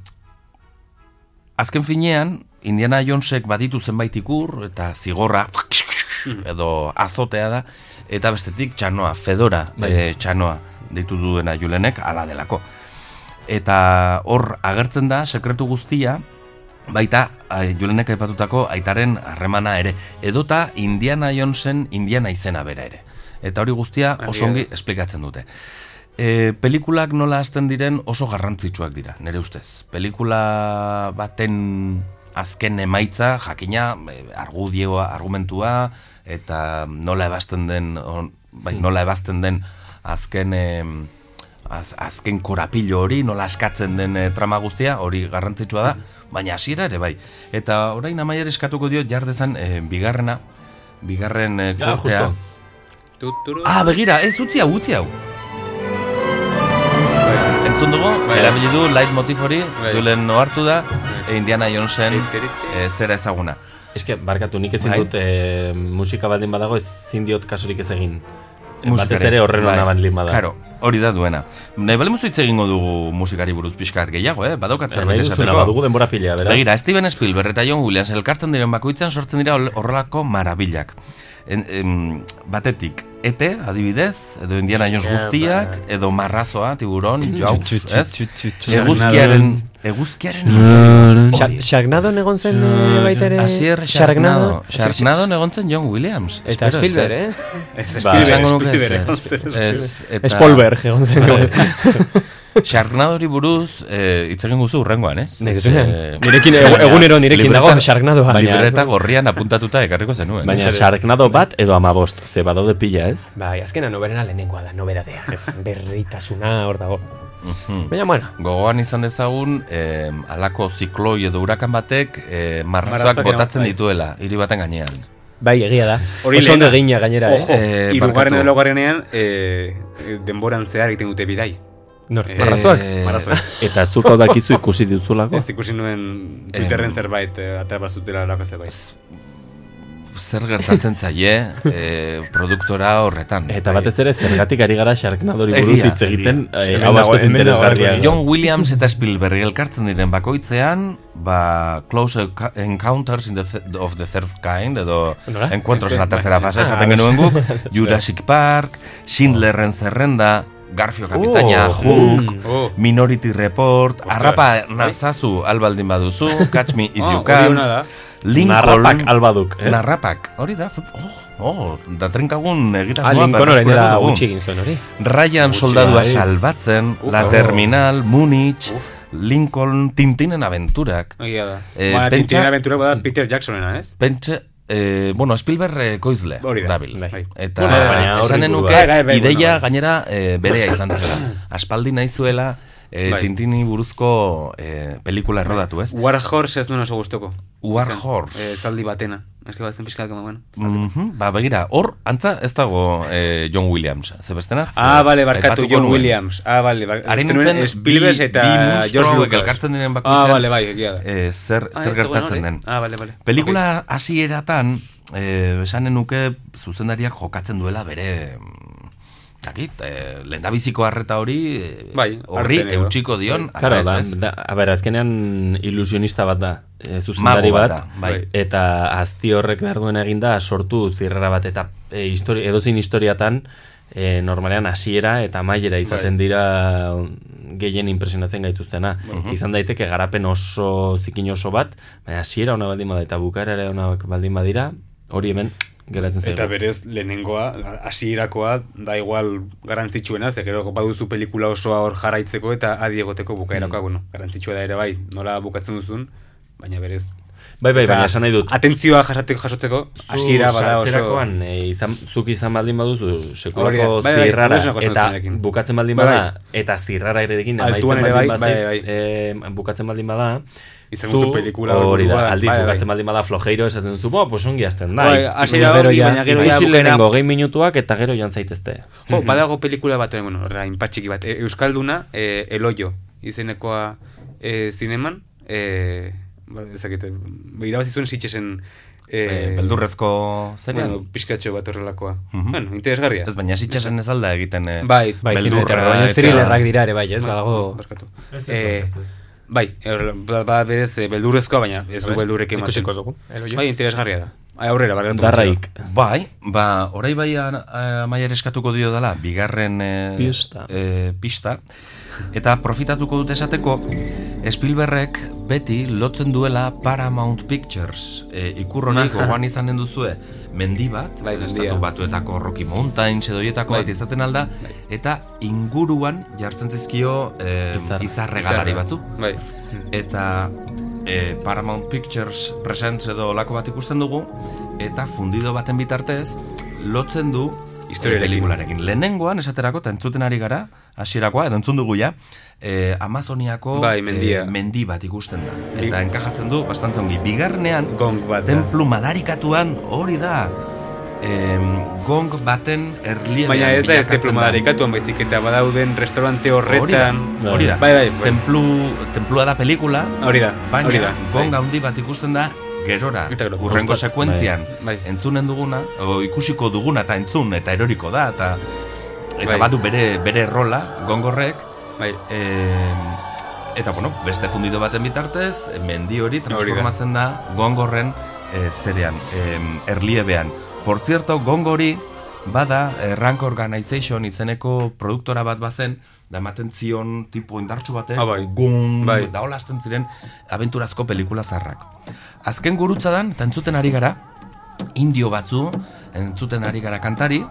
H: azken finean, Indiana Jonesek baditu zenbait ikur, eta zigorra, edo azotea da, eta bestetik txanoa, fedora
B: Bai.
H: eh, txanoa deitu duena julenek ala delako. Eta hor agertzen da sekretu guztia, baita ai, julenek aipatutako aitaren harremana ere, edota Indiana Jonesen Indiana izena bera ere. Eta hori guztia oso ongi esplikatzen dute. E, pelikulak nola hasten diren oso garrantzitsuak dira, nire ustez. Pelikula baten azken emaitza, jakina, e, argudioa, argumentua, eta nola ebazten den, on, bai, nola ebazten den azken... em, az, azken korapilo hori, nola askatzen den eh, trama guztia, hori garrantzitsua da, baina hasiera ere bai. Eta orain amaier eskatuko dio jardezan eh, bigarrena, bigarren eh,
B: Ja,
H: kortea.
B: justo.
H: Ah, begira, ez utzi hau, utzi hau. Entzun dugu, bai. erabili du light motif hori, Julen ohartu da, e Indiana Jonesen e, zera ezaguna.
B: Eske, barkatu, nik ezin
H: Bai.
B: dut e, musika baldin badago ezin diot kasurik ez egin. Batez
H: Musikari.
B: ere horren
H: Bai.
B: ona baldin bada.
H: Claro, hori da duena. Nahi bale muzu hitz egingo dugu musikari buruz pixkat gehiago, eh? Badaukat
B: Nahi
H: zerbait
B: duzuna,
H: esateko.
B: badugu denbora pila, beraz.
H: Begira, Steven Spielberg eta John Williams elkartzen diren bakoitzean sortzen dira hol- horrelako marabilak. En, em, batetik, ete, adibidez, edo Indiana Jones
G: Ja,
H: guztiak, edo marrazoa, tiburon, jau,
J: Txu, txu,
H: ez?
J: txu, txu, txu.
H: Eguzkiaren, eguzkiaren.
J: Sha- Sharknadon egon zen eh, baita ere?
H: Asier Sharknado. Sharknado egon zen John Williams.
J: Eta
H: Espero ez,
J: Spielberg,
H: ez?
J: ez?
H: Ez,
J: Ba,
H: eh? Spielberg,
J: esango nuke
H: Spielberg
J: ez,
H: egon
J: ez,
H: zen.
J: ez.
H: Ez, eta-
J: Spolberg egon zen.
H: [laughs] Sharknadori buruz eh, hitz egin guzu urrengoan, ez?
J: Nirekin-
H: Ez, eh, [laughs]
J: nirekin- egu- egunero nirekin
H: libreta-
J: dago Sharknadoa, baina- eh.
H: Libreta gorrian apuntatuta ekarriko zenuen.
B: Baina
H: Ez, ez.
B: Sharknado bat edo amabost, ze badaude pila, ez?
J: Bai, azkena noberena lehenengoa da, noberadea. Berritasuna hor dago.
H: Mhm.
J: Baina, bueno.
H: Gogoan izan dezagun, eh, alako zikloi edo urakan batek eh, marrazoak
J: Marrazoak
H: botatzen
J: eraman, bai.
H: dituela, hiri baten gainean.
J: Bai, egia da.
G: Hori
J: Oso ondo
G: lehena.
J: egina gainera,
G: Ojo,
J: eh.
G: irugarren
J: barkatu.
G: edo laugarrenean, eh, denboran zehar egiten dute bidai.
J: Nor,
G: Eh,
J: marrazoak?
G: Marrazoak.
B: Eta zuk hau dakizu ikusi duzulako?
G: Ez ikusi nuen Twitterren zerbait, eh, atera bat zutela lako zerbait.
H: Zer gertatzen zaie eh, produktora horretan.
B: Eta batez ere zergatik ari gara Sharknadori buruz
H: Egia,
B: hitz egiten,
H: egia.
B: eh,
H: Hemen
B: hau askoz
H: dago- hemen dago-
B: interesgarria. da.
H: John Williams eta Spielberg elkartzen diren bakoitzean, ba, Close Enca- Encounters in the Th- of the Third Kind, edo
J: Nola?
H: Encuentros en la Tercera Fase,
J: Ah,
H: esaten
J: bai.
H: genuen
J: [laughs]
H: gu, Jurassic Park, Schindlerren Zerrenda, Garfio Kapitaina,
J: Oh,
H: Hulk,
J: mm. Oh.
H: Minority Report,
J: Ostras.
H: Arrapa nazazu albaldin baduzu, Catch Me If
J: Ah,
H: You
J: hori
H: Can,
J: ona da.
H: Lincoln,
J: Narrapak albaduk, ez?
H: Narrapak, hori da, zu- oh, oh, da trinkagun egitasmoa.
J: Ah, Lincoln
H: berreskuratu
J: orain dela
H: dugu.
J: gutxi egin zuen hori.
H: Ryan
J: Gutxi,
H: soldadua
J: bai.
H: salbatzen,
J: Uf,
H: La
J: oh.
H: Terminal, Munich, Lincoln, Tintinen abenturak.
G: Egia da.
H: Eh,
G: Ba,
H: pentsa-
G: Tintin aventura bada Peter Jacksonena, ez?
H: Pentsa, eh, bueno, Spielberg eh, koizle,
G: Hori da.
H: dabil.
G: Bai.
H: Eta
G: Bueno, baina hor
H: esanen
G: inguru
H: nuke,
G: bat. Bai, bai, bai,
H: ideia
G: bueno, bai.
H: gainera eh, berea izan zela.
G: [coughs]
H: Aspaldi nahi zuela, eh,
G: Bai.
H: Tintini buruzko eh, pelikula errodatu, ez?
G: War Horse ez duen oso guztoko.
H: War Horse.
G: Eh, zaldi batena. Eske batzen pixkat gama, bueno.
H: Mhm, Ba, begira, hor, antza ez dago eh, John Williams. Ze bestenaz?
G: Ah,
H: eh,
G: bale, barkatu
H: aipatuko
G: John
H: nuen.
G: Williams. Ah, bale,
H: Haren
G: barkatu
H: nintzen
G: nuen Spielberg eta George
H: George
G: Lucas.
H: elkartzen diren
G: Ah,
H: bakoitzean.
G: bale, bai, egia da.
H: eh, zer,
G: Ah,
H: zer
G: ez dagoen
H: gertatzen
G: hori.
H: den.
G: Ah, bale, bale.
H: Pelikula hasieratan eh, esanen nuke zuzendariak jokatzen duela bere mm, dakit, eh, lehendabiziko harreta hori eh,
G: Bai,
H: horri
B: hartzen edo.
H: eutxiko dion ala
B: Claro,
H: ez,
G: ba,
B: da,
H: ez?
B: da, a ber, azkenean ilusionista bat da, e, zuzendari
H: Mago bat
B: bat,
H: da, bai.
B: eta azti horrek behar duen eginda sortu zirrera bat, eta e, histori, edozin historiatan e, normalean hasiera eta mailera izaten
G: Bai.
B: dira gehien impresionatzen gaituztena.
H: Mhm.
B: Izan daiteke garapen oso zikin oso bat, baina hasiera ona baldin bada eta bukaera ere ona baldin badira, hori hemen geratzen zaigu.
G: Eta berez, lehenengoa, hasierakoa da igual garantzitsuena, ze gero baduzu pelikula osoa hor jarraitzeko eta adi egoteko
H: Mm.
G: bukaerakoa, bueno, garantzitsua da ere bai, nola bukatzen duzun, baina berez.
B: Bai, bai,
G: Eta
B: baina esan nahi dut.
G: Atentzioa jasatek jasotzeko, hasiera bada oso.
B: sartzerakoan, e, izan, zuk izan baldin baduzu
G: Hori da.
B: sekulako
G: Bai, bai,
B: zirrara
G: oso oso
B: eta
G: zuzenekin.
B: bukatzen baldin
G: Bai,
B: bada
G: bai.
B: eta zirrara erekin
G: Altuan
B: amaitzen
G: ere
B: baldin
G: bai,
B: bazaiz,
G: bai,
B: eh, bukatzen baldin bada
G: Izan duzu pelikula hor
B: hori da,
G: buruan,
B: aldiz
G: bai, bai.
B: bukatzen baldin bada flojeiro esaten duzu, bo, pues ongi hasten da.
G: Bai, hasiera ongi, baina gero ja bukaera-
B: lehenengo gehi minutuak eta gero joan zaitezte. Mhm.
G: Jo, badago pelikula bat, eh, bueno, horrela, inpatxiki bat, e, Euskalduna, e, Eloio, izenekoa e, zineman, e, ba, ezakite, irabazizuen zitxesen...
H: Eh, beldurrezko zerean?
G: e, Bueno, pizkatxo bat horrelakoa.
H: Mhm.
G: Bueno, interesgarria.
H: Ez baina sitxasen ez alda egiten eh,
G: Bai,
J: Bai,
H: beldurra
J: beldurra,
H: eta-
J: thrillerrak dira ere, bai, ez, badago...
G: Ez ez Eh, Bai, er, ba, ba, berez, eh, beldurrezkoa, baina ez du
H: Bai,
G: beldurrek ematen.
J: ikusiko dugu, Eloio.
G: Bai, interesgarria da. Ai, aurrera, barkatu.
H: Bai, ba, orai bai amaiar eskatuko dio dela, bigarren eh,
B: Pista.
H: eh, pista. Eta profitatuko dut esateko, Spielbergek beti lotzen duela Paramount Pictures. E,
G: [laughs]
H: ikurroni gogoan izanen duzue, mendi bat,
G: Bai, mendia.
H: estatu batuetako Rocky Mountains edo hietako
G: Bai.
H: bat izaten alda, eta inguruan jartzen zizkio eh,
G: Izar.
H: izarregalari
G: Izarra.
H: batzu.
G: Bai.
H: Eta e, Paramount Pictures Presents edo lako bat ikusten dugu, eta fundido baten bitartez lotzen du
G: Historiarekin.
H: e, pelikularekin. Lehenengoan esaterako, eta entzuten ari gara, hasierakoa edo entzun dugu ja, e, Amazoniako
G: Bai, mendia.
H: e, mendi bat ikusten da.
G: Bi-
H: Eta enkajatzen du, bastante ongi. Bigarnean,
G: gong bat,
H: templu madarikatuan, hori da, em, gong baten erliebean
G: Baina ez da
H: bilakatzen
G: templu madarikatuan, baizik eta badauden restaurante
H: Hori da,
G: horretan.
H: hori da.
G: Bai, bai, bai.
H: Templu, templua da pelikula.
G: Hori da,
H: Baina,
G: hori da. Bai.
H: gong handi bat ikusten da gerora.
G: Eta gero,
H: Urrengo
G: gustat-
H: sekuentzian.
G: Bai.
H: Entzunen duguna, o, ikusiko duguna eta entzun, eta eroriko da, eta eta
G: Bai.
H: badu bere, bere rola, gongorrek.
G: Bai.
H: eta, bueno, beste fundido baten bitartez, mendi hori
G: da.
H: transformatzen eh, da gongorren e, zerean, em, erliebean. Por cierto, gongori bada eh, Rank Organization izeneko produktora bat bazen, da ematen zion tipo indartsu batek,
G: Ah, bai.
H: gun,
G: Bai.
H: da hola hasten ziren abenturazko pelikula zarrak. Azken gurutzadan, eta entzuten ari gara, indio batzu, entzuten ari gara kantari,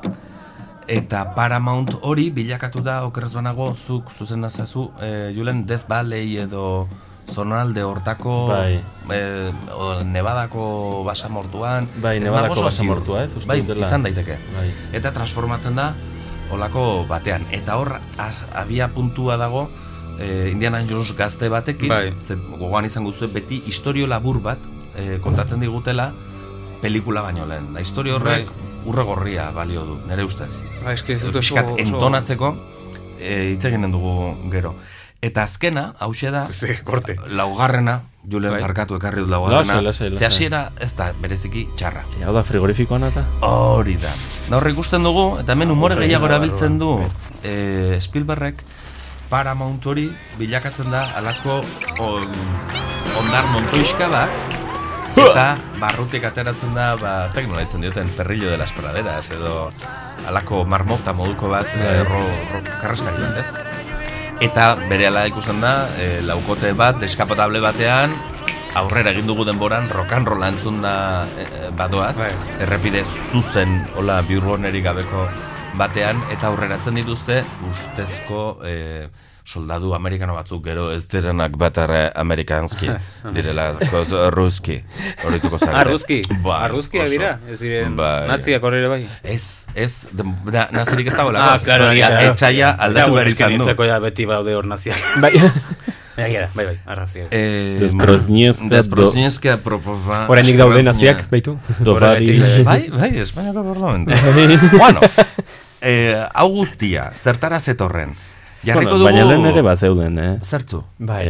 H: eta Paramount hori bilakatu da okerrez banago zuk zuzen nazazu e, Julen Death Valley edo zonalde hortako
B: Bai.
H: eh, o, Nevadako basamortuan
B: Bai,
H: ez
B: Nevadako
H: dago oso
B: basamortua,
H: ziur.
B: ez? Uste
H: Bai,
B: dut dela.
H: izan daiteke
B: Bai.
H: eta transformatzen da olako batean eta hor az- abia puntua dago eh, Indiana Jones gazte batekin
G: Bai.
H: ze gogoan izango zuen beti historio labur bat eh, kontatzen digutela pelikula baino lehen da historio horrek urre gorria balio du nere ustez
G: Ba, Bai. eske ez dut oso-
H: Piskat
G: oso-
H: entonatzeko eh, hitz eginen dugu gero Eta azkena,
G: [laughs]
H: hause da, korte. laugarrena, Julen
B: Bai.
H: barkatu ekarri dut laugarrena.
B: Lasai, lasai, lasai.
H: Ze hasiera ez da bereziki txarra.
B: Ja, hau da frigorifikoan eta?
H: Hori da. Da hor ikusten dugu, eta hemen humore
B: oso
H: gehiago
B: oso
H: erabiltzen du e, Spielbergek Paramount hori bilakatzen da alako on, ondar montoiska bat eta barrutik ateratzen da, ba, ez dakit nola ditzen dioten, perrillo de las praderas edo alako marmota moduko bat e, ro, ro, karraskari bat, ez? Eta bere ala ikusten da, e, laukote bat, deskapotable batean, aurrera egin dugu denboran, rokanrola entzun da e, e, badoaz,
G: Bai.
H: errepide zuzen, hola, biurronerik gabeko batean, eta aurreratzen dituzte, ustezko e, soldadu amerikano batzuk gero ez direnak batar eh,
G: [laughs]
H: amerikanski direla koz ruski horituko zara
G: Arruzki.
H: Bai,
G: Arruzkiak dira, ez diren naziak hor ere bai.
H: Ez, ez, na, nazirik ez dagoela.
G: Ah, claro,
H: Hori
G: claro.
H: Etxaia
G: Ja,
H: aldatu
G: bueno,
H: behar
G: eske
H: izan du.
G: nintzako ja beti baude hor [laughs] naziak.
H: Bai.
G: Baina, gira, bai, bai, arrazia.
H: Eh,
B: Destroznieska
H: Destroznieska propofa...
J: Oraindik daude naziak, baitu.
H: Horregatik,
J: Dovari.
H: Bai, bai,
B: [laughs]
H: Espainiako parlamentu.
B: Bai.
H: bueno, eh, hau guztia, zertara zetorren. Jarriko
B: Bueno,
H: dugu...
B: Baina lehen ere bat zeuden, eh?
H: Zertzu?
B: Bai.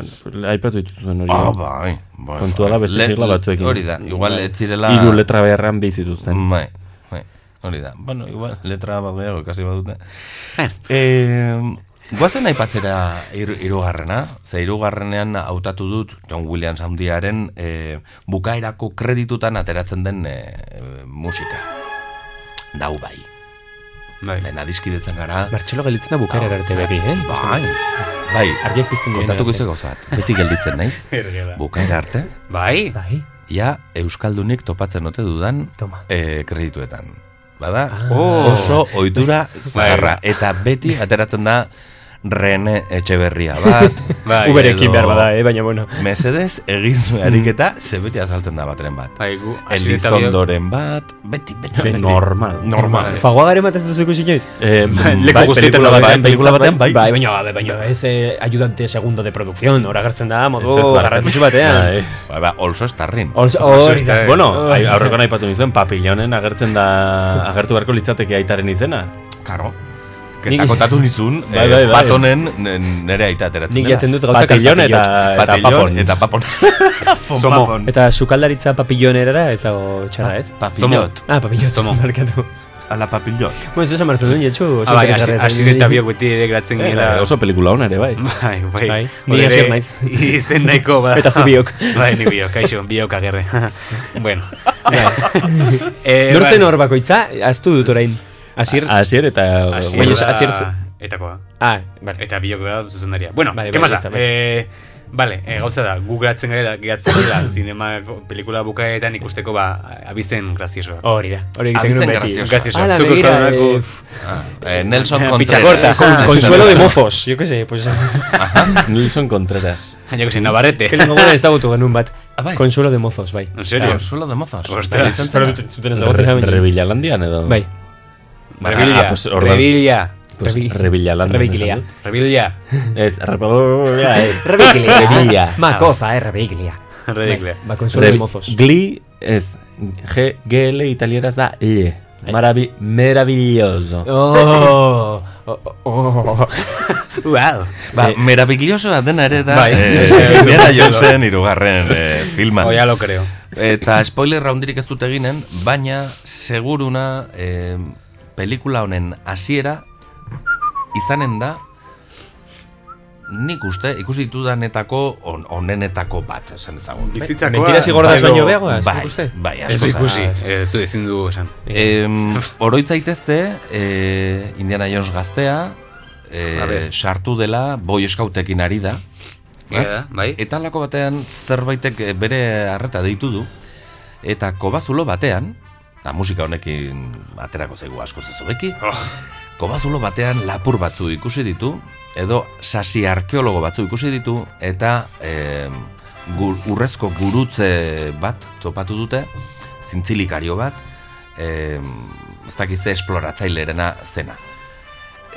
B: Aipatu dituzuen hori.
H: Ah, bai, bai,
B: Kontua
H: bai.
B: da beste
H: Le-
B: sigla
H: le-
B: batzuekin.
H: hori da, igual
J: Bai.
H: ez zirela-
B: Hiru letra beharran bizituzten.
H: Bai, bai, hori da. Bueno, igual, letra badeo, ikasi badute. eh, guazen aipatzera hir- hirugarrena, ze hirugarrenean hautatu dut John Williams handiaren eh, bukaerako kreditutan ateratzen den eh, musika. Dau bai. Bai. Lehen adiskidetzen gara.
J: Martxelo gelditzen da bukaera arte beti, eh?
H: Bai. Bai.
J: Argiak pizten diren
H: Kontatuko
J: arte.
H: izue gauza bat. Beti gelditzen naiz.
J: Ergela.
H: bukaera arte.
G: Bai.
J: Bai.
H: Ja, Euskaldunik topatzen ote dudan eh, kredituetan. Bada,
G: Oh.
H: oso ohitura
G: Bai.
H: zaharra. Eta beti ateratzen da Rene Etxeberria bat.
J: Bai, Uberekin behar bada, eh, baina bueno. Mm.
H: Mesedez, egin zuen ariketa, ze beti azaltzen da bateren bat.
G: Bai, gu- hasietan bio-
H: Elizondoren bat, beti, beti,
B: Beti.
H: beti.
B: Normal.
H: Normal.
J: Fagoagaren bat ez duzu ikusi inoiz?
H: [laughs]
J: [laughs]
B: Eh,
H: leko guztietan
J: pelikula
H: bai,
J: batean,
H: pelikula
J: behintzat,
H: batean, bai.
J: Bai, baina, bai, baina ez eh, ayudante segundo de producción, hor agertzen da, modu
B: Ez, ez, bai.
J: garrantzitsu batean.
B: Bai.
H: Ba, ba, olso estarrin.
B: Olso-
J: Olso
B: hori da.
J: estarrin.
B: Bueno,
J: Oh.
B: ai- aurrekoan aipatu nizuen, papillonen agertzen da, agertu beharko litzateke aitaren izena.
H: Karo. Eta kontatu nizun,
B: Bai,
H: eh,
B: bai, bai.
H: bat honen n- nere aita ateratzen
J: Nik jaten dut gauzak
H: Patillon
J: papillon
H: eta,
J: eta- eta papon.
H: papon.
J: [laughs]
H: Eta papon. Fon
J: Zomo.
H: papon.
J: Eta sukaldaritza papillonerara ez dago txarra, ez?
H: papillot.
J: Ah, papillot. Zomo. [laughs] Markatu.
H: Ala papillot.
J: Bueno, ez
H: [laughs]
J: esan martzen duen, jetxu.
G: Ah, bai, hasi- hasiera eta biok beti ere geratzen
J: Eh,
G: gira.
B: Oso pelikula hona ere, bai.
G: Bai, bai.
J: Bai,
G: Hor
J: ni
G: ere,
J: hasier naiz.
G: [laughs] Izen
J: [laughs]
G: nahiko bada.
J: Eta zu biok.
G: [laughs] Bai, ni biok,
J: [laughs]
G: kaixo, biok agerre. [laughs] bueno.
H: Bai.
J: Bai.
G: [laughs] Eh,
J: Nor zen
G: bai.
J: hor bakoitza, aztu dut orain. Asier.
B: Asier eta...
G: Asier
J: Baina,
G: da-
J: asier...
G: Etakoa.
J: Ah, vale.
G: Eta biok da zuzendaria. Bueno,
J: Bai,
G: ¿qué
J: bai,
G: más
J: beste,
G: da?
J: bai.
G: Eh, Vale, e, gauza da, gu geratzen gara, geratzen
J: [coughs]
G: gara, zinema pelikula bukaetan ikusteko ba, abizen graziosoak.
J: Hori da, hori egiten
H: Abizen
J: genuen beti.
H: gracioso.
G: Gracioso.
J: Ala,
G: Zuk
J: begira,
G: euskaldunako-
J: eh, Ah,
H: Ah, eh, Nelson
G: Picha
H: Contreras.
G: corta. Con-
J: Consuelo de mofos, yo qué sé, pues... Ah,
B: Nelson Contreras.
G: Yo que sé, Navarrete.
J: Es que lengo gure ezagutu genuen bat.
H: Ah, bai.
J: Consuelo de mozos, bai.
G: En serio?
H: Consuelo de mozos.
G: Ostras.
H: Izan
J: Pero
H: zena.
J: dut- zuten ezagutzen
B: Re-
J: baina-
B: Revillalandian edo?
J: Bai.
B: Ba,
G: Bai. Revilla,
B: ah, pues, orduan-
G: Revilla.
B: Pues,
J: Revi-
B: Revillalandian.
J: Reviglia.
B: esan
G: Revilla.
B: dut. Ez, Revilla, ez.
J: Reviglia. [laughs]
B: Revilla.
J: Ma cosa, eh, reviglia.
G: Reviglia.
J: Ba, consuelo de
B: Revi-
J: mozos.
B: Gli, ez. G, GL italieraz da L. Maravi, meraviglioso.
J: Bai. Oh, oh, oh. [laughs]
G: Wow.
J: Eh.
H: Ba, merabigliosoa dena ere da
B: Bai.
J: [laughs]
H: eh,
B: Esan dut.
H: Indiana Jonesen irugarren eh, filman.
G: Oh, ya lo creo.
H: Eta spoiler roundirik ez dut eginen, baina seguruna eh, pelikula honen hasiera izanen da nik uste ikusi ditudanetako on, onenetako bat, esan ezagun.
G: Bizitzakoa, Mentiras igordas baino beagoaz,
H: bai,
G: nik uste.
H: Bai,
G: Ez du
H: askoz. Ah,
G: ikusi, ez du ezin du esan. [laughs]
H: Em, oroitz zaitezte, eh, Indiana Jones gaztea,
G: A
H: eh,
G: ber.
H: sartu dela boi eskautekin ari da.
G: Ea
H: ez?
G: da, bai.
H: Eta lako batean zerbaitek eh, bere harreta deitu du. Eta kobazulo batean, eta musika honekin aterako zaigu asko zezobeki,
B: Oh.
H: kobazulo batean lapur batzu ikusi ditu, edo sasi arkeologo batzu ikusi ditu, eta em, gur, urrezko gurutze bat topatu dute, zintzilikario bat, em, ez dakiz ze esploratzailena zena.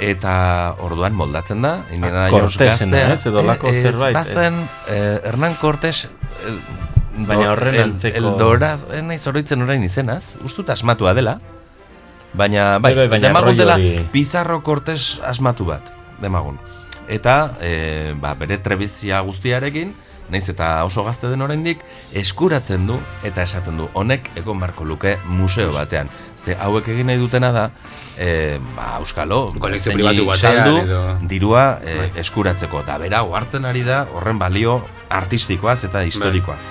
H: Eta orduan moldatzen da, Indiana Jones
B: Ah, Cortesena,
H: gaztea.
B: ez? Edo
H: Eh,
B: lako
H: ez,
B: zerbait, ez?
H: Bazen, eh, Hernán Cortés... eh,
B: Baina
H: do-
B: horren
H: el-
B: antzeko-
H: El Dora, ez naiz oroitzen orain izenaz, ustut asmatua dela, baina, bai,
B: Bai, bai, baina
H: demagun
B: rollo
H: dela
B: hori-
H: Pizarro Cortés asmatu bat, demagun. Eta, eh, ba, bere trebizia guztiarekin, naiz eta oso gazte den oraindik eskuratzen du eta esaten du honek egon marko luke museo batean. Ze hauek egin nahi dutena da, eh, ba, Euskalo,
G: Kolekzio
H: zeini
G: pribatu batean
H: saldu,
G: edo-
H: dirua eh,
B: Bai.
H: eskuratzeko. Da, bera, hartzen ari da, horren balio artistikoaz
B: Bai.
H: eta historikoaz.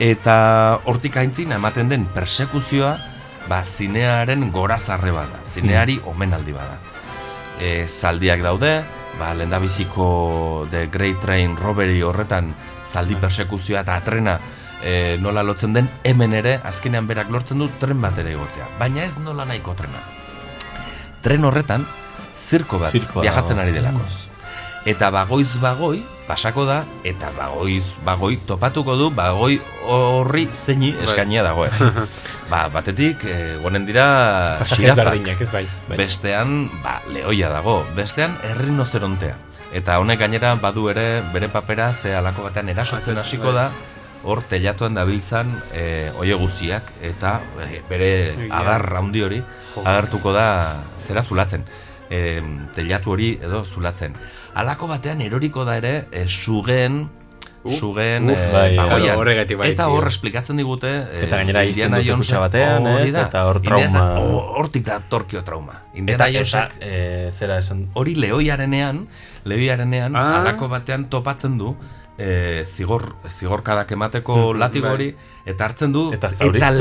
H: Eta hortik aintzina ematen den persekuzioa, ba, zinearen gorazarre bada, zineari omenaldi bada. E, zaldiak daude, ba, lendabiziko The Great Train Robbery horretan zaldi persekuzioa eta trena e, nola lotzen den, hemen ere, azkenean berak lortzen du tren bat ere igotzea. Baina ez nola nahiko trena. Tren horretan, zirko bat
B: Zirkoa
H: viajatzen
B: dago.
H: ari delakoz. Eta bagoiz bagoi, pasako da, eta bagoiz bagoi topatuko du, bagoi horri zeini
J: Bai.
H: eskainia
J: [laughs]
H: dagoen. ba, batetik, eh, gonen dira
J: Pasaje ezberdinak, [laughs]
H: xirafak.
J: ez bai, bai.
H: Bestean, ba, lehoia dago. Bestean, errinozerontea. Eta honek gainera badu ere bere papera ze halako batean erasotzen hasiko
J: bai.
H: da, hor telatuan dabiltzan e, oie guztiak eta eh, bere
B: Egia.
H: adar handi hori agertuko da zera zulatzen. E, telatu hori edo zulatzen. Halako batean eroriko da ere e, sugeen sugeen
B: uf,
H: eh,
B: bai,
H: pagoian.
B: claro, horregatik bai,
H: eta hor
B: tio.
H: esplikatzen digute eh,
B: Eta gainera ixten
H: Indiana
B: dute
H: Jones
B: kutxa batean, ez? Eta hor trauma-
H: hortik da torkio trauma. Indiana
B: Eta- eh, eta,
H: Jonesek e, zera esan hori lehoiarenean, lehoiarenean
B: Ah.
H: halako batean topatzen du e, zigor zigorkadak emateko
B: Mhm,
H: latigo
B: bai.
H: hori eta hartzen du eta,
B: zauritzen du,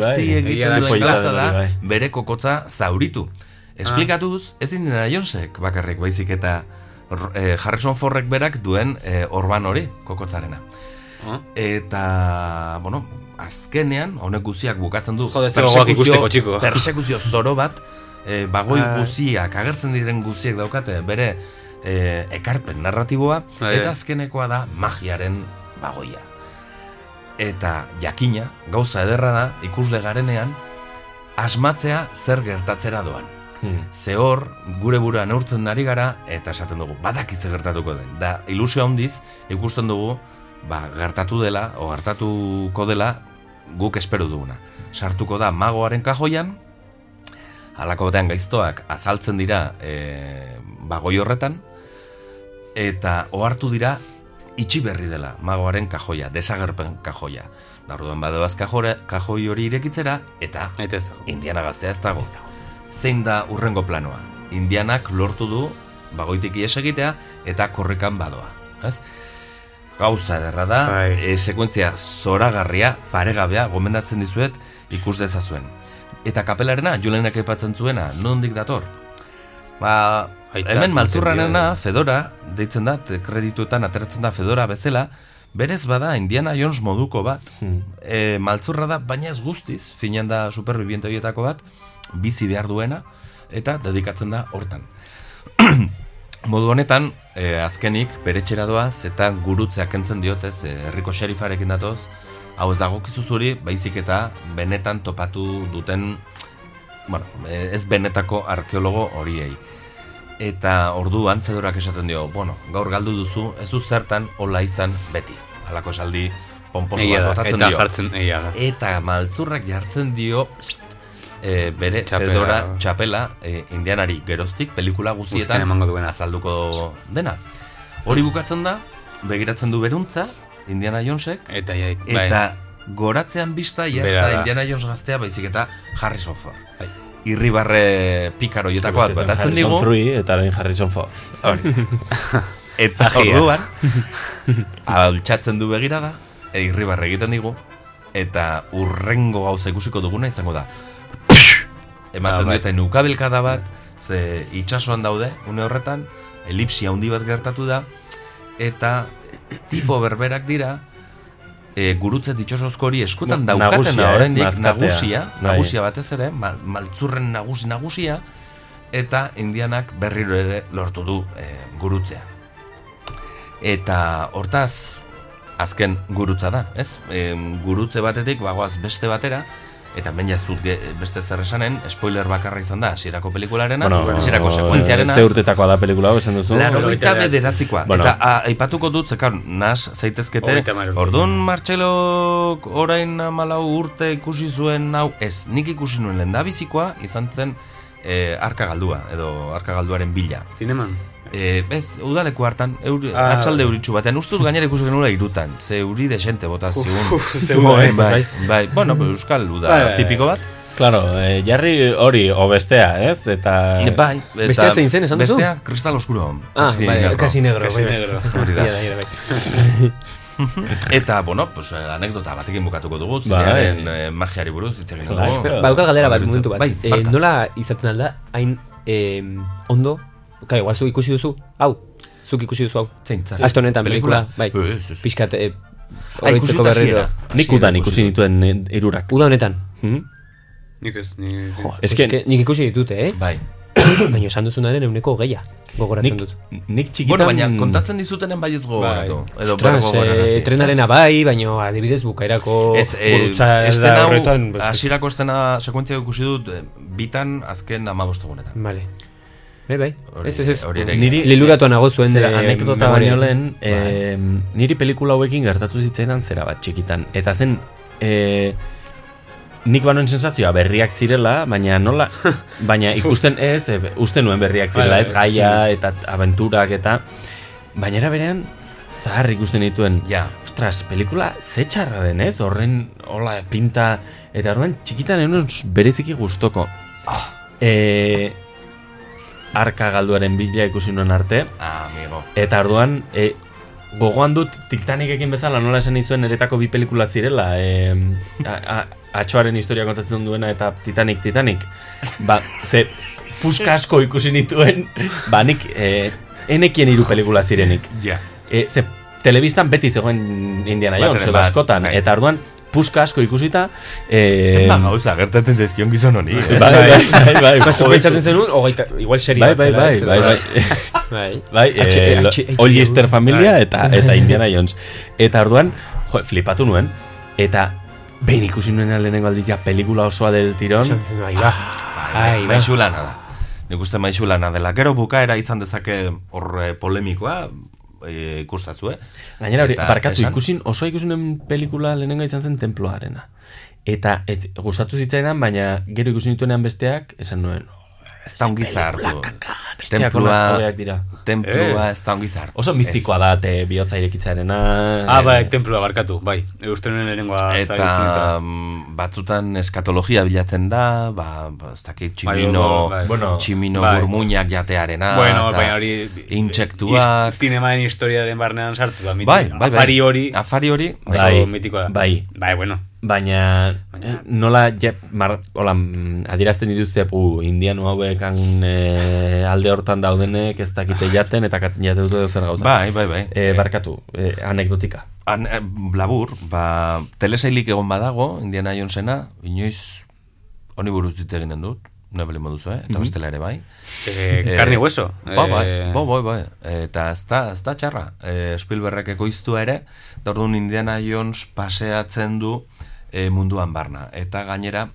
B: bai, bai. Egia
H: egiten
B: da,
H: duen
B: koita
H: gauza
B: hori,
H: da
B: bai. Ah.
H: bere kokotza zauritu. Esplikatuz, ez Indiana Jonesek bakarrik baizik eta r- eh, Harrison Fordek berak duen eh, orban hori kokotzarena. Eta, bueno, azkenean, honek guziak bukatzen du
G: Jode, ze gogoak ikusteko,
B: [laughs]
G: txiko.
H: persekuzio zoro bat, eh, bagoi
B: Ah.
G: Ai.
H: guziak, agertzen diren guziek daukate, bere eh, ekarpen narratiboa,
J: Bai.
G: Ai,
B: Bai.
G: ai.
H: eta azkenekoa da magiaren bagoia. Eta jakina, gauza ederra da, ikusle garenean, asmatzea zer gertatzera doan.
B: Hmm.
H: Ze hor, gure burua neurtzen ari gara, eta esaten dugu, badaki ze gertatuko den. Da, ilusio handiz, ikusten dugu, ba, gertatu dela, o gertatuko dela, guk espero duguna. Sartuko da magoaren kajoian, halako batean gaiztoak azaltzen dira e, bagoi horretan, eta ohartu dira itxi berri dela magoaren kajoia, desagerpen kajoia. Da orduan badoaz kajora, kajoi hori irekitzera, eta indiana gaztea ez dago. Zein da urrengo planoa? Indianak lortu du bagoitik ies egitea eta korrikan badoa. Ez? Gauza ederra da, e, sekuentzia zoragarria, paregabea, gomendatzen dizuet, ikus dezazuen. Eta kapelarena, julenak aipatzen zuena, nondik dator? Ba, hemen maltzurranena, Fedora, deitzen da, te- kredituetan ateratzen da Fedora bezala, berez bada Indiana Jones moduko bat. E, maltzurra da, baina ez guztiz, finean da superviviente horietako bat, bizi behar duena, eta dedikatzen da hortan. Modu honetan, eh, azkenik peretxera doaz eta gurutzeak entzen diotez, eh, herriko xerifarekin datoz, hau ez dagokizu zuri, baizik eta benetan topatu duten, bueno, eh, ez benetako arkeologo horiei. Eta orduan, Fedorak esaten dio, bueno, gaur galdu duzu, ez du zertan hola izan beti. Halako esaldi pomposo
G: Egia
H: bat
G: da,
H: botatzen
G: eta
H: dio.
G: jartzen- egia da.
H: Eta maltzurrak jartzen dio e, bere
G: Txapela.
H: Fedora txapela e, indianari geroztik pelikula guztietan
G: Guztien emango
H: duena. azalduko dena. Hori bukatzen da, begiratzen du beruntza, Indiana Jonesek,
G: Eta, ja, bai.
H: eta goratzean bista ja ez
G: Bera
H: da
G: da.
H: Indiana Jones gaztea baizik eta Harrison Ford. Irribarre pikaro jotakoa bat
B: Bestezen
H: batatzen
B: Harrison [laughs]
H: digu.
B: Frui eta orain Harrison Ford.
H: Hori. Eta
G: Agia.
H: orduan, altxatzen du begirada, e, irribar egiten digu, eta urrengo gauza ikusiko duguna izango da. Ematen dute nukabilkada bat, ze itsasoan daude, une horretan, elipsia handi bat gertatu da, eta tipo berberak dira, e, gurutze ditxosozko hori eskutan
G: Na-
H: daukatena
G: nagusia, ez?
H: oraindik
G: Nazkatea.
H: nagusia,
G: Bai.
H: nagusia batez ere, mal, maltzurren nagusi nagusia, eta indianak berriro ere lortu du e, gurutzea. Eta hortaz, azken gurutza da, ez? E, gurutze batetik bagoaz beste batera, eta ben jazut ge- beste zer esanen, spoiler bakarra izan da, hasierako pelikularena,
G: eh,
H: hasierako sekuentziarena.
B: Ze urtetakoa da pelikula, hau esan duzu?
H: Laurogeita bederatzikoa.
B: Bueno,
H: Eta a, aipatuko dut, zekan, nas zaitezkete,
B: Hogeita hamar urte.
H: orduan Martxelok orain amalau urte ikusi zuen hau, ez, nik ikusi nuen lendabizikoa izan zen e, arka galdua, edo arka galduaren bila.
G: Zineman?
H: E, ez, udaleku hartan, euri,
G: Ah.
H: atxalde euritxu batean, uste dut gainera ikusi genuela irutan, ze euri desente bota zigun.
B: Uf, ze uda, eh,
H: bai,
B: bai.
H: bai, bueno, pues, euskal uda
B: Bai, bai, bai.
H: tipiko bat.
B: Claro, eh, jarri hori obestea, ez? Eta...
H: E, bai, eta
B: Bestea
J: Eh, zein zen, esan duzu?
H: Bestea, kristal oskuro.
J: Ah, bai,
H: casi
J: Casi Negro, bai. bai, bai. [laughs]
H: Hori da.
J: Ia da, ia da,
H: [laughs] Eta, bueno, pues, eh, anekdota batekin bukatuko dugu,
J: Bai.
H: zinearen eh, magiari buruz, hitz egin dugu.
J: Baukal Ba, galdera bat, momentu bat.
H: Ba, Bai,
J: Eh,
H: barka.
J: nola izaten alda, hain eh, ondo, Kai, igual zuk ikusi duzu, hau, zuk ikusi duzu hau.
H: Zein, zer?
J: Aste honetan
H: Pelikula?
J: película, bai. Pixkat, eh,
H: Ah, ikusi
J: oroitzeko
H: eta
J: berriro.
H: hasiera.
B: Nik udan ikusi nituen eh, hmm? hirurak.
J: Uda honetan?
G: Nik ez, ni...
J: Eske, nik ikusi ditute, eh?
H: Bai.
J: [coughs] Baina esan duzunaren euneko geia, gogoratzen
H: Nik- Bai.
J: dut.
B: Nik
H: Bueno, baina kontatzen dizutenen baiez gogorako. Edo
J: Ostras,
H: bergo
J: eh,
H: gogorarazi.
J: trenarena
H: Ez?
J: bai, baino adibidez bukaerako
H: Ez, eh,
J: gurutza
H: estena hau,
J: horretan, ba-
H: hasierako estena sekuentzia ikusi dut, eh, bitan azken amabostegunetan.
J: Vale. Bai, bai.
H: Hori-
J: Ez, ez, ez.
H: hori ere-
J: Niri liluratuan nago zuen Bai.
B: Zera,
J: eh,
B: anekdota
J: memoria.
B: baino lehen, eh, niri pelikula hauekin gertatu zitzaidan zera bat txikitan. Eta zen, eh, nik banoen sensazioa berriak zirela,
J: [laughs]
B: baina nola, baina ikusten ez, e, uste nuen berriak zirela,
J: Bai,
B: ez
J: bai.
B: gaia eta abenturak eta, baina era berean, zahar ikusten dituen,
H: ja.
B: ostras, pelikula ze txarra den ez, horren, hola, pinta, eta horren txikitan enun bereziki gustoko. E, arka galduaren bila ikusi nuen arte.
H: Ah, amigo.
B: Eta orduan, e, gogoan dut Titanicekin bezala nola esan izuen eretako bi pelikula zirela, e, a, a, atxoaren historia kontatzen duena eta Titanic, Titanic. Ba, ze, puska asko ikusi nituen, ba, nik, e, enekien hiru pelikula zirenik.
H: Ja.
B: E, ze, telebistan beti zegoen Indiana
H: Bat
B: Jones,
H: ere
B: edo
H: bat, bai.
B: askotan, eta orduan, puska asko ikusita, e,
H: Zenbat gauza gertatzen zaizkion gizon honi.
B: Bai, bai, bai, bai.
J: Ba, zuk pentsatzen zenuen, hogeita, igual seri
B: Bai,
J: bat
B: bai,
J: zela,
B: bai,
J: ez?
B: bai, bai.
J: [laughs] Bai.
B: Bai,
J: H-
B: eh,
J: H- H-
B: Ollester familia
J: Bai.
B: eta eta Indiana Jones. Eta orduan, jo, flipatu nuen. Eta behin ikusi nuen lehenengo aldizia pelikula osoa del tirón. Ah,
J: Esan zen, "Ai, ba."
H: Ai, Bai, maisu
B: ba.
H: lana da. Nik uste maisu lana dela. Gero bukaera izan dezake hor eh, polemikoa, e, ikustazue.
B: Gainera hori,
H: Eta
B: barkatu,
H: esan-
B: ikusin, oso ikusinen pelikula lehenengo izan zen temploarena. Eta ez, gustatu zitzaidan, baina gero ikusi nituenean besteak, esan nuen, "Oh,
H: Ez da ongi zahartu.
B: besteak ona- hobeak dira.
H: Templua
B: Eh.
H: ez da ongi zahartu.
B: Oso mistikoa da, te bihotza irekitzarena.
G: Ah,
B: eh,
G: bai, templua barkatu, bai. Eusten nuen lehenengoa
H: Eta mm, batzutan eskatologia bilatzen da, ba, ba, ez dakit,
G: Bai,
H: tximino,
G: bai, bai.
H: tximino
G: Bai.
H: burmuinak jatearena,
G: Bueno,
H: eta
G: baina hori... eh,
H: intsektuak,
G: iz- Zinemaren historiaren barnean sartu da. miti-
H: Bai, bai, bai.
G: Afari hori...
H: Afari hori...
G: Oso
B: Bai,
G: mitikoa da.
B: bai.
G: Bai, bueno.
B: Baina, eh, nola jep, mar, hola, mm, adierazten dituzte pu, indiano hauek han, eh, alde hortan daudenek ez dakite jaten eta kat- jate dute edo zer gauza.
H: Bai, bai, bai.
B: Eh, barkatu, eh, anekdotika.
H: An, eh, labur, ba, telesailik egon badago, Indiana Jonesena, inoiz honi buruz hitz eginen dut, nebeli moduzu, eh? eta
G: Mhm.
H: bestela ere bai.
G: Eh, carne y hueso,
H: Ba, bai,
G: eh.
H: ba, bai, bai. Eta ez da, ez da txarra. E, Spielbergek ekoiztua ere, da orduan Indiana Jones paseatzen du eh, munduan barna. Eta gainera,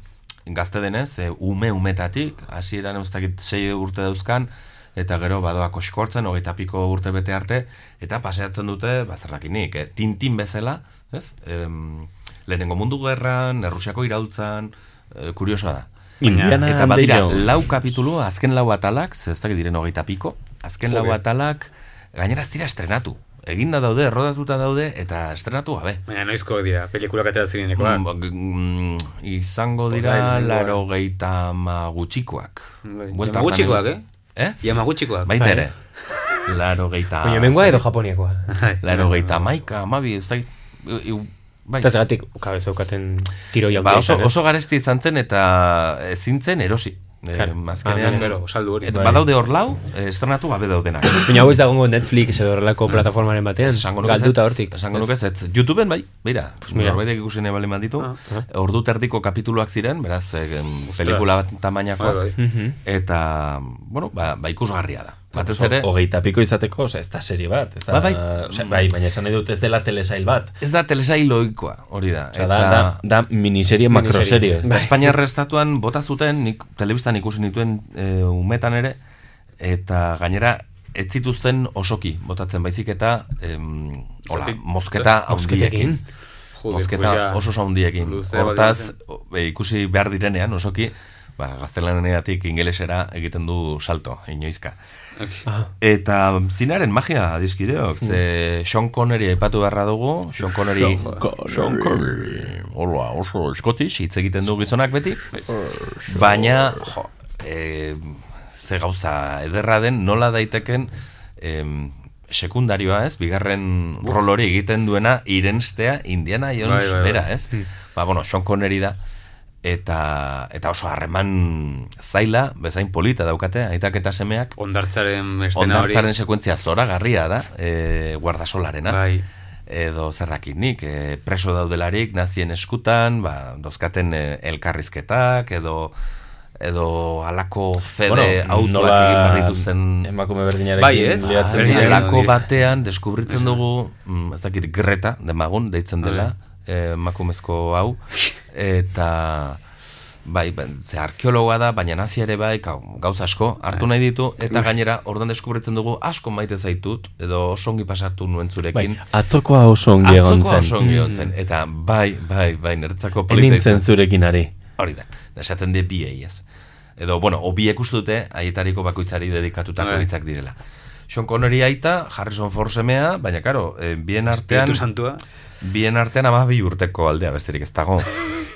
H: gazte denez, eh, ume umetatik, hasieran eustakit sei urte dauzkan, eta gero badoa koskortzen, hogeita piko urte bete arte, eta paseatzen dute, bazerrakinik, eh, tintin bezala, ez? Em, lehenengo mundu gerran, Errusiako iraultzan, eh, kuriosoa da.
B: Indiana
H: eta badira,
B: Jones.
H: lau kapitulu, azken lau atalak, ze ez dakit diren hogeita piko, azken lau
G: Joder.
H: atalak, gainera ez dira estrenatu. Eginda daude, errodatuta daude, eta estrenatu gabe.
G: Baina noizko dira, pelikulak atera zirenekoak.
H: Mm, g- mm, izango dira
G: Orain,
H: laro geita magutxikoak.
J: Bai,
G: Bai. Yamaguchikoak, eh?
H: Eh? Bai.
G: Yamaguchikoak.
H: Baita ere. Laro geita...
J: Baina hemengoa Bai.
H: Ah,
J: edo
H: [laughs]
J: Japoniakoa?
H: Laro geita maika, amabi, ez dakit... i- i- Bai.
J: Eta zeratik, kabe zeukaten tiroia
H: Ba, oso,
J: izan, ez?
H: oso garesti izan zen eta ezin zen erosi. Claro.
J: Claro. Ah,
H: Azkenean,
J: bueno, claro, saldu hori.
H: Eta
J: Bai.
H: badaude hor lau, eh, estrenatu gabe daudenak.
J: Baina hau ez dagongo Netflix edo horrelako plataformaren batean.
H: Esango nuke
J: Galduta
H: ezetz,
J: hortik.
H: Esango nuke ez. YouTubeen bai, bera. Pues
J: mira.
H: Norbaitek ikusi nahi bali manditu.
B: Ah.
H: Ordu terdiko kapituluak ziren, beraz, eh, pelikula bat tamainakoak.
B: Bai, bai. Mhm.
H: Eta, bueno, ba, ba ikusgarria da. Batez
B: Oso,
H: ere,
B: Hogeita piko izateko, osea, ez da serie bat. Ez da,
H: Bai, bai.
B: Osea, bai, baina esan nahi dut ez dela telesail bat.
H: Ez da telesail logikoa, hori da.
B: Osea, da, da, da miniserie, makroserie.
H: Ba, Espainiar estatuan bota zuten, nik telebistan ikusi nituen e, umetan ere, eta gainera ez zituzten osoki botatzen, baizik eta em, hola,
G: Zertik-
H: mozketa
G: zer-
H: handiekin.
G: mozketekin? Jode,
H: Mozketa
G: pues ja,
H: oso oso handiekin.
G: luze
H: Hortaz,
G: baldin
H: o- e, ikusi behar direnean osoki, ba, gaztelaneatik ingelesera egiten du salto, inoizka.
J: Ah.
H: Eta zinaren magia adizkideok, ze Sean Connery aipatu beharra dugu, Sean Connery,
J: Sean
H: Sean Connery, hola, oso eskotiz, hitz egiten du gizonak beti, baina, jo, e, ze gauza ederra den, nola daiteken em, sekundarioa ez, bigarren
G: Uf.
H: rol hori egiten duena, irenstea, Indiana
G: Bai,
H: Jones
G: bai, bai.
H: bera, ez? Ba, bueno, Sean Connery da, eta, eta oso harreman zaila, bezain polita daukate, aitak eta semeak.
G: Ondartzaren estena hori.
H: Ondartzaren sekuentzia zoragarria da, e, guardasolarena. Bai. Edo zer dakit nik, e, preso daudelarik, nazien eskutan, ba, dozkaten e, elkarrizketak, edo edo alako fede
B: Bueno,
H: autoak
B: nola
H: egin behar dituzten
B: emakume berdinarekin Bai, ez? liatzen
H: Ah,
B: dira.
H: alako batean deskubritzen dugu mm, ez dakit greta demagun deitzen dela
B: Ah,
H: eh, emakumezko hau eta bai, ba, ze arkeologoa da, baina nazia ere bai, gau- gauza asko, hartu nahi ditu, eta gainera, ordan deskubritzen dugu, asko maite zaitut, edo oso ongi pasatu nuen zurekin.
B: Bai, atzokoa oso ongi egon
H: Atzokoa
B: zen.
H: oso ongi egon zen,
B: Mm.
H: eta bai, bai, bai, niretzako
B: Ez nintzen zurekin ari.
H: Hori da, da esaten de biei ez. Edo, bueno, obiek uste dute, haietariko bakoitzari dedikatutako
G: Bai.
H: hitzak direla. Sean Connery aita, Harrison Ford semea, baina karo, eh, bien artean...
G: Espiritu Santua.
H: Bien artean amabi urteko aldea besterik
G: [laughs]
H: ez dago.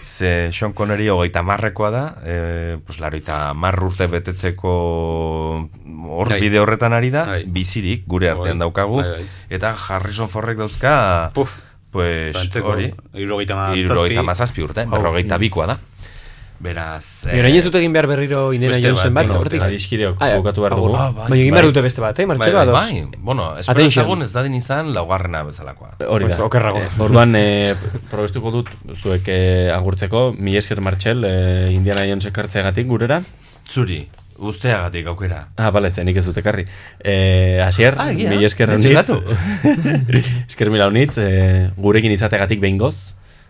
H: Ze Sean Connery hogeita marrekoa da, eh, pues laroita mar urte betetzeko hor
G: Bai.
H: bide horretan ari da, bizirik gure artean
G: Bai,
H: daukagu,
G: bai, bai.
H: eta Harrison Fordek dauzka... Puf. Pues,
G: Antzeko,
H: hori,
G: hirurogeita hamazazpi.
H: hirurogeita hamazazpi urte,
G: Hau.
H: berrogeita bikoa da. Beraz... eh,
J: Baina orain ez dut egin behar berriro Indiana
H: beste
J: Jonesen
H: bat,
J: bat,
H: bueno,
J: hortik.
H: adiskideok
J: Ah,
H: bukatu behar
J: ah,
H: dugu.
J: bueno.
H: Ah, bai,
J: Baina egin
H: bai.
J: behar dute beste bat, eh, martxelo
H: Bai,
J: ados.
H: bai, bueno, espero dezagun ez dadin izan laugarrena bezalakoa.
B: Hori da.
H: Pues, okerrago.
B: Eh, orduan, e, probestuko dut zuek eh, agurtzeko, mi esker Martxel, eh, Indiana Jones ekartzeagatik gurera.
H: Zuri, usteagatik aukera.
B: Ah, bale, zenik ez dut ekarri. Eh, Asier,
H: Ah, egia.
B: mi esker
H: Ez
B: honitz.
H: zigatu.
B: [laughs] esker mila honitz, eh, gurekin izateagatik behin goz.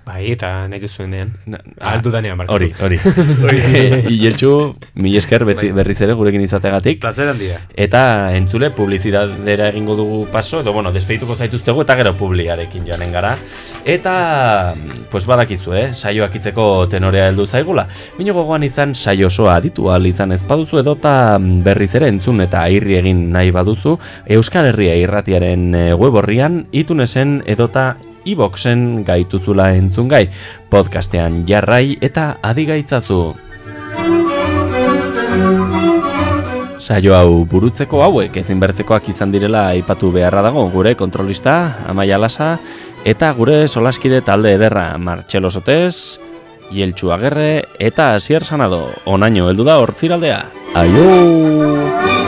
J: Bai, eta nahi duzuenean.
H: ah,
J: Ahal dudanean, barkatu.
B: Hori,
J: [laughs]
H: [laughs]
B: hori. [laughs] Ieltxu, mi esker beti, berriz ere gurekin izateagatik.
G: Placer handia.
B: Eta entzule, publizidadera egingo dugu paso, edo bueno, despeituko zaituztegu eta gero publiarekin joanen gara. Eta, pues badakizu, eh, saioak itzeko tenorea heldu zaigula. Bino gogoan izan saio osoa aditu ahal izan ez baduzu edota mm, berriz ere entzun eta irri egin nahi baduzu, Euskal Herria irratiaren eh, web horrian, itunesen edota iboxen gaituzula entzungai, podcastean jarrai eta adigaitzazu. Saio hau burutzeko hauek ezinbertzekoak izan direla aipatu beharra dago gure kontrolista, Amaia Lasa, eta gure solaskide talde ederra Martxelo Sotes, Ieltxu Agerre eta Asier Sanado. Onaino heldu da hortziraldea. Aio!